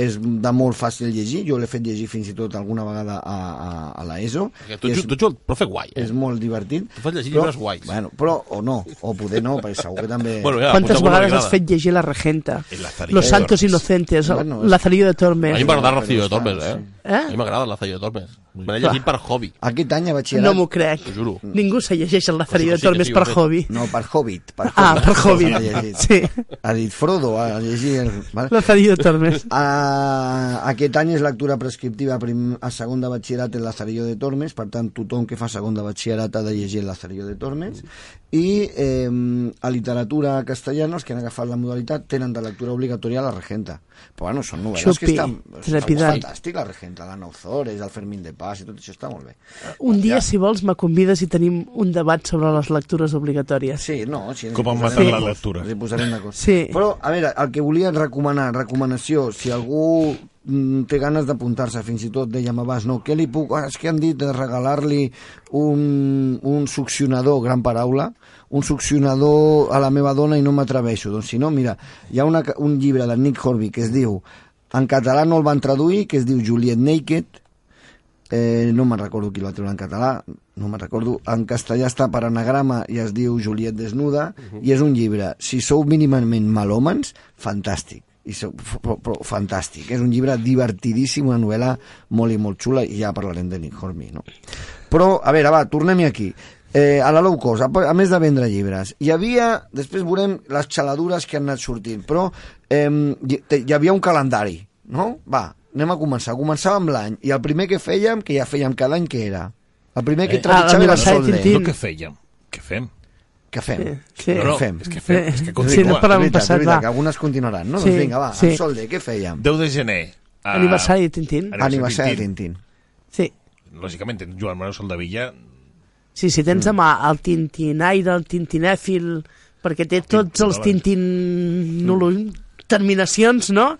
L: és de molt fàcil llegir, jo l'he fet llegir fins i tot alguna vegada a, a, a l'ESO.
C: Perquè tu
L: I
C: ets-
L: és-
C: tu ets el profe guai, eh?
L: És molt divertit. Tu
C: fas llegir llibres guais.
L: Bueno, però, o no, o poder no, perquè segur que també...
C: Bueno, ja,
D: Quantes
C: potser alguna
D: vegades
C: li
D: has
C: agrada.
D: fet llegir La Regenta?
C: El Lazarillo
D: Los
C: de
D: Santos
C: Tormes.
D: Inocentes,
C: Bueno,
D: bueno,
C: és-
D: Lazarillo de
C: A
D: Tormes.
C: mi m'agrada Rocío de Tormes, eh?
D: Eh?
C: A mi m'agrada Rocío de Tormes. Me l'he
D: Clar.
C: llegit per hobby.
L: Aquest any a batxillerat...
D: No m'ho crec.
C: T'ho juro.
D: Ningú se llegeix el Lazarillo
C: Però sí, que
D: de
C: sí,
D: Tormes
C: que
D: per
C: ho he fet.
D: hobby.
L: No, per Hobbit. Per
D: Ah, per Hobbit.
L: Ha llegit.
D: Sí.
L: Ha dit Frodo, ha llegit... el- Vale?
D: Lazarillo de Tormes.
L: Ah, aquest any és lectura prescriptiva a, prim, a segon de batxillerat el Lazarillo de Tormes, per tant, tothom que fa segon de batxillerat ha de llegir el Lazarillo de Tormes. I eh, a literatura castellana, els que han agafat la modalitat, tenen de lectura obligatòria la Regenta. Però bueno, són novel·les
D: Xupi,
L: que estan...
D: trepidant.
L: Està fantàstic, la Regenta, la Nauzores, el Fermín de Paz, i tot això està molt bé.
D: Un dia, si vols, me convides i tenim un debat sobre les lectures obligatòries.
L: Sí, no, sí, ens
B: Com
L: hi
B: han
L: posarem
B: matat la
L: d'acord,
B: lectura.
L: Ens hi posarem d'acord.
D: Sí.
L: Però, a veure, el que volia recomanar, recomanació, si algú mm, té ganes d'apuntar-se, fins i tot dèiem abans, no, què li puc... Ah, és que han dit de regalar-li un, un succionador, gran paraula, un succionador a la meva dona i no m'atreveixo. Doncs si no, mira, hi ha una, ca- un llibre de Nick Horby que es diu... En català no el van traduir, que es diu Juliet Naked, Eh, no me'n recordo qui el va treure en català, no me'n recordo. En castellà està per anagrama i es diu Juliet Desnuda, i és un llibre. Si sou mínimament malhòmens, fantàstic. I sou, però, però, fantàstic. És un llibre divertidíssim, una novel·la molt i molt xula, i ja parlarem de Nick Hornby, no? Però, a veure, va, tornem-hi aquí. Eh, a la low cost, a, a més de vendre llibres, hi havia, després veurem les xaladures que han anat sortint, però eh, hi, te- hi havia un calendari, no? Va, anem a començar. Començàvem l'any i el primer que fèiem, que ja fèiem cada any, que era? Eh, ah, El primer
B: Eh,
L: que
B: ah,
L: trepitjava era Sol Day.
B: No, què fèiem? Què fem?
L: Què fem?
D: Sí.
B: No, no,
L: Què fem?
B: és que fem, és
D: Sí,
B: que continua.
D: no parlem
L: veritat,
D: passat,
L: de veritat,
D: va.
L: que algunes continuaran, no?
D: Sí,
L: doncs vinga, va,
D: sí.
L: en Sol Day, què fèiem?
B: 10 de gener. ah,
D: Aniversari de Tintín.
L: Aniversari de Tintín.
D: Sí.
B: Lògicament, tens Joan Manuel Soldevilla,
D: Sí, si
L: Mm.
D: tens a mà el tintinaire, el tintinèfil, perquè té tots
B: Ah,
D: els tintin... terminacions, no?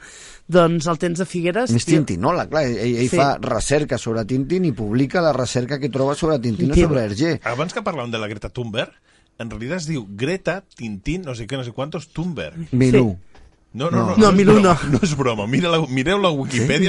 D: Doncs el tens de Figueres...
L: Més
D: tio.
L: Tintinòleg, clar, ell, ell
D: Sí.
L: fa recerca sobre Tintín i publica la recerca que troba sobre Tintín o
D: Tintín.
L: sobre Hergé.
B: Abans que parlàvem de la Greta Thunberg, en realitat es diu Greta, Tintín, no sé què, no sé quantos, Thunberg.
L: Milú.
B: No, no,
L: No.
B: no.
L: No,
B: és
L: Milú
B: broma,
L: no.
B: No és broma. Mira la, mireu la Wikipedia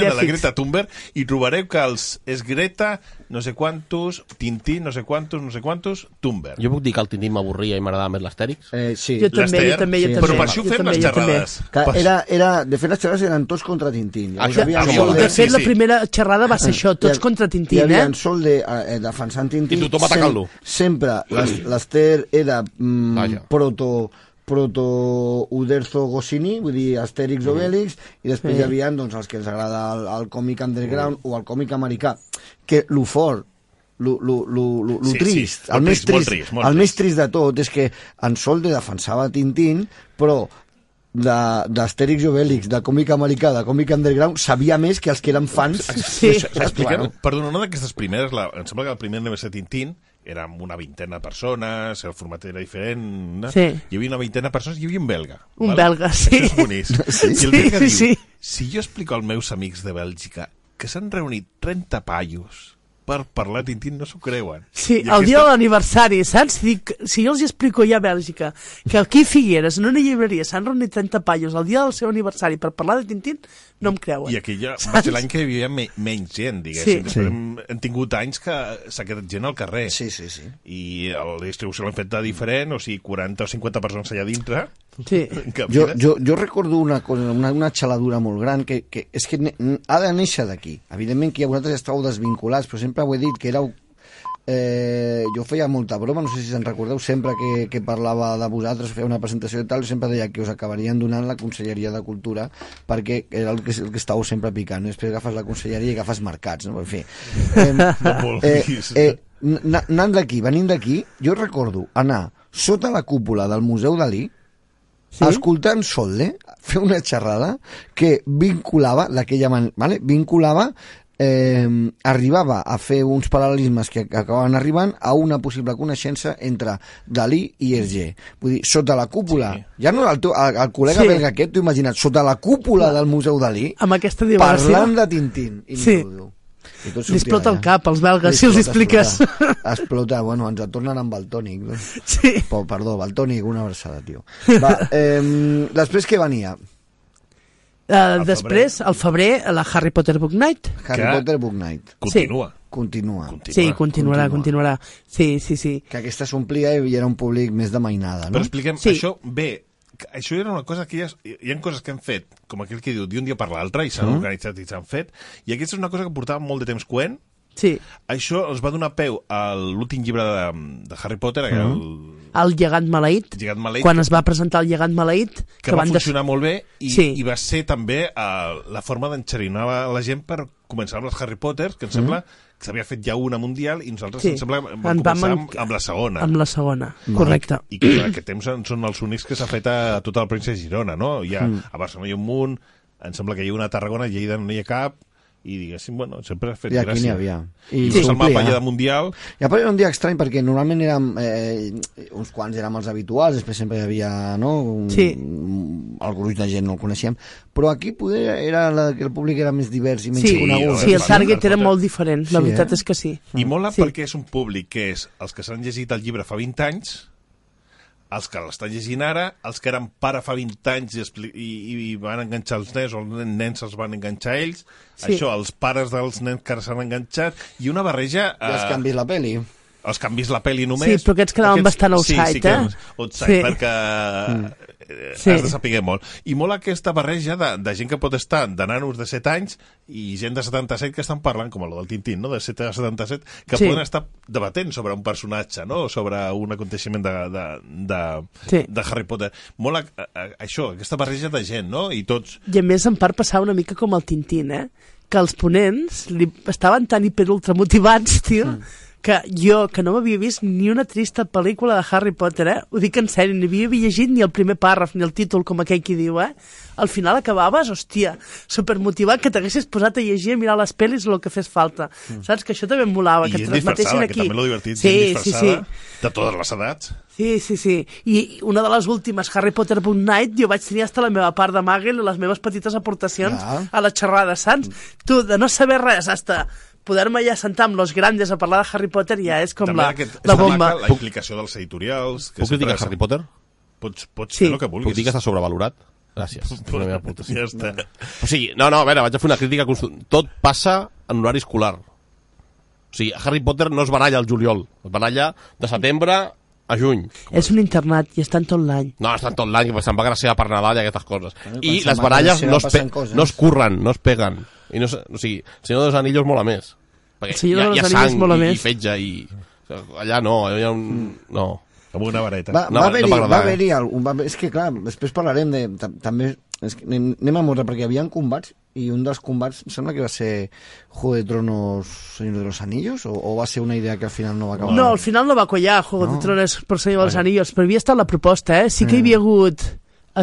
L: Sí?
B: de la
L: Ja fix.
B: Greta Thunberg i trobareu que els, és Greta, no sé quantos, Tintín, no sé quantos, no sé quantos, Thunberg.
C: Jo puc dir que el Tintín m'avorria i m'agradava més l'Astèrix?
L: Eh, sí.
D: Jo també, jo també, jo també.
B: Però per això
D: Jo
B: fem
D: també,
B: les
D: jo també.
B: xerrades.
L: Que
B: Per-
L: era, era, de fet, les xerrades eren tots contra Tintín. Llavors,
B: Això-
L: hi havia
B: això
L: Sol
B: vol
L: de-
D: De fet, la primera xerrada va ser això,
L: Hi
D: tots
L: ha-
D: contra Tintín,
L: hi havia
D: eh?
L: en Sol de, eh, defensant Tintín.
C: I tothom atacant-lo.
L: Sem, sempre l'Es- l'Ester era mm, proto proto-Uderzo Goscinny, vull dir Astèrix mm. Obélix, i després
M: Sí.
L: hi havia doncs, els que els agrada el, el còmic underground mm. o el còmic americà, que lo fort, lo, lo, lo, lo, lo
B: Sí, sí,
L: trist,
B: molt
L: el, més
B: trist, molt
L: trist,
B: trist, molt
L: el més trist de tot és que en Solde defensava Tintín, però de- d'Astèrix i Obélix, de còmic americà, de còmic underground, sabia més que els que eren fans.
B: S'explica, perdona, una d'aquestes primeres, la, em sembla que el primer de ser Tintín, era amb una vintena de persones, el format era diferent, no?
D: Sí.
B: hi havia una vintena de persones i hi havia un belga.
D: Un belga, sí.
B: Això és boníssim.
D: Sí.
B: I el
D: Sí,
B: belga diu,
D: sí.
B: si jo explico als meus amics de Bèlgica que s'han reunit 30 paios per parlar de Tintín, no s'ho creuen.
D: Sí,
B: I
D: el dia de l'aniversari, saps? Dic, si jo els hi explico ja a Bèlgica que aquí a Figueres, en una llibreria, s'han reunit 30 paios el dia del seu aniversari per parlar de Tintín, no em creuen.
B: I aquella va
D: Saps?
B: ser l'any que hi havia me menys gent,
D: Sí.
B: diguéssim. Sí. Després hem, hem tingut anys que s'ha quedat gent al carrer. Sí,
L: sí, sí.
B: I la distribució l'hem fet de diferent, o sigui, 40 o 50 persones allà dintre.
D: Sí.
L: Jo, jo, jo recordo una cosa, una, una xaladura molt gran, que, que és que ne- ha de néixer d'aquí. Evidentment que ja vosaltres estàveu desvinculats, però sempre ho he dit, que éreu Eh, jo feia molta broma, no sé si se'n recordeu, sempre que, que parlava de vosaltres, feia una presentació i tal, sempre deia que us acabarien donant la Conselleria de Cultura perquè era el que, el que estàveu sempre picant. I després agafes la Conselleria i agafes mercats, no? En fi.
B: No
L: Eh,
B: vulguis.
L: eh, na- anant d'aquí, venint d'aquí, jo recordo anar sota la cúpula del Museu Dalí, sí? escoltant Solde, fer una xerrada que vinculava, d'aquella manera, vale? vinculava eh, arribava a fer uns paral·lelismes que acabaven arribant a una possible coneixença entre Dalí i Hergé. Vull dir, sota la cúpula, sí. ja no el, teu, el, el col·lega
D: Sí.
L: sí. belga aquest, t'ho imagina't, sota la cúpula del Museu Dalí,
D: Amb aquesta diversió.
L: parlant de Tintín. I
D: Sí.
L: ningú ho diu. I tot
D: Li
L: sortia
D: explota el
L: d'allà.
D: cap als belgues,
L: Li
D: si els
L: explota,
D: expliques.
L: Explota, explota, bueno, ens tornen amb el tònic. No?
D: Sí.
L: Oh, perdó, el tònic, una versada, tio. Va, eh, després què venia?
D: Uh, després, al febrer, la Harry Potter Book Night.
L: Harry Potter Book Night.
D: Continua.
L: Sí. Continua.
D: Sí, continuarà, continuarà. Sí, sí, sí.
L: Que aquesta s'omplia i era un públic més de mainada, no?
B: Però expliquem, sí. això bé, que això era una cosa que ja... es- Hi ha coses que hem fet, com aquell que diu, d'un dia per l'altre, i s'han
L: Sí.
B: organitzat i s'han fet, i aquesta és una cosa que portava molt de temps coent.
D: Sí.
B: Això els va donar peu a l'últim llibre de, de Harry Potter, mm -hmm.
D: El llegat maleït,
B: el Llegat Maleït,
D: quan es va presentar el llegat maleït,
B: que, que va
D: van
B: funcionar molt bé i,
D: Sí.
B: i va ser també eh, la forma d'enxerinar la, la gent per començar amb els Harry Potters,
L: Mm-hmm.
B: que em sembla que s'havia fet ja una mundial i nosaltres
D: Sí.
B: sí. em sembla vam
D: En vam
B: començar
D: en-
B: amb, amb la segona.
D: amb la segona, correcte.
B: I que en aquest temps en són els únics que s'ha fet a tot el Príncipe Girona, no? Hi ha,
D: Mm.
B: A Barcelona hi ha un munt, em sembla que hi ha una a Tarragona, a Lleida no n'hi ha cap, i diguéssim, bueno, sempre ha fet
L: I aquí
B: gràcia.
L: n'hi havia.
B: I, I
L: s'omplia.
B: vas al mapa allà de Mundial...
L: I a part era un dia estrany perquè normalment érem eh, uns quants érem els habituals, després sempre hi havia no, un,
D: Sí.
L: un, el gruix de gent no el coneixíem, però aquí poder era la, que el públic era més divers i menys
D: Sí,
L: conegut.
D: sí, el target era molt diferent, la
L: Sí,
D: veritat
L: eh?
D: és que sí.
B: I mola sí. perquè és un públic que és els que s'han llegit el llibre fa 20 anys, els que l'estan llegint ara, els que eren pare fa 20 anys i, expli- i, i van enganxar els nens, o els nens els van enganxar a ells,
L: Sí.
B: sí. això, els pares dels nens que ara s'han enganxat, i una barreja... eh,
L: I els que han vist la pel·li.
B: Els que han vist la pel·li només.
D: Sí, però aquests quedaven bastant
B: sí, sí
D: outside,
B: que,
D: eh?
B: Outside,
D: Sí.
B: sí. perquè eh,
D: Mm. Sí.
B: has de saber molt. I molt aquesta barreja de, de gent que pot estar de nanos de 7 anys i gent de 77 que estan parlant, com el del Tintín, no? de 7 a 77, que
D: Sí.
B: sí. poden estar debatent sobre un personatge, no? O sobre un aconteixement de, de, de,
D: Sí.
B: de Harry Potter. Molt a, a, a, això, aquesta barreja de gent, no? I tots...
D: I a més, en part, passava una mica com el Tintín, eh? Que els ponents li estaven tan hiperultramotivats, tio,
B: Mm.
D: que jo, que no m'havia vist ni una trista pel·lícula de Harry Potter, eh? Ho dic en sèrio, ni havia llegit ni el primer pàrraf, ni el títol, com aquell qui diu, eh? Al final acabaves, hòstia, supermotivat que t'haguessis posat a llegir, a mirar les pel·lis o el que fes falta. Saps? Que això també em molava,
B: Mm. I
D: que
B: gent
D: transmetessin
B: disfressada,
D: aquí.
B: que també l'ho divertit,
D: sí,
B: gent disfressada,
D: sí, sí.
B: de totes les edats.
D: Sí, sí, sí. I una de les últimes, Harry Potter Book Night, jo vaig tenir hasta la meva part de Magel i les meves petites aportacions
L: Ah.
D: a la xerrada, saps? Tu, de no saber res, hasta poder-me ja sentar amb los grandes a parlar de Harry Potter ja és com la, la bomba.
B: La implicació dels editorials...
C: Puc criticar Harry Potter?
B: Pots, pots sí. fer el que vulguis.
C: Puc dir que està sobrevalorat? Gràcies. és la meva aportació.
B: Ja està.
C: O sigui, no, no, a veure, vaig a fer una crítica constru- Tot passa en horari escolar. O sigui, Harry Potter no es baralla al juliol, es baralla de setembre a juny.
D: És un internat i estan tot l'any.
C: No, estan tot l'any, se'n va graciar per Nadal i aquestes coses. I
D: se'n
C: les
D: va
C: baralles
D: Gràcia
C: no es, pe
D: passen coses.
C: no es curren, no es peguen. I no, se- o sigui, el Senyor dels Anillos mola més. Perquè
D: El Senyor
C: hi ha,
D: dels
C: hi ha
D: Anillos
C: sang
D: mola
C: i,
D: més.
C: i fetge i... Allà no, eh. allà hi ha un... No.
B: Amb una vareta.
L: Va, va haver-hi, va
D: eh.
L: haver-hi algun... Va, haver- és que, clar, després parlarem de... ta- També, és que anem, anem a morra, perquè hi havia combats i un dels combats em sembla que va ser Juego de Tronos, Señor de los Anillos o, o va ser una idea que al final no va acabar
D: No, al final no va collar Juego no. de Tronos per Senyor dels
L: Ah, Vale.
D: Anillos, però havia estat la proposta, eh? Sí que hi havia hagut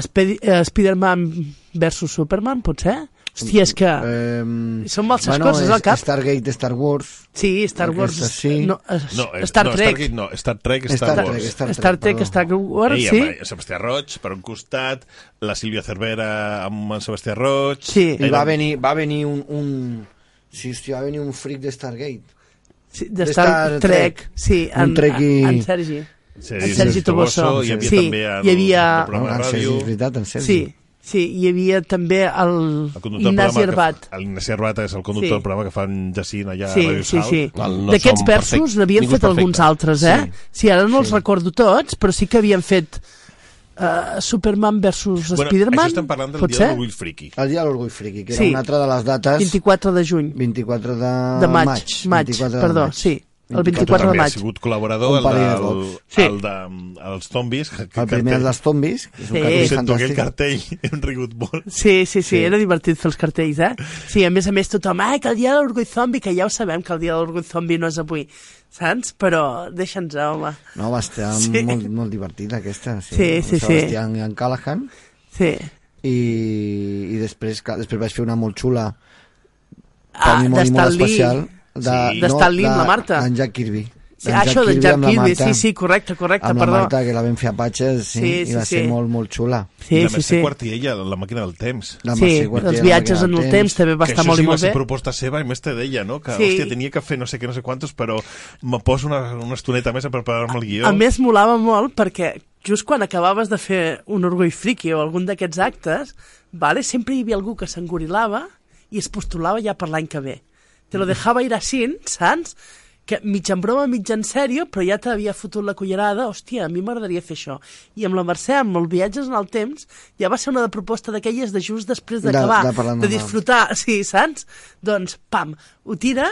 D: Spedi eh, Spider-Man versus Superman, potser? Hòstia, és que...
L: Eh,
D: Són moltes coses
L: és
D: al cap.
L: Stargate, Star Wars
D: Sí, Star Wars...
L: Aquesta sí.
D: No, eh,
B: No, eh,
D: Star
B: no,
D: Trek.
B: Stargate no, Star Trek, Star,
L: Star
B: Wars.
L: Trek, Star Trek,
D: Star Trek, perdó. Star Wars,
B: Ei,
D: sí.
B: amb Sebastià Roig, per un costat, la Sílvia Cervera amb en Sebastià Roig...
D: Sí.
L: I va venir, va venir un... un... Sí, hòstia, va venir un fric de Stargate.
D: Sí, de Star Trek, sí,
L: un
D: en-
L: trekkie-
D: en Sergi. Sí, En Sergi Sergi Toboso.
L: Sí.
D: Toboso, hi havia Sí, també el- hi havia- el programa de
L: Ah, en Sergi,
B: ràdio.
L: és veritat, en Sergi.
D: Sí, sí, hi havia també el,
B: El conductor del
D: Ignasi
B: programa que
D: Arbat.
B: fa- L'Ignasi Arbat és el conductor
D: Sí.
B: del programa que fa en Jacint allà
D: Sí,
B: a Radio
D: sí,
B: Salt.
D: sí. D'aquests versos n'havien fet alguns altres, eh? Sí, sí ara no els recordo tots, però sí que havien fet uh, Superman versus
B: Bueno,
D: Spider-Man,
B: això estem parlant del Dia
D: potser?
B: de l'Orgull Friki.
L: El Dia de l'Orgull Friki, que era
D: Sí.
L: una altra de les dates...
D: 24 de juny.
L: 24 de,
D: De maig,
L: maig.
D: maig,
L: 24 de
D: perdó,
B: Doncs
L: maig.
D: sí, el
B: Tu
D: 24 de
B: també
D: maig.
B: has sigut col·laborador,
L: Un
B: el,
L: parell de
B: del,
L: cops.
B: sí. el de, els zombis. Que,
L: El primer dels zombis, que és un Sí. cartell
B: Sento aquell
L: fantàstic.
B: cartell, hem rigut molt.
D: Sí, sí, sí, sí, era divertit fer els cartells, eh? Sí, a més a més tothom, ai, que el dia de l'orgull zombi, que ja ho sabem que el dia de l'orgull zombi no és avui, saps? Però deixa'ns, home.
L: No, va estar
D: Sí.
L: sí. molt, molt divertida aquesta. Sí,
D: Sí, sí, sí.
L: Sebastián i en Callahan.
D: Sí.
L: I, i després, clar, després vaig fer una molt xula
D: Ah,
L: per mi molt,
D: de
L: i molt
D: Stan Lee.
L: especial. De,
D: Sí. De Stan Lee amb la Marta.
L: D'en Jack Kirby.
D: Sí,
L: D'en
D: ah, això d'en Jack
L: amb la
D: Kirby,
L: Marta,
D: sí, sí, correcte, correcte,
L: amb
D: perdó.
L: la Marta, que la vam fer a Patxes, sí,
D: Sí,
L: i va
D: sí,
L: ser
D: sí.
L: molt, molt xula.
B: I la Mercè Quartiella, la màquina del temps.
L: La Sí, Mercè Quartiella,
D: els viatges en el temps també va
B: Que
D: estar
B: això
D: molt i
B: sí va
D: molt
B: ser
D: bé.
B: proposta seva i més te deia, no? Que,
D: Sí.
B: hòstia, tenia que fer no sé què, no sé quantos, però me poso una, una estoneta més a preparar-me el guió.
D: A més, molava molt perquè just quan acabaves de fer un orgull friki o algun d'aquests actes, vale, sempre hi havia algú que s'engorilava i es postulava ja per l'any que ve. Te
L: Mm.
D: lo dejava ir así, saps? Que mig en broma, mig en sèrio, però ja t'havia fotut la cullerada, hòstia, a mi m'agradaria fer això. I amb la Mercè, amb els viatges en el temps, ja va ser una de proposta d'aquelles de just després
L: De-
D: d'acabar,
L: de
D: de,
L: parlar
D: de
L: normal.
D: disfrutar, sí, saps? Doncs, pam, ho tira,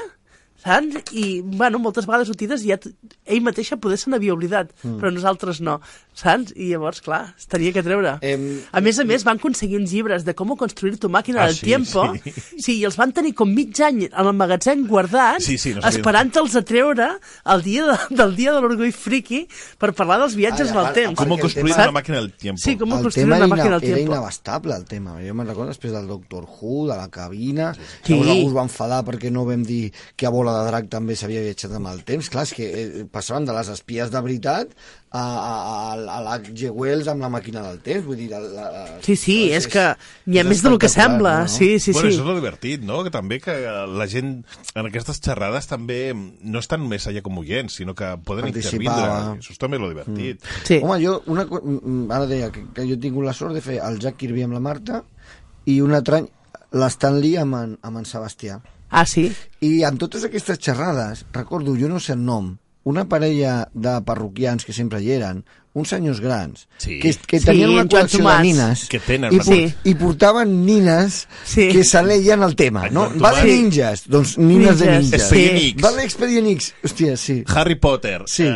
D: saps? I, bueno, moltes vegades ho tires i ja t- ell mateixa poder se n'havia oblidat,
L: Mm.
D: mm. però nosaltres no, saps? I llavors, clar, es tenia que treure. Em... A més a més, van aconseguir uns llibres de com construir tu màquina
B: Ah,
D: del
B: sí,
D: tiempo,
B: sí.
D: sí, i els van tenir com mig any en el magatzem guardats,
B: Sí, sí, no sabien.
D: esperant-te'ls a treure el dia de, del dia de l'orgull friki per parlar dels viatges en el temps.
B: Com construir
D: Saps?
B: una màquina del temps.
D: Sí, com
L: el
D: construir
L: tema
D: una
L: era
D: màquina del
L: ina- Era
D: tiempo.
L: inabastable, el tema. Jo me'n recordo després del Doctor Who, de la cabina...
D: Sí.
L: Sí. Llavors algú es va enfadar perquè no vam dir que a Bola de Drac també s'havia viatjat amb el temps. Clar, és que eh, passaven de les espies de veritat a, a, a, a l'H.G. Wells amb la màquina del temps. Vull dir, la, la,
D: Sí, sí, és que n'hi ha
L: és
D: més del que
L: espectacular, no?
D: sembla, sí, sí,
B: bueno,
D: sí.
B: Això és el divertit, no? Que també que la gent en aquestes xerrades també no estan només allà com oients, sinó que poden
L: Participar.
B: intervindre. Això és també el divertit. Mm.
D: Sí.
L: Home, jo una, co- mm, ara deia que, que jo he tingut la sort de fer el Jack Kirby amb la Marta i un altre any l'Stan Lee amb en, amb en Sebastià.
D: Ah, sí?
L: I amb totes aquestes xerrades, recordo, jo no sé el nom, una parella de parroquians que sempre hi eren, uns senyors grans,
B: Sí.
L: que, que
B: Sí,
L: tenien una
B: en Joan
L: col·lecció de
B: Tomàs.
L: nines
B: Que tenen
L: i,
B: una
L: por,
B: col·lecció.
L: i portaven nines
D: sí.
L: que se leien el tema. No?
B: Joan
L: Va de
B: Tomàs.
L: ninjas, doncs nines de
B: Ninjas,
L: ninjas.
B: Expedient sí. X.
L: Va d'Expedient X, hòstia, sí.
B: Harry Potter.
L: Sí.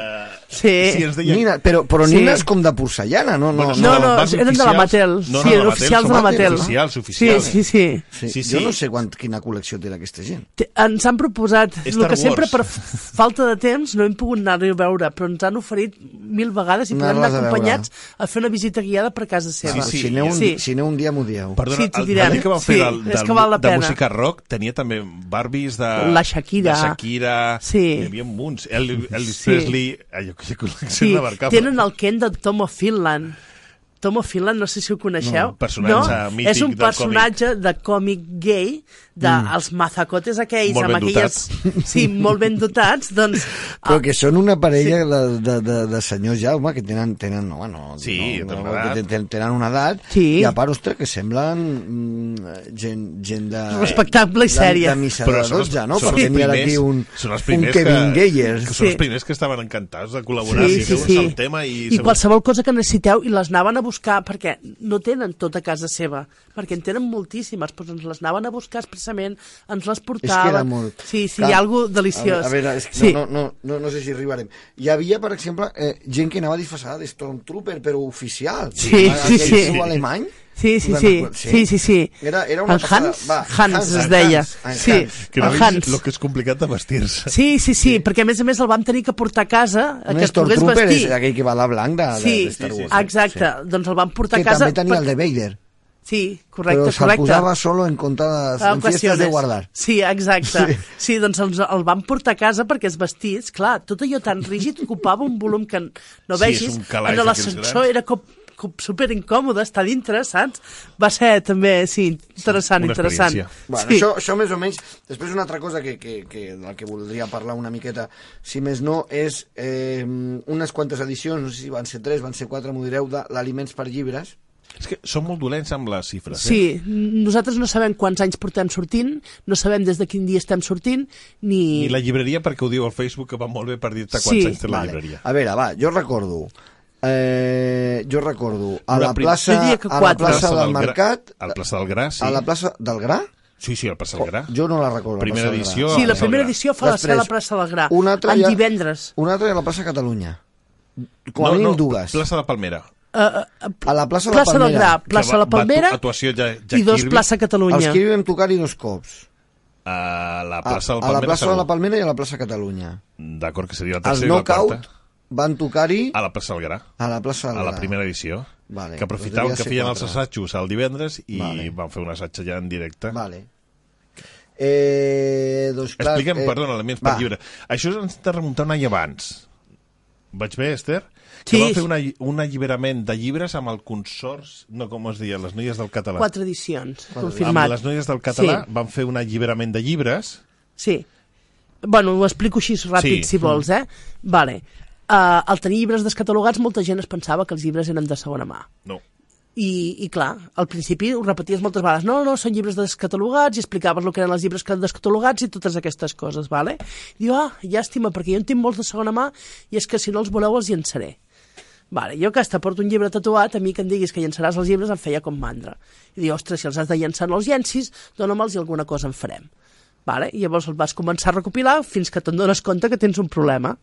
D: Sí.
B: sí, ens deien-
L: Nina, però, però
B: Sí.
L: nines com de porcellana, no? No,
B: Bueno, no, no,
D: eren de la
L: oficials.
D: Mattel. Sí, eren oficials de la Mattel.
B: Oficials, oficials.
D: Sí, sí, sí. Sí,
L: Jo
D: sí.
L: no sé quant, quina col·lecció té aquesta gent.
D: Te- Ens han proposat,
L: Star
D: el que sempre
L: Wars.
D: per f- falta de temps no hem pogut anar-hi a veure, però ens han oferit mil vegades i podem anar
L: Anar-les a
D: acompanyats a fer una visita guiada per casa seva.
L: Sí, sí, si, aneu un,
D: sí.
L: si aneu un dia m'ho dieu.
B: Perdona,
D: Sí, t'ho
B: el
D: direm.
B: taller que van fer
D: Sí,
B: del,
D: és
B: del,
D: que val la
B: de
D: pena.
B: música rock tenia també Barbies de...
D: La Shakira.
B: La Shakira.
D: Sí.
B: Hi havia munts. El, Elvis
D: Sí.
B: Presley, allò que hi ha col·lecció
D: Sí,
B: de barcapa.
D: tenen el Ken de Tomo Finland. Tomo Finland, no sé si ho coneixeu.
B: No, personatge mític
D: És un
B: del
D: personatje de còmic gay, dels de els mazacotes aquells,
L: Mm. Molt
D: amb
L: ben
D: aquelles... Sí, molt ben dotats. Doncs
L: Però que són una parella sí. de, de, de, de senyors ja, home, que tenen, tenen no, bueno,
B: Sí,
L: no,
B: tenen
L: no,
B: una
L: que
B: edat.
L: ten- tenen una edat
D: sí.
L: i a part, ostres, que semblen mm, gent, gent de...
D: Respectable i
L: de-
D: sèria.
L: De missa de 12, no? Perquè n'hi ha d'aquí un,
B: són els
L: un
B: primers
L: Kevin
B: que,
L: Geyer.
B: Que són els primers que estaven encantats de col·laborar. Sí, sí, sí. El tema i,
D: I qualsevol cosa que necessiteu, i les anaven a buscar, perquè no tenen tot a casa seva, perquè en tenen moltíssimes, però ens les anaven a buscar expressament, ens les
L: És que
D: portaven...
L: era molt...
D: Sí, sí,
L: Clar,
D: hi ha alguna cosa deliciós.
L: A veure, a veure és que
D: sí.
L: no, no, no, no sé si arribarem. Hi havia, per exemple, eh, gent que anava disfressada de Stormtrooper, però oficial.
D: Sí, sí,
L: Aquell
D: sí.
L: seu alemany.
D: Sí, sí,
L: No
D: sí.
L: me'n acord-
D: Sí, sí, sí.
L: Era, era una
D: El
L: passada.
D: Hans?
L: Va,
D: Hans es deia. Sí,
B: Que no
D: el
B: veus
D: Hans.
B: Lo que és complicat de vestir-se.
D: Sí, sí, sí, perquè a més a més el vam tenir que portar a casa eh,
L: Un
D: que es pogués
L: Stormtrooper
D: vestir.
L: és aquell que va a la blanc de, de,
D: sí,
L: de Star Wars. eh.
D: exacte. Doncs el vam portar
L: Que
D: a casa.
L: també tenia el de Vader.
D: Sí, correcte,
L: però se'l
D: correcte.
L: posava solo en, contadas,
D: Ah,
L: en fiestas de
D: ocasiones.
L: guardar.
D: Sí, exacte. Sí, sí doncs ens el vam portar a casa perquè es vestís, clar, tot allò tan rígid ocupava un volum que no
M: Sí,
D: vegis.
M: és un calaix
D: en
M: d'aquells grans.
D: l'ascensor era com, com super incòmode estar dintre, saps? Va ser també, sí, interessant, interessant.
L: Bueno,
D: sí.
L: això, això més o menys... Després una altra cosa que, que, que del que voldria parlar una miqueta, si més no, és eh, unes quantes edicions, no sé si van ser tres, van ser quatre, m'ho direu, de l'Aliments per Llibres.
B: És que són molt dolents amb les eh? xifres.
D: Sí, nosaltres no sabem quants anys portem sortint, no sabem des de quin dia estem sortint,
B: I
D: ni...
B: la llibreria, perquè ho diu al Facebook, que va molt bé per dir-te quants
D: Sí.
B: anys té la
L: Vale.
B: llibreria.
L: A veure, va, jo recordo... Eh, jo recordo a
B: Una
L: la
B: prim-
L: plaça,
B: Jo diria que
L: a la
B: quatre.
L: plaça
B: Plaça
L: del
B: del Gra-
L: Mercat...
B: a la plaça del Gra, sí.
L: A la plaça del Gra? Oh,
B: Sí, sí, al plaça del Gra.
L: Jo no la recordo. la
B: Primera
L: plaça del Gra.
B: edició,
D: Sí, la primera edició fa la ser a la plaça del Gra.
L: Una altra
D: en
L: ja-
D: divendres.
L: Una altra a la plaça Catalunya. Com a mínim dues.
B: Plaça de Palmera.
D: Uh, uh,
L: A la plaça,
D: Plaça
L: de
D: del
L: la Palmera.
D: Gra, plaça de la Palmera
B: Actuació ja, ja
D: i dos
B: Kirby.
D: plaça Catalunya.
L: Els Kirby vam tocar-hi dos cops.
B: A la
L: A,
B: plaça de la
L: a la
B: Palmera.
L: plaça de la
B: segur.
L: Palmera i a la plaça Catalunya.
B: D'acord, que seria la
L: Els
B: tercera i la quarta.
L: Knockout van tocar-hi
B: A la plaça del Gra.
L: a la plaça del
B: A la
L: Gra.
B: primera edició.
L: Vale,
B: que aprofitaven
L: doncs devia
B: que
L: ser
B: feien els
L: quatre.
B: assajos el divendres i
L: Vale.
B: van fer un assaig allà en directe.
L: Vale. Eh, doncs, clar,
B: Explica'm,
L: eh,
B: perdona, elements per
L: va.
B: llibre. Això ens hem de remuntar un any abans. Vaig bé, Esther?
D: Sí.
B: Que van fer una, lli- un alliberament de llibres amb el consors, no com es deia, les noies del català.
D: Quatre edicions,
B: Amb
D: confirmat.
B: les noies del català
D: Sí.
B: van fer un alliberament de llibres.
D: Sí. Bueno, ho explico així ràpid,
B: Sí.
D: sí. si vols, eh? Vale. Uh, al tenir llibres descatalogats, molta gent es pensava que els llibres eren de segona mà.
B: No.
D: I, I clar, al principi ho repeties moltes vegades, no, no, són llibres descatalogats, i explicaves el que eren els llibres que- descatalogats i totes aquestes coses, vale? I diu, ah, llàstima, perquè jo en tinc molts de segona mà i és que si no els voleu els llançaré. Vale, jo que hasta porto un llibre tatuat, a mi que em diguis que llançaràs els llibres em feia com mandra. I dir, ostres, si els has de llançar no els llencis, dona'm-els i alguna cosa en farem. Vale? I llavors el vas començar a recopilar fins que te'n dones compte que tens un problema.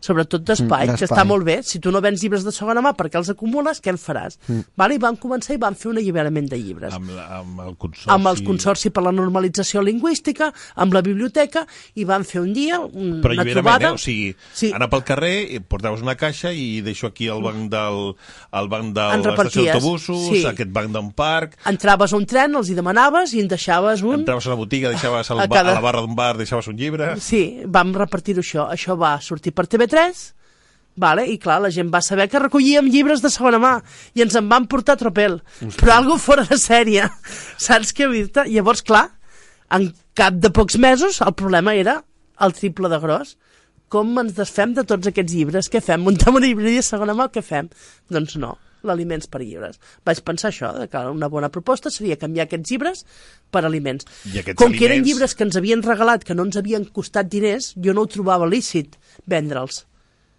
D: Sobretot d'espai,
M: Mm,
D: que
M: d'espai.
D: està molt bé. Si tu no vens llibres de segona mà perquè els acumules, què en faràs?
B: Mm.
D: Vale? I vam començar i vam fer un alliberament de llibres.
B: Amb, la- amb el consorci.
D: Amb el Consorci per la Normalització Lingüística, amb la biblioteca, i vam fer un dia un,
B: Però
D: una
B: alliberament,
D: trobada...
B: eh? O sigui, sí. anar pel carrer, i portaves una caixa i deixo aquí el banc del, el banc de
D: En
B: l'estació
D: reparties,
B: d'autobusos,
D: sí.
B: aquest banc d'un parc,
D: Entraves a un tren, els hi demanaves i en deixaves un...
B: entraves a la botiga, deixaves el,
D: A
B: a,
D: cada-
B: a la barra d'un bar, deixaves un llibre...
D: Mm, Sí, vam repartir-ho això. Això va sortir per TV3, vale? i clar, la gent va saber que recollíem llibres de segona mà, i ens en van portar a tropel, però algo fora de sèrie. Saps què dir-te? Llavors, clar, en cap de pocs mesos el problema era el triple de gros. Com ens desfem de tots aquests llibres? Què fem? Muntem una llibreria de segona mà? Què fem? Doncs no, l'aliments per llibres. Vaig pensar això, de que una bona proposta seria canviar aquests llibres per aliments.
B: I aquests
D: Com que eren
B: aliments-
D: llibres que ens havien regalat, que no ens havien costat diners, jo no ho trobava lícit vendre'ls,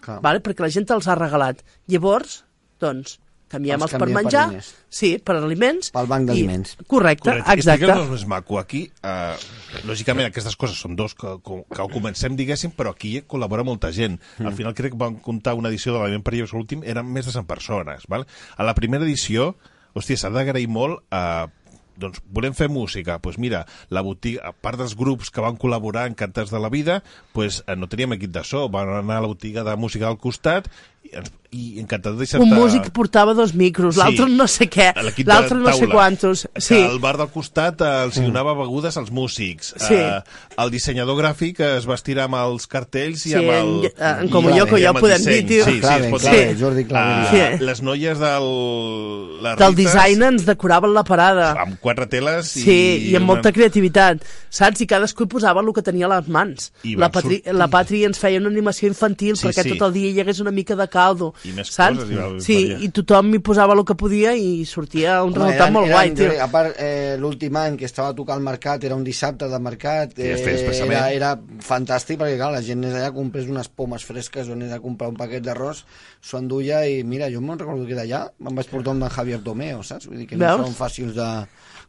L: Clar.
B: Ah.
D: vale? perquè la gent els ha regalat. Llavors, doncs, canviem els,
L: Els
D: per
L: canviem per
D: menjar, per
L: diners.
D: sí, per aliments. Pel
L: banc d'aliments.
D: Correcte, correcte, exacte.
B: Explica'm-nos més maco. Aquí, eh, lògicament, aquestes coses són dos que, que, que ho comencem, diguéssim, però aquí col·labora molta gent. Mm. Al final crec que van comptar una edició de l'Aliment per Lleus l'últim, eren més de 100 persones. Val? A la primera edició, hòstia, s'ha d'agrair molt a doncs volem fer música, doncs mira, la botiga, a part dels grups que van col·laborar en Cantes de la Vida, doncs eh, no teníem equip de so, van anar a la botiga de música al costat i, ens- i encantat de
D: Un músic portava dos micros,
B: Sí.
D: l'altre no sé què,
B: L'equip de
D: l'altre no sé
B: taula.
D: quantos. Doncs, Sí, Mm.
B: que al bar del costat eh, els hi donava begudes als músics.
D: Sí.
B: Eh, el dissenyador gràfic eh, es va estirar amb els cartells i
D: Sí,
B: amb el...
D: en- eh, en Comulló,
B: i
D: que ja
B: amb el
D: podem
B: disseny.
D: dir, tio.
B: Sí, sí,
D: Clave,
B: es pot
D: clave,
B: dir.
D: Jordi Claveria.
B: Eh, Les noies del... La
D: del design ens decoraven la parada.
B: Amb quatre teles i...
D: Sí, i amb molta creativitat, saps? I cadascú hi posava el que tenia a les mans.
B: I
D: La,
B: van
D: Patri,
B: sortir.
D: la Patri ens feia una animació infantil
B: Sí,
D: sí, perquè
B: sí.
D: sí. tot el dia hi hagués una mica de caldo,
B: I més
D: saps?
B: coses hi va-
D: sí,
B: varia.
D: i tothom hi posava el que podia i sortia un
L: Home,
D: resultat
L: eren-
D: molt
L: eren-
D: guai, tio.
L: A part, eh, l'últim any que estava a tocar al mercat, era un dissabte de mercat, eh,
B: I es feia expressament.
L: era, era fantàstic perquè, clar, la gent anés allà a comprar unes pomes fresques o anés a comprar un paquet d'arròs, s'ho enduia i, mira, jo me'n recordo que d'allà me'n vaig portar un d'en Javier Domeo, saps? Vull dir que
B: Veus?
L: no són fàcils de,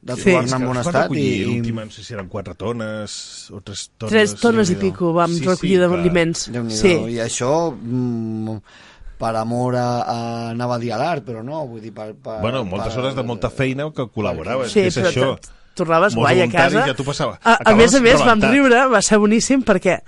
L: de
B: Sí.
L: trobar-ne en bon
B: Es va
L: estat.
B: recollir
L: i-
B: l'últim, no sé si eren quatre tones o tres tones.
D: Tres tones i
B: Déu-n'hi-do.
D: pico vam
B: Sí,
D: recollir
B: sí,
D: d'aliments.
L: déu nhi
D: Sí.
L: I això... Mm, per amor a, a anava a dir a l'art, però no, vull dir, per... per
B: Bueno, moltes
L: per,
B: hores de molta feina que col·laboraves.
D: Sí,
B: que és
D: però
B: això.
D: t- tornaves
B: Molts
D: guai a
B: voluntaris
D: casa.
B: Ja t'ho passava.
D: A, a
B: Acabaves
D: més a més, vam
B: rebentat.
D: riure, va ser boníssim, perquè,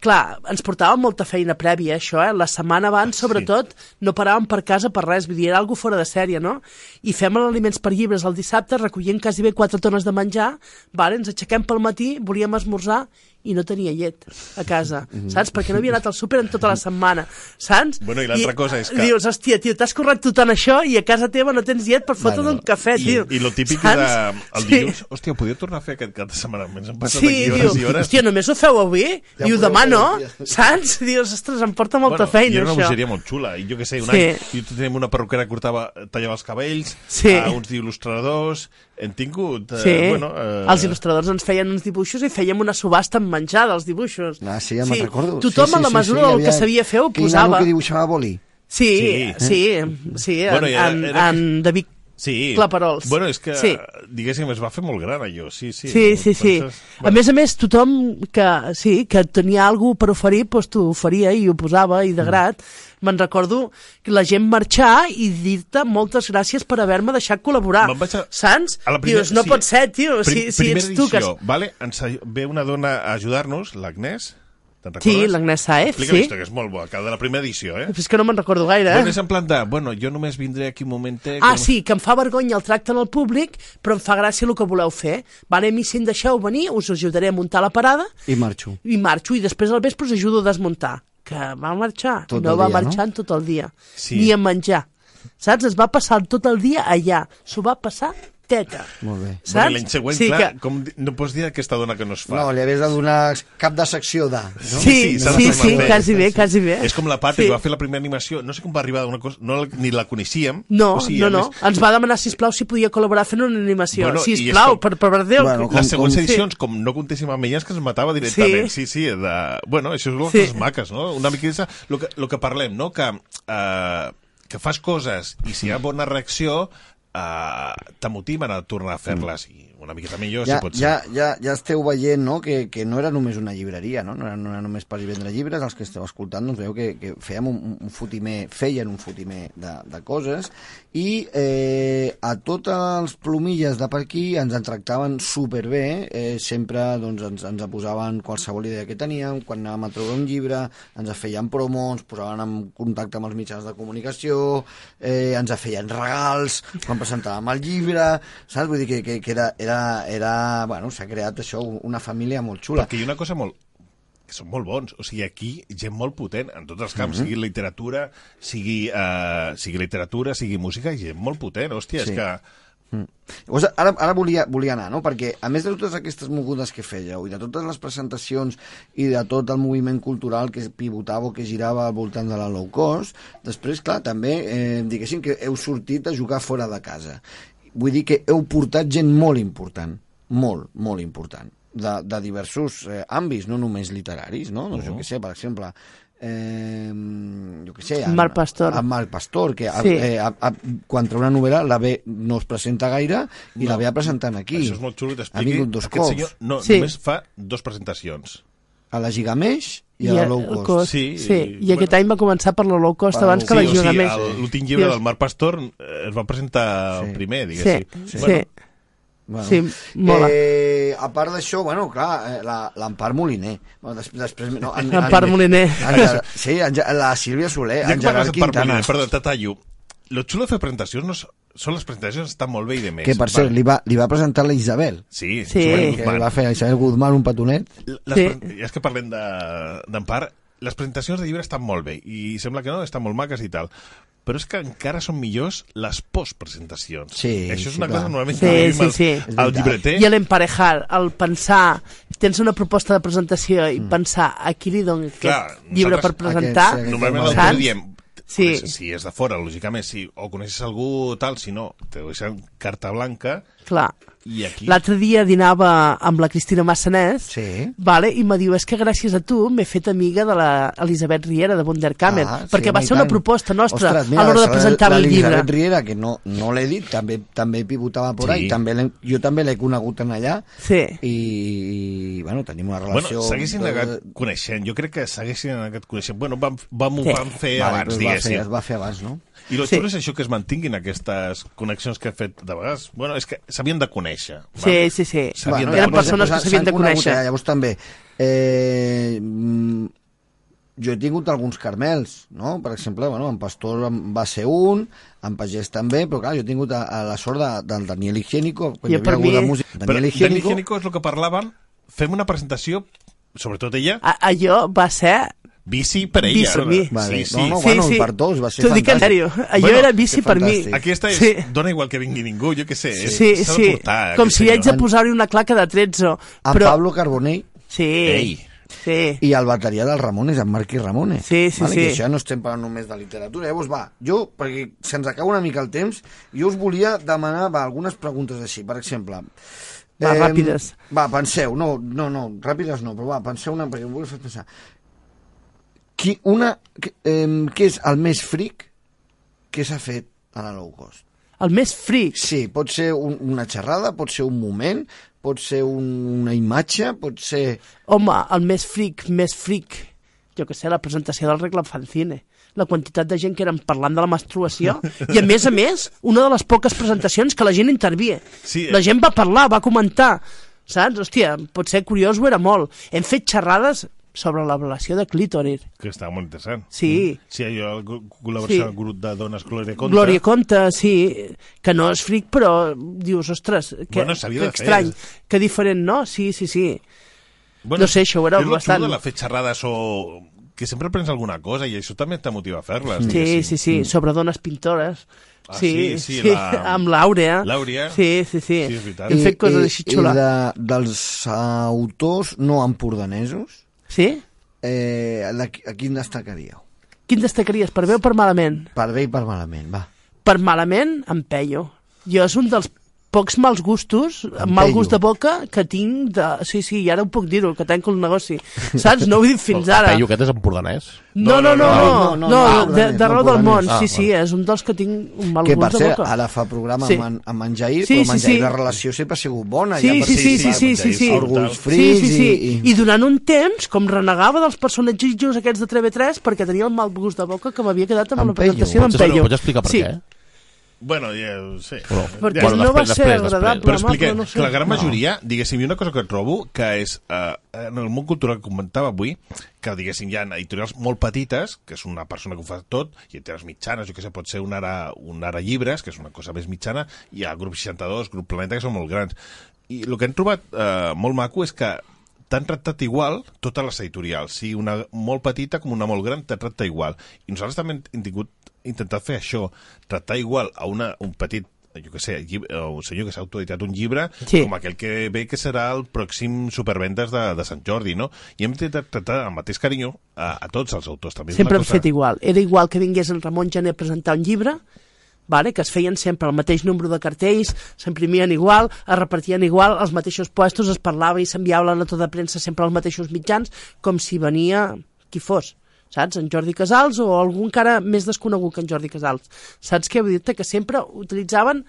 D: clar, ens portava molta feina prèvia, això, eh? La setmana abans, sobretot, no paràvem per casa per res, vull dir, era algo fora de sèrie, no? I fem aliments per llibres el dissabte, recollint quasi bé 4 tones de menjar, vale, ens aixequem pel matí, volíem esmorzar, i no tenia llet a casa, saps? Perquè no havia anat al súper en tota la setmana, saps?
B: Mhm. Bueno, i l'altra cosa és que-
D: Dius, hòstia, tio, t'has corret tot en això i a casa teva no tens llet per fotre bueno, un cafè,
B: I,
D: tio.
B: I lo típic
D: saps?
B: de... El dilluns, hòstia, podria tornar a fer aquest cap de setmana? Ens han passat
D: Sí,
B: aquí
D: diu,
B: hores i hores.
D: hòstia, només ho feu avui?
B: Ja
D: Ja diu,
B: podeu
D: demà
B: fer
D: no,
B: els dies.
D: saps? Dius, ostres, em porta molta
B: bueno, i
D: feina,
B: era una
D: això.
B: bogeria molt xula. I jo què sé, un
D: Sí.
B: sí. any jo teníem una perruquera que cortava, tallava els cabells,
D: Sí.
B: a uns il·lustradors... Hem tingut...
D: Sí,
B: Eh, bueno, eh,
D: els il·lustradors ens feien uns dibuixos i fèiem una subhasta amb menjar dels dibuixos.
L: Ah, sí, ja me'n recordo.
D: Tothom
L: sí, sí,
D: a la
L: sí,
D: mesura
L: sí, hi
D: del que
L: havia-
D: sabia fer ho
L: Quin nano
D: posava.
L: que dibuixava boli.
D: Sí,
L: Sí.
D: sí, sí, sí
B: Bueno,
D: bueno,
B: i era-
D: en,
B: era-
D: en, en David
B: Sí.
D: Claparols.
B: Bueno, és que,
D: Sí.
B: diguéssim, es va fer molt gran, allò. Sí, sí.
D: Sí,
B: Ho
D: sí, sí.
B: penses?
D: A més a més, tothom que, sí, que tenia alguna per oferir, doncs t'ho oferia i ho posava
B: Mm.
D: i de grat. Me'n recordo que la gent marxar i dir-te moltes gràcies per haver-me deixat col·laborar.
B: Me'n vaig a-
D: Saps?
B: A la primera,
D: Dius, no
B: sí.
D: pot ser, tio, si,
B: Prim-
D: si ets
B: primera
D: tu que...
B: edició, vale? Ens aj- ve una dona a ajudar-nos, l'Agnès, te'n recordes?
D: Sí, l'Agnès Saez,
B: Explica la
D: sí.
B: història, que és molt bo, que de la primera edició, eh?
D: És que no me'n recordo gaire,
B: Bueno,
D: eh?
B: és en plan de, bueno, jo només vindré aquí un momentet...
D: Ah,
B: que-
D: sí, que em fa vergonya el tracte en el públic, però em fa gràcia el que voleu fer. Va, anem i si em deixeu venir, us ajudaré a muntar la parada
L: I marxo.
D: i marxo i després al vespre us ajudo a desmuntar que va marxar,
L: Tot
D: no
L: el
D: va
L: dia, no?
D: marxar en tot el dia
L: Sí.
D: ni a menjar, saps? es va passar tot el dia allà, s'ho va passar teta,
L: Molt bé.
B: Bueno, i
D: saps?
B: l'any següent,
D: Sí,
B: clar,
D: que-
B: com di- no pots dir a aquesta dona que no es fa.
L: No, li havies de donar cap de secció de... No?
D: sí,
B: s'ha de
D: sí,
B: tornar a
D: sí,
B: fer.
D: quasi bé, quasi bé.
B: És com la Patri,
D: eh? Sí.
B: va fer la primera animació, no sé com va arribar d'una cosa, no, la- ni la coneixíem.
D: no,
B: O sigui,
D: no,
B: a
D: no,
B: més-
D: ens va demanar sisplau si podia col·laborar fent una animació
B: Bueno,
D: bueno,
B: i és
D: sisplau,
B: com-
D: per, per Déu
B: les següents edicions, com no contéssim amb elles, que ens matava directament. Sí, sí, de... Bueno, això és una de les
D: Sí.
B: coses maques, no? Una mica és el que, lo que parlem, no? Que, eh, que fas coses i si hi ha bona reacció, eh, t'amotiven a tornar a fer-les. I una miqueta millor,
L: Mm. ja,
B: si pot ser.
L: ja, ja, ja esteu veient no? que, que no era només una llibreria, no? No, era, no era només per vendre llibres, els que esteu escoltant doncs veieu que, que fèiem un, un- un fotimer, feien un fotimer de, de coses i eh, a tots els plomilles de per aquí ens en tractaven superbé, eh, sempre doncs, ens, ens posaven qualsevol idea que teníem, quan anàvem a treure un llibre, ens feien promo, ens posaven en contacte amb els mitjans de comunicació, eh, ens feien regals, quan presentàvem el llibre, saps? Vull dir que, que, que era, era, era... Bueno, s'ha creat això, una família molt xula.
B: Perquè hi ha una cosa molt que són molt bons, o sigui, aquí gent molt potent en tots els camps,
L: Mm-hmm.
B: mm -hmm. sigui literatura, sigui, uh, sigui literatura, sigui música, hi ha gent molt potent, hòstia, sí.
L: Sí.
B: és que...
L: Llavors, ara, ara volia, volia anar, no? Perquè, a més de totes aquestes mogudes que fèieu, i de totes les presentacions, i de tot el moviment cultural que pivotava o que girava al voltant de la low cost, després, clar, també, eh, diguéssim que heu sortit a jugar fora de casa. Vull dir que heu portat gent molt important, molt, molt important, de, de diversos eh, àmbits, no només literaris, no? Doncs, jo què sé, per exemple, eh, jo què sé... en-
D: Marc Pastor.
L: en Marc Pastor, que
D: Sí.
L: sí. eh, a, a, quan treu una novel·la la B no es presenta gaire i no. la ve a presentant aquí.
B: Això és molt xulo,
L: Ha
B: t'expliqui.
L: vingut dos
B: Aquest
L: cops.
B: senyor no, sí. només fa dos presentacions.
L: A la Gigamesh i, a la Low Cost.
B: Sí,
D: sí.
B: i-
D: I, aquest any va començar per la low cost
L: Per la
D: abans que
L: low
D: la
L: cost.
B: Sí, o
D: Giga
B: sigui,
D: Més.
B: el- l'últim llibre
D: Dius,
B: del Marc Pastor eh, es va presentar sí. primer, diguéssim.
D: Sí, sí. Sí, mola.
L: Eh, a part d'això, bueno, clar, eh, la- l'Empar Moliner. Bueno, des, després, no, en,
D: L'Empar
L: en-
D: Moliner.
L: en- sí, en, la Sílvia Soler,
B: Ja
L: en
B: que parles
L: Gerard
B: de Parc
L: Quintana.
B: Moliner, perdó, te tallo. Lo xulo de fer presentacions no és- són les presentacions que estan molt bé i de més.
L: Que, per cert, li va, li va presentar la Isabel.
B: Sí, Sí. Isabel
L: Que
B: Guzmán.
L: va fer a Isabel Guzmán un petonet.
B: Les, sí. Ja és que parlem de- d'Empar, les presentacions de llibres estan molt bé i sembla que no, estan molt maques i tal, però és que encara són millors les postpresentacions.
L: Sí,
B: Això és
L: sí,
B: una
L: clar.
B: cosa normalment
L: Sí,
B: que diu
L: sí,
B: el,
L: sí.
B: el llibreter.
D: I l'emparejar, el pensar... Tens una proposta de presentació i pensar a qui li dono aquest
B: Mm. Clar,
D: llibre per
B: nosaltres-
D: presentar...
B: Normalment l'autor
D: saps?
B: diem,
D: Sí.
B: sí. si és de fora, lògicament, si o coneixes algú, tal, si no, te deixen carta blanca
D: Clar.
B: i aquí...
D: L'altre dia dinava amb la Cristina Massanès
L: sí.
D: vale, i me diu, és que gràcies a tu m'he fet amiga de l'Elisabet Riera de Wunderkammer,
L: Ah, sí,
D: perquè va
L: home, i
D: ser una
L: tant.
D: proposta nostra
L: Ostres, mira,
D: a l'hora de
L: la-
D: presentar
L: la
D: el llibre.
L: Elisabet Riera, que no, no l'he dit, també també pivotava por
B: Sí.
L: ahí, també l'he- jo també l'he conegut en allà,
D: sí.
L: i, i bueno, tenim una relació...
B: Bueno, s'haguessin
L: de-
B: anat coneixent, jo crec que s'haguessin anat coneixent. Bueno, vam, vam, ho
L: Sí.
B: vam fer
L: Vale,
B: abans,
L: però es va
B: diguéssim.
L: fer- es va fer abans, no?
B: I el
L: Sí.
B: sí. xulo és això que es mantinguin aquestes connexions que he fet de vegades. Bueno, és que s'havien de conèixer.
D: Sí, sí, sí.
B: S'havien
L: Bueno,
B: de
L: llavors,
B: conèixer.
D: persones que
L: s'han-
D: s'havien de
L: s'han conegut
D: conèixer.
L: allà. Llavors també, eh, mm, jo he tingut alguns carmels, no? Per exemple, bueno, en Pastor en va ser un, en Pagès també, però clar, jo he tingut a, a la sort de, del Daniel Higiénico, quan hi havia algú de música.
B: Però Daniel Higiénico... és el que parlaven, fem una presentació, sobretot ella,
D: A, allò va ser...
B: bici per ella.
D: Bici per mi.
B: Sí,
L: Vale.
B: sí.
L: No, no, bueno, Sí, sí. per tots, va ser
D: T'ho dic en
L: fantàstic.
D: sèrio. Allò era bici per mi.
B: Aquesta és,
D: Sí.
B: sí. dona igual que vingui ningú, jo què sé.
D: Sí,
B: és-
D: sí,
B: s'ha
D: sí.
B: de portar. eh,
D: com
B: aquest
D: si haig de
B: senyor.
D: posar-hi una claca de 13.
L: En
D: Però...
L: Pablo Carbonell
D: Sí.
L: Ei.
D: Sí.
L: i el bateria del Ramones, en Marqui Ramones.
D: Sí, sí,
L: eh? vale?
D: sí.
L: Que això no estem parlant només de literatura. Llavors, va, jo, perquè se'ns acaba una mica el temps, jo us volia demanar va, algunes preguntes així, per exemple.
D: Va, ràpides.
L: Va, penseu, no, no, no, ràpides no, però va, penseu una, perquè em vull fer pensar. Qui, una, que, eh, què és el més fric que s'ha fet a la low cost?
D: El més fric?
L: Sí, pot ser un, una xerrada, pot ser un moment, pot ser un, una imatge, pot ser...
D: Home, el més fric, més fric, jo que sé, la presentació del regle fanzine. La quantitat de gent que eren parlant de la menstruació i, a més a més, una de les poques presentacions que la gent intervia.
B: Sí, eh.
D: la gent va parlar, va comentar, saps? Hòstia, potser curiós ho era molt. Hem fet xerrades sobre l'ablació de clítoris.
B: Que està molt interessant.
D: Sí.
B: Mm. Sí, allò, la col- col·laboració
D: Sí.
B: sí. del grup de dones Gloria Contra.
D: Glòria Conte, sí, que no és fric, però dius, ostres, que,
B: Bueno, s'havia
D: que
B: de fer.
D: estrany, que diferent, no? Sí, sí, sí. no sé, això ho era
B: és lo
D: bastant-
B: xulo de la fer xerrades o... que sempre aprens alguna cosa i això també te motiva a fer-les.
D: Sí,
B: diguéssim. Mm.
D: sí, sí, sobre dones pintores.
B: Ah, sí, sí, la-
D: amb l'Àurea.
B: l'Àurea.
D: Sí, sí, sí.
B: Sí, és veritat.
D: Hem
B: I-
D: fet coses
B: i-
D: així
L: I
D: xules.
L: Eh, de, dels autors no empordanesos?
D: Sí?
L: Eh, de, a quin destacaríeu?
D: Quin destacaries, per bé o per malament?
L: Per bé i per malament, va.
D: Per malament, em peio. Jo és un dels pocs mals gustos, mal
L: Pello.
D: gust de boca que tinc de... Sí, sí, i ara ho puc dir-ho, que tanco el negoci. Saps? No ho he dit fins ara.
C: Peyu, aquest és empordanès?
D: No, no, no, no, no,
L: no,
D: de- de-
L: no,
D: d'arreu
L: no,
D: del món,
L: no,
B: Ah,
D: sí,
L: no.
D: sí, és un dels que tinc un mal
L: que per
D: gust de
L: cert,
D: boca.
L: ara fa programa
D: Sí.
L: amb, en, amb en Jair,
D: Sí,
L: sí, però amb en
D: sí,
L: Jair
D: sí.
L: la relació sempre ha sigut bona.
D: Sí,
L: ja
D: sí, sí, sí, sí, sí, sí.
L: Orgulls
D: sí,
L: frits
D: sí, sí.
L: i...
D: I durant un temps, com renegava dels personatges aquests de TV3 perquè tenia el mal gust de boca que m'havia quedat amb la presentació d'en Peyu. sí.
B: Bueno, ja, sí.
C: Però-
D: Perquè bueno, no després, va ser després, després. agradable,
B: Però
D: amable,
B: expliquem
D: no sé.
B: que la gran
D: No.
B: majoria, diguéssim, i una cosa que trobo, que és, eh, en el món cultural que comentava avui, que, diguéssim, hi ha editorials molt petites, que és una persona que ho fa tot, i editorials mitjanes, jo què sé, pot ser un ara, un ara llibres, que és una cosa més mitjana, i hi ha grup 62, grup Planeta, que són molt grans. I el que hem trobat eh, molt maco és que t'han tractat igual totes les editorials, sigui una molt petita com una molt gran, te tracta igual. I nosaltres també hem tingut, intentat fer això, tractar igual a una, un petit jo que sé, llibre, o un senyor que s'ha autoeditat un llibre
D: Sí.
B: com aquell que ve que serà el pròxim supervendes de, de Sant Jordi, no? I hem intentat tractar amb el mateix carinyo a, a tots els autors. També és una
D: Sempre hem
B: cosa...
D: fet igual. Era igual que vingués en Ramon Gené a presentar un llibre, vale? que es feien sempre el mateix número de cartells, s'imprimien igual, es repartien igual, als mateixos puestos, es parlava i s'enviava la nota de premsa sempre als mateixos mitjans, com si venia qui fos saps? En Jordi Casals o algú encara més desconegut que en Jordi Casals. Saps què vull dir-te? Que sempre utilitzaven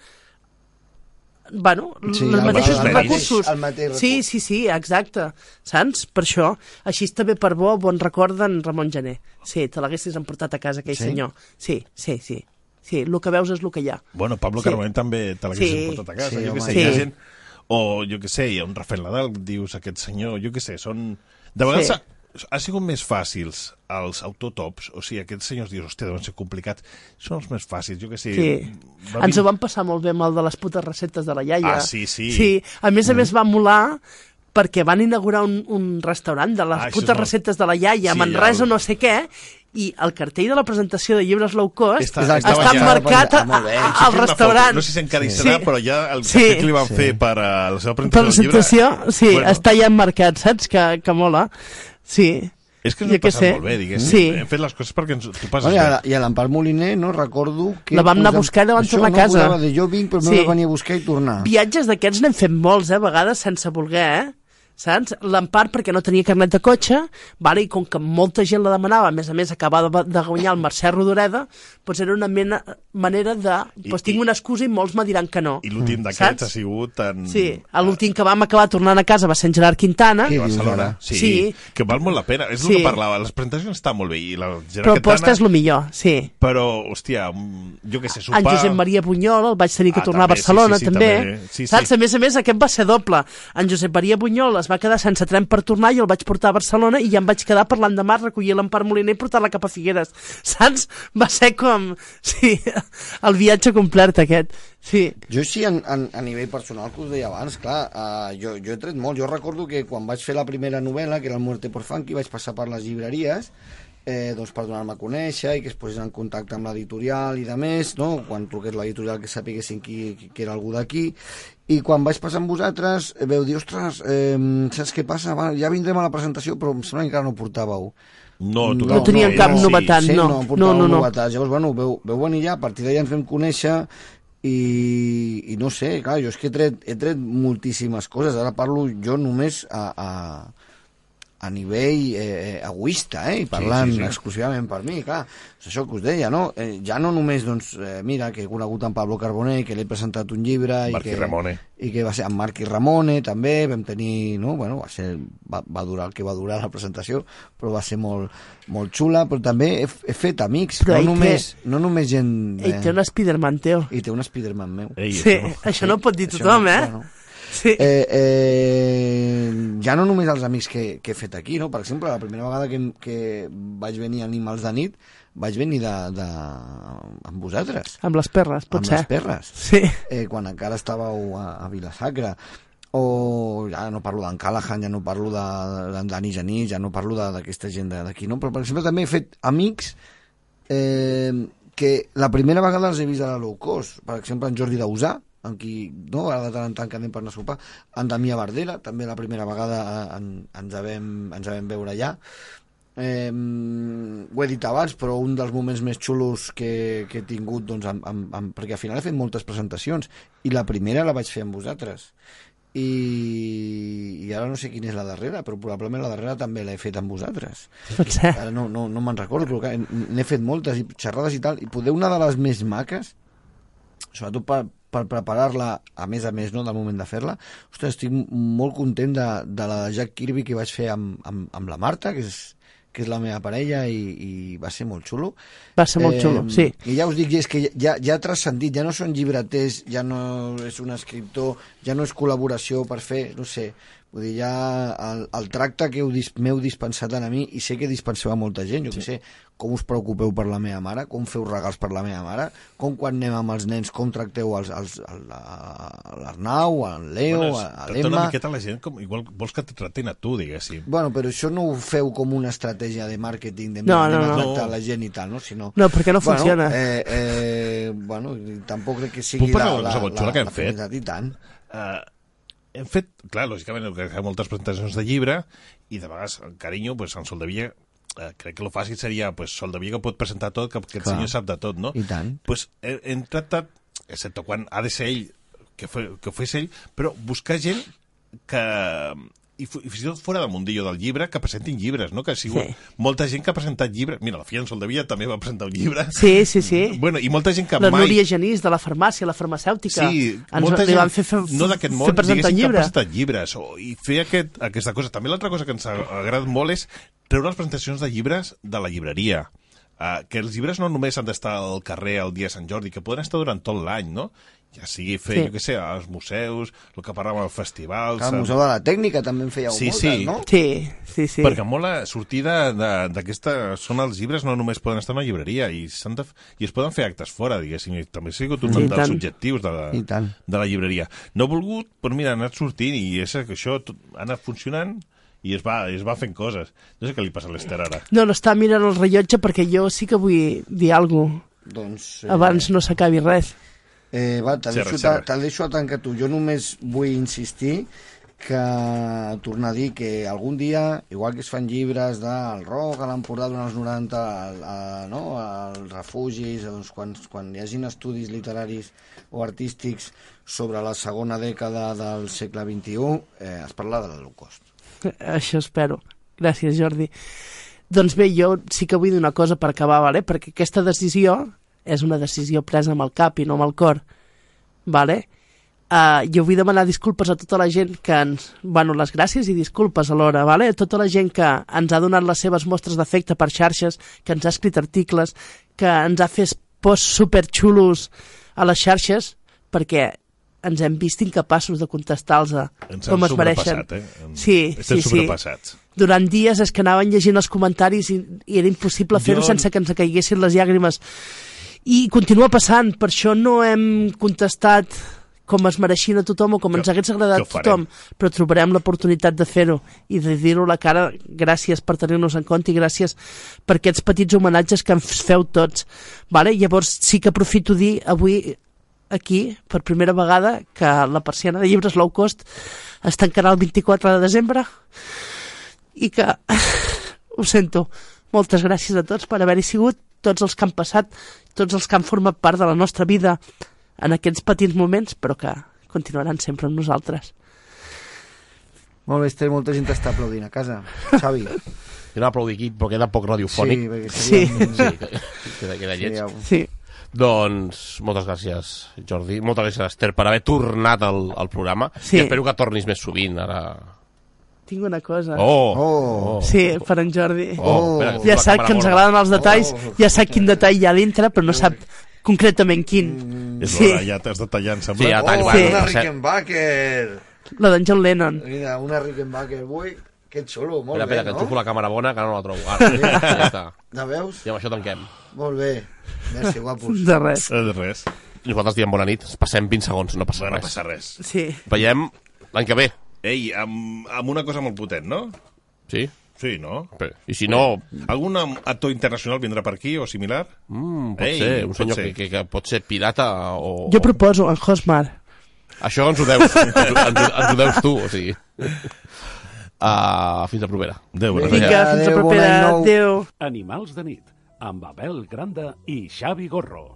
D: bueno,
L: Sí,
D: sí, els
L: el
D: mateixos
L: mateix,
D: recursos.
L: el mateix
D: Sí, sí, sí, exacte. Saps? Per això. Així és també per bo, bon record d'en Ramon Gené. Sí, te l'haguessis emportat a casa aquell
B: Sí?
D: senyor. Sí, sí, sí. Sí, el que veus és el que hi ha.
B: Bueno, Pablo sí.
D: Sí.
B: Carbonell també te l'hagués
D: Sí.
B: sí. portat a casa,
D: Sí,
B: sí, jo
D: home,
B: què sé, sí. hi ha
D: sí.
B: gent... O, jo què sé, hi ha un Rafael Nadal, dius, aquest senyor, jo què sé, són... De vegades
D: Sí.
B: sí. ha, ha sigut més fàcils els autotops, o sigui, aquests senyors dius, hòstia, deuen ser complicats, són els més fàcils, jo què sé...
D: Sí.
B: va
D: Ens ho
B: vin-
D: vam passar molt bé amb el de les putes receptes de la iaia.
B: Ah, sí, sí. Mm.
D: sí. A més a més va molar perquè van inaugurar un, un restaurant de les
B: Ah, això
D: ah,
B: és
D: putes
B: molt-
D: receptes de la iaia,
B: Sí,
D: sí, Manresa
B: ja ho-
D: no sé què, i el cartell de la presentació de llibres low cost
B: Està-
D: està,
B: estava ja-
D: emmarcat
B: Ah,
D: a, a,
B: Sí,
D: al
B: sí,
D: restaurant.
B: No sé si encara hi serà,
D: Sí.
B: però ja el
D: Sí.
B: cafè que li van fer per a la seva
D: Per
B: presentació del llibre...
D: presentació, sí,
B: Bueno,
D: bueno. està ja emmarcat, saps? Que, que mola. Sí.
B: és que ens ho
D: Jo què
B: passem
D: sé.
B: molt bé, diguéssim.
D: Sí.
B: Hem fet les coses perquè ens ho passes
L: Bueno, i,
B: bé.
L: a, I a l'Empar Moliner, no recordo... Que
D: La vam anar a buscar i la vam
L: Això
D: tornar a
L: no
D: casa.
L: posava de jo vinc, però
D: Sí.
L: sí. m'he de venir a buscar i tornar.
D: Ah. Viatges d'aquests n'hem fet molts, eh, a vegades, sense voler, eh? Saps? L'Empart, perquè no tenia carnet de cotxe, vale? i com que molta gent la demanava, a més a més acabava de guanyar el Mercè Rodoreda, doncs era una mena, manera de... Doncs tinc una excusa i molts me diran que no.
B: I l'últim d'aquests ha sigut en...
D: Sí, l'últim que vam acabar tornant a casa va ser en Gerard Quintana.
B: a Barcelona.
D: Sí,
B: Sí,
D: sí
B: que val molt la pena. És
D: Sí.
B: el que parlava, les presentacions estan molt bé. I la Gerard
D: però posta
B: Quintana-
D: és el millor, sí.
B: Però, hòstia, mm, jo què sé, sopar...
D: En Josep Maria Bunyol el vaig tenir que
B: Ah,
D: tornar
B: també,
D: a
B: sí, sí,
D: Barcelona,
B: sí,
D: també.
B: també. Sí, sí.
D: Saps? A més a més, aquest va ser doble. En Josep Maria Bunyol es va quedar sense tren per tornar, jo el vaig portar a Barcelona i ja em vaig quedar per l'endemà recollir l'Empar Moliner i portar-la cap a Figueres. Saps? Va ser com... Sí, el viatge complet aquest. Sí.
L: Jo sí, en, en, a nivell personal, que us deia abans, clar, uh, jo, jo he tret molt. Jo recordo que quan vaig fer la primera novel·la, que era el Muerte por Funky, vaig passar per les llibreries eh, doncs per donar-me a conèixer i que es posés en contacte amb l'editorial i de més, no? quan truqués l'editorial que sapiguessin qui, qui, qui era algú d'aquí i quan vaig passar amb vosaltres eh, veu dir, ostres, eh, saps què passa? Va, ja vindrem a la presentació però em sembla que encara no portàveu
B: No, tu-
D: No tenien cap novetat,
L: sí,
D: no.
L: no,
D: No, no,
L: no,
D: no.
L: novetats. Llavors, bueno, veu, veu venir ja, a partir d'allà ens vam conèixer i, i no sé, clar, jo és que he tret, he tret moltíssimes coses. Ara parlo jo només a, a, a nivell eh, egoista, eh, i parlant
M: sí,
L: sí,
M: sí.
L: sí, sí. exclusivament per mi, clar, és això que us deia, no? Eh, ja no només, doncs, eh, mira, que he conegut en Pablo Carboner, que l'he presentat un llibre...
B: Marc
L: i
B: i
L: que,
B: Ramone.
L: I que va ser amb Marc i Ramone, també, vam tenir, no?, bueno, va, ser, va, va durar el que va durar la presentació, però va ser molt, molt xula, però també he, he fet amics,
D: Però
L: però
D: ell
L: no, només, no només gent...
D: Ell té un Spiderman teu.
L: Eh. I té un Spiderman meu.
D: Ei, Sí, això no- això no ho pot dir tothom, eh? Sí.
L: Eh, eh, ja no només els amics que, que he fet aquí, no? Per exemple, la primera vegada que, em- que vaig venir a Animals de nit, vaig venir de, de, amb vosaltres.
D: Amb les perres, pot ser.
L: Amb les perres.
D: Sí.
L: Eh, quan encara estàveu a, a Vilasacra. O ja no parlo d'en Callahan, ja no parlo de- d'en de, Dani Genís, ja no parlo de- d'aquesta gent de- d'aquí, no? Però, per exemple, també he fet amics eh, que la primera vegada els he vist a la low cost. Per exemple, en Jordi Dausà, amb qui, no, ara de tant en tant que anem per anar a sopar, en Damià Bardera, també la primera vegada eh, en, ens, vam, ens vam veure allà. Eh, ho he dit abans, però un dels moments més xulos que, que he tingut, doncs, amb, amb, amb, perquè al final he fet moltes presentacions i la primera la vaig fer amb vosaltres. I, i ara no sé quina és la darrera, però probablement la darrera també l'he fet amb vosaltres.
D: Potser.
L: Ara no, no, no me'n recordo, però clar, n'he fet moltes i xerrades i tal, i poder una de les més maques, sobretot per, per preparar-la, a més a més, no, del moment de fer-la, ostres, estic molt content de, de la de Jack Kirby que vaig fer amb, amb, amb la Marta, que és, que és la meva parella i, i va ser molt xulo.
D: Va ser molt xulo, sí.
L: I ja us dic, és que ja, ja ha transcendit, ja no són llibreters, ja no és un escriptor, ja no és col·laboració per fer, no sé, vull dir, ja el, el tracte que heu dis, m'heu dispensat a mi, i sé que dispenseu a molta gent, jo sí. que sé, com us preocupeu per la meva mare, com feu regals per la meva mare, com quan anem amb els nens, com tracteu els, els, el- a- a l'Arnau, a Leo,
B: Bueno,
L: a,
B: és
L: a
B: tractar una
L: l'Emma...
B: miqueta la gent com... Igual vols que et tratin a tu, diguéssim.
L: Bueno, però això no ho feu com una estratègia de màrqueting, de
B: No,
L: no, no,
B: no,
L: no,
B: no.
L: tractar la gent i tal, no? Si no,
D: No, perquè no funciona.
L: Eh, eh, bueno, i tampoc crec que sigui
B: Puc
L: la,
B: parlar d'una
L: la,
B: cosa
L: la,
B: molt xula que hem
L: la
B: fet? Eh,
L: finalitat, i tant.
B: hem fet, clar, lògicament, hem fet moltes presentacions de llibre i de vegades, amb carinyo, pues, en Soldavilla eh, crec que el fàcil seria, pues, Soldavilla que pot presentar tot, que, que el
L: Clar.
B: senyor sap de tot, no?
L: I tant.
B: Pues, hem, hem tractat, excepte quan ha de ser ell, que, fe, que ho fes ell, però buscar gent que i, fu- i fins i tot fora del mundillo del llibre, que presentin llibres, no? Que ha sigut
D: Sí.
B: molta gent que ha presentat llibres. Mira, la filla en Soldavilla també va presentar un llibre.
D: Sí, sí, sí.
B: Bueno, i molta gent que
D: la
B: mai...
D: Núria Genís, de la farmàcia, la farmacèutica.
B: Sí,
D: ens,
B: molta
D: li
B: gent,
D: van fer, fer,
B: no d'aquest món,
D: fer
B: diguéssim
D: presentar
B: que ha
D: llibre.
B: presentat llibres o, i fer aquest, aquesta cosa. També l'altra cosa que ens ha agradat molt és treure les presentacions de llibres de la llibreria. Uh, que els llibres no només han d'estar al carrer el dia de Sant Jordi, que poden estar durant tot l'any, no? Ja sigui fer,
L: Sí.
B: sí. jo què sé, als museus, el que parlàvem, als festivals...
L: Clar,
B: en-
L: el Museu de la Tècnica també en fèieu
B: eh, Sí,
L: moltes,
B: sí.
L: no?
D: Sí, sí, sí.
B: Perquè molt la sortida de- d'aquesta zona dels llibres no només poden estar en una llibreria i, s'han de, f- i es poden fer actes fora, diguéssim, i també ha sigut un
L: I
B: dels
L: tant.
B: objectius de la,
L: I tant.
B: de la llibreria. No ha volgut, però mira, ha anat sortint i és que això tot, ha anat funcionant i es va, es va fent coses. No sé què li passa a l'Ester ara.
D: No, no està mirant el rellotge perquè jo sí que vull dir alguna cosa.
L: Doncs... eh,
D: Abans no s'acabi res.
L: Eh, va, te
D: Serra,
L: deixo,
D: Serra.
L: te, te deixo a tancar tu. Jo només vull insistir que tornar a dir que algun dia, igual que es fan llibres del rock a l'Empordà durant els 90, al- a- no, als refugis, doncs quan, quan hi hagin estudis literaris o artístics sobre la segona dècada del segle XXI, eh, es parla de l'Holocaust.
D: Això espero. Gràcies, Jordi. Doncs bé, jo sí que vull dir una cosa per acabar, vale? perquè aquesta decisió és una decisió presa amb el cap i no amb el cor. Vale? Uh, jo vull demanar disculpes a tota la gent que ens... Bueno, les gràcies i disculpes alhora, vale? a tota la gent que ens ha donat les seves mostres d'afecte per xarxes, que ens ha escrit articles, que ens ha fet posts superxulos a les xarxes, perquè ens hem vist incapaços de contestar-los
B: Ens
D: com
B: han
D: es mereixen.
B: sobrepassat, eh? Em-
D: Sí,
B: estem
D: sí, sí.
B: sobrepassats.
D: Durant dies és que anaven llegint els comentaris i, i era impossible fer-ho
B: Jo-
D: sense que ens caiguessin les llàgrimes. I continua passant, per això no hem contestat com es mereixien a tothom o com ens hagués
M: que
D: agradat a
M: ho farem.
D: tothom, però trobarem l'oportunitat de fer-ho i de dir-ho a la cara. Gràcies per tenir-nos en compte i gràcies per aquests petits homenatges que ens feu tots. Vale? Llavors sí que aprofito dir avui aquí, per primera vegada, que la persiana de llibres low cost es tancarà el 24 de desembre i que ho sento. Moltes gràcies a tots per haver-hi sigut, tots els que han passat, tots els que han format part de la nostra vida en aquests petits moments, però que continuaran sempre amb nosaltres.
L: Molt bé, Esther, molta gent t'està aplaudint a casa. Xavi.
C: Jo no aplaudi aquí, però queda poc radiofònic.
L: Sí, perquè seria-
C: Sí, que- queda, queda
L: Sí,
C: lleig.
L: ja ho-
D: Sí.
C: Doncs moltes gràcies, Jordi. Moltes gràcies, Esther, per haver tornat al, al programa.
D: Sí.
C: I espero que tornis més sovint, ara.
D: Tinc una cosa.
C: Oh. Oh.
D: Sí, per en Jordi.
C: Oh. Espera, que
D: Ja
C: la
D: sap
C: càmera
D: que ens
C: gorda.
D: agraden els detalls, ja sap quin detall hi ha dintre, però no sap concretament quin.
B: És
D: Sí,
B: l'hora, ja t'has de tallar, em sembla.
C: Sí, ja
L: Oh,
C: tallo.
L: sí.
C: bueno,
L: una
C: per cert.
L: Rickenbacker!
D: la d'en John Lennon.
L: Mira, una Rickenbacker, ui, que xulo, molt
C: espera, espera,
L: bé,
C: que
L: no?
C: enxufo la càmera bona, que ara no la trobo. Ara, ja, està.
L: Ja veus?
C: I amb això tanquem.
L: Molt bé. Merci, guapos.
B: De res.
C: Nosaltres diem bona nit. Passem 20 segons, no passa
B: No
C: res.
B: passa res.
D: Sí.
C: Veiem l'any que ve.
B: Ei, amb, amb una cosa molt potent, no?
C: Sí?
B: Sí, no?
C: I si no...
B: Algun actor internacional vindrà per aquí o similar?
C: Mm, Pot ser, un senyor que, que, que pot ser pirata o...
D: Jo proposo en Hosmar.
C: Això ens ho deus, ens, ho- ens, ho- ens ho deus tu, o sigui... Uh, fins la propera.
B: Adéu,
D: bona Vinga, nit. fins la Adéu, propera. bona nit. Adéu.
A: Animals de nit, amb Abel Granda i Xavi Gorro.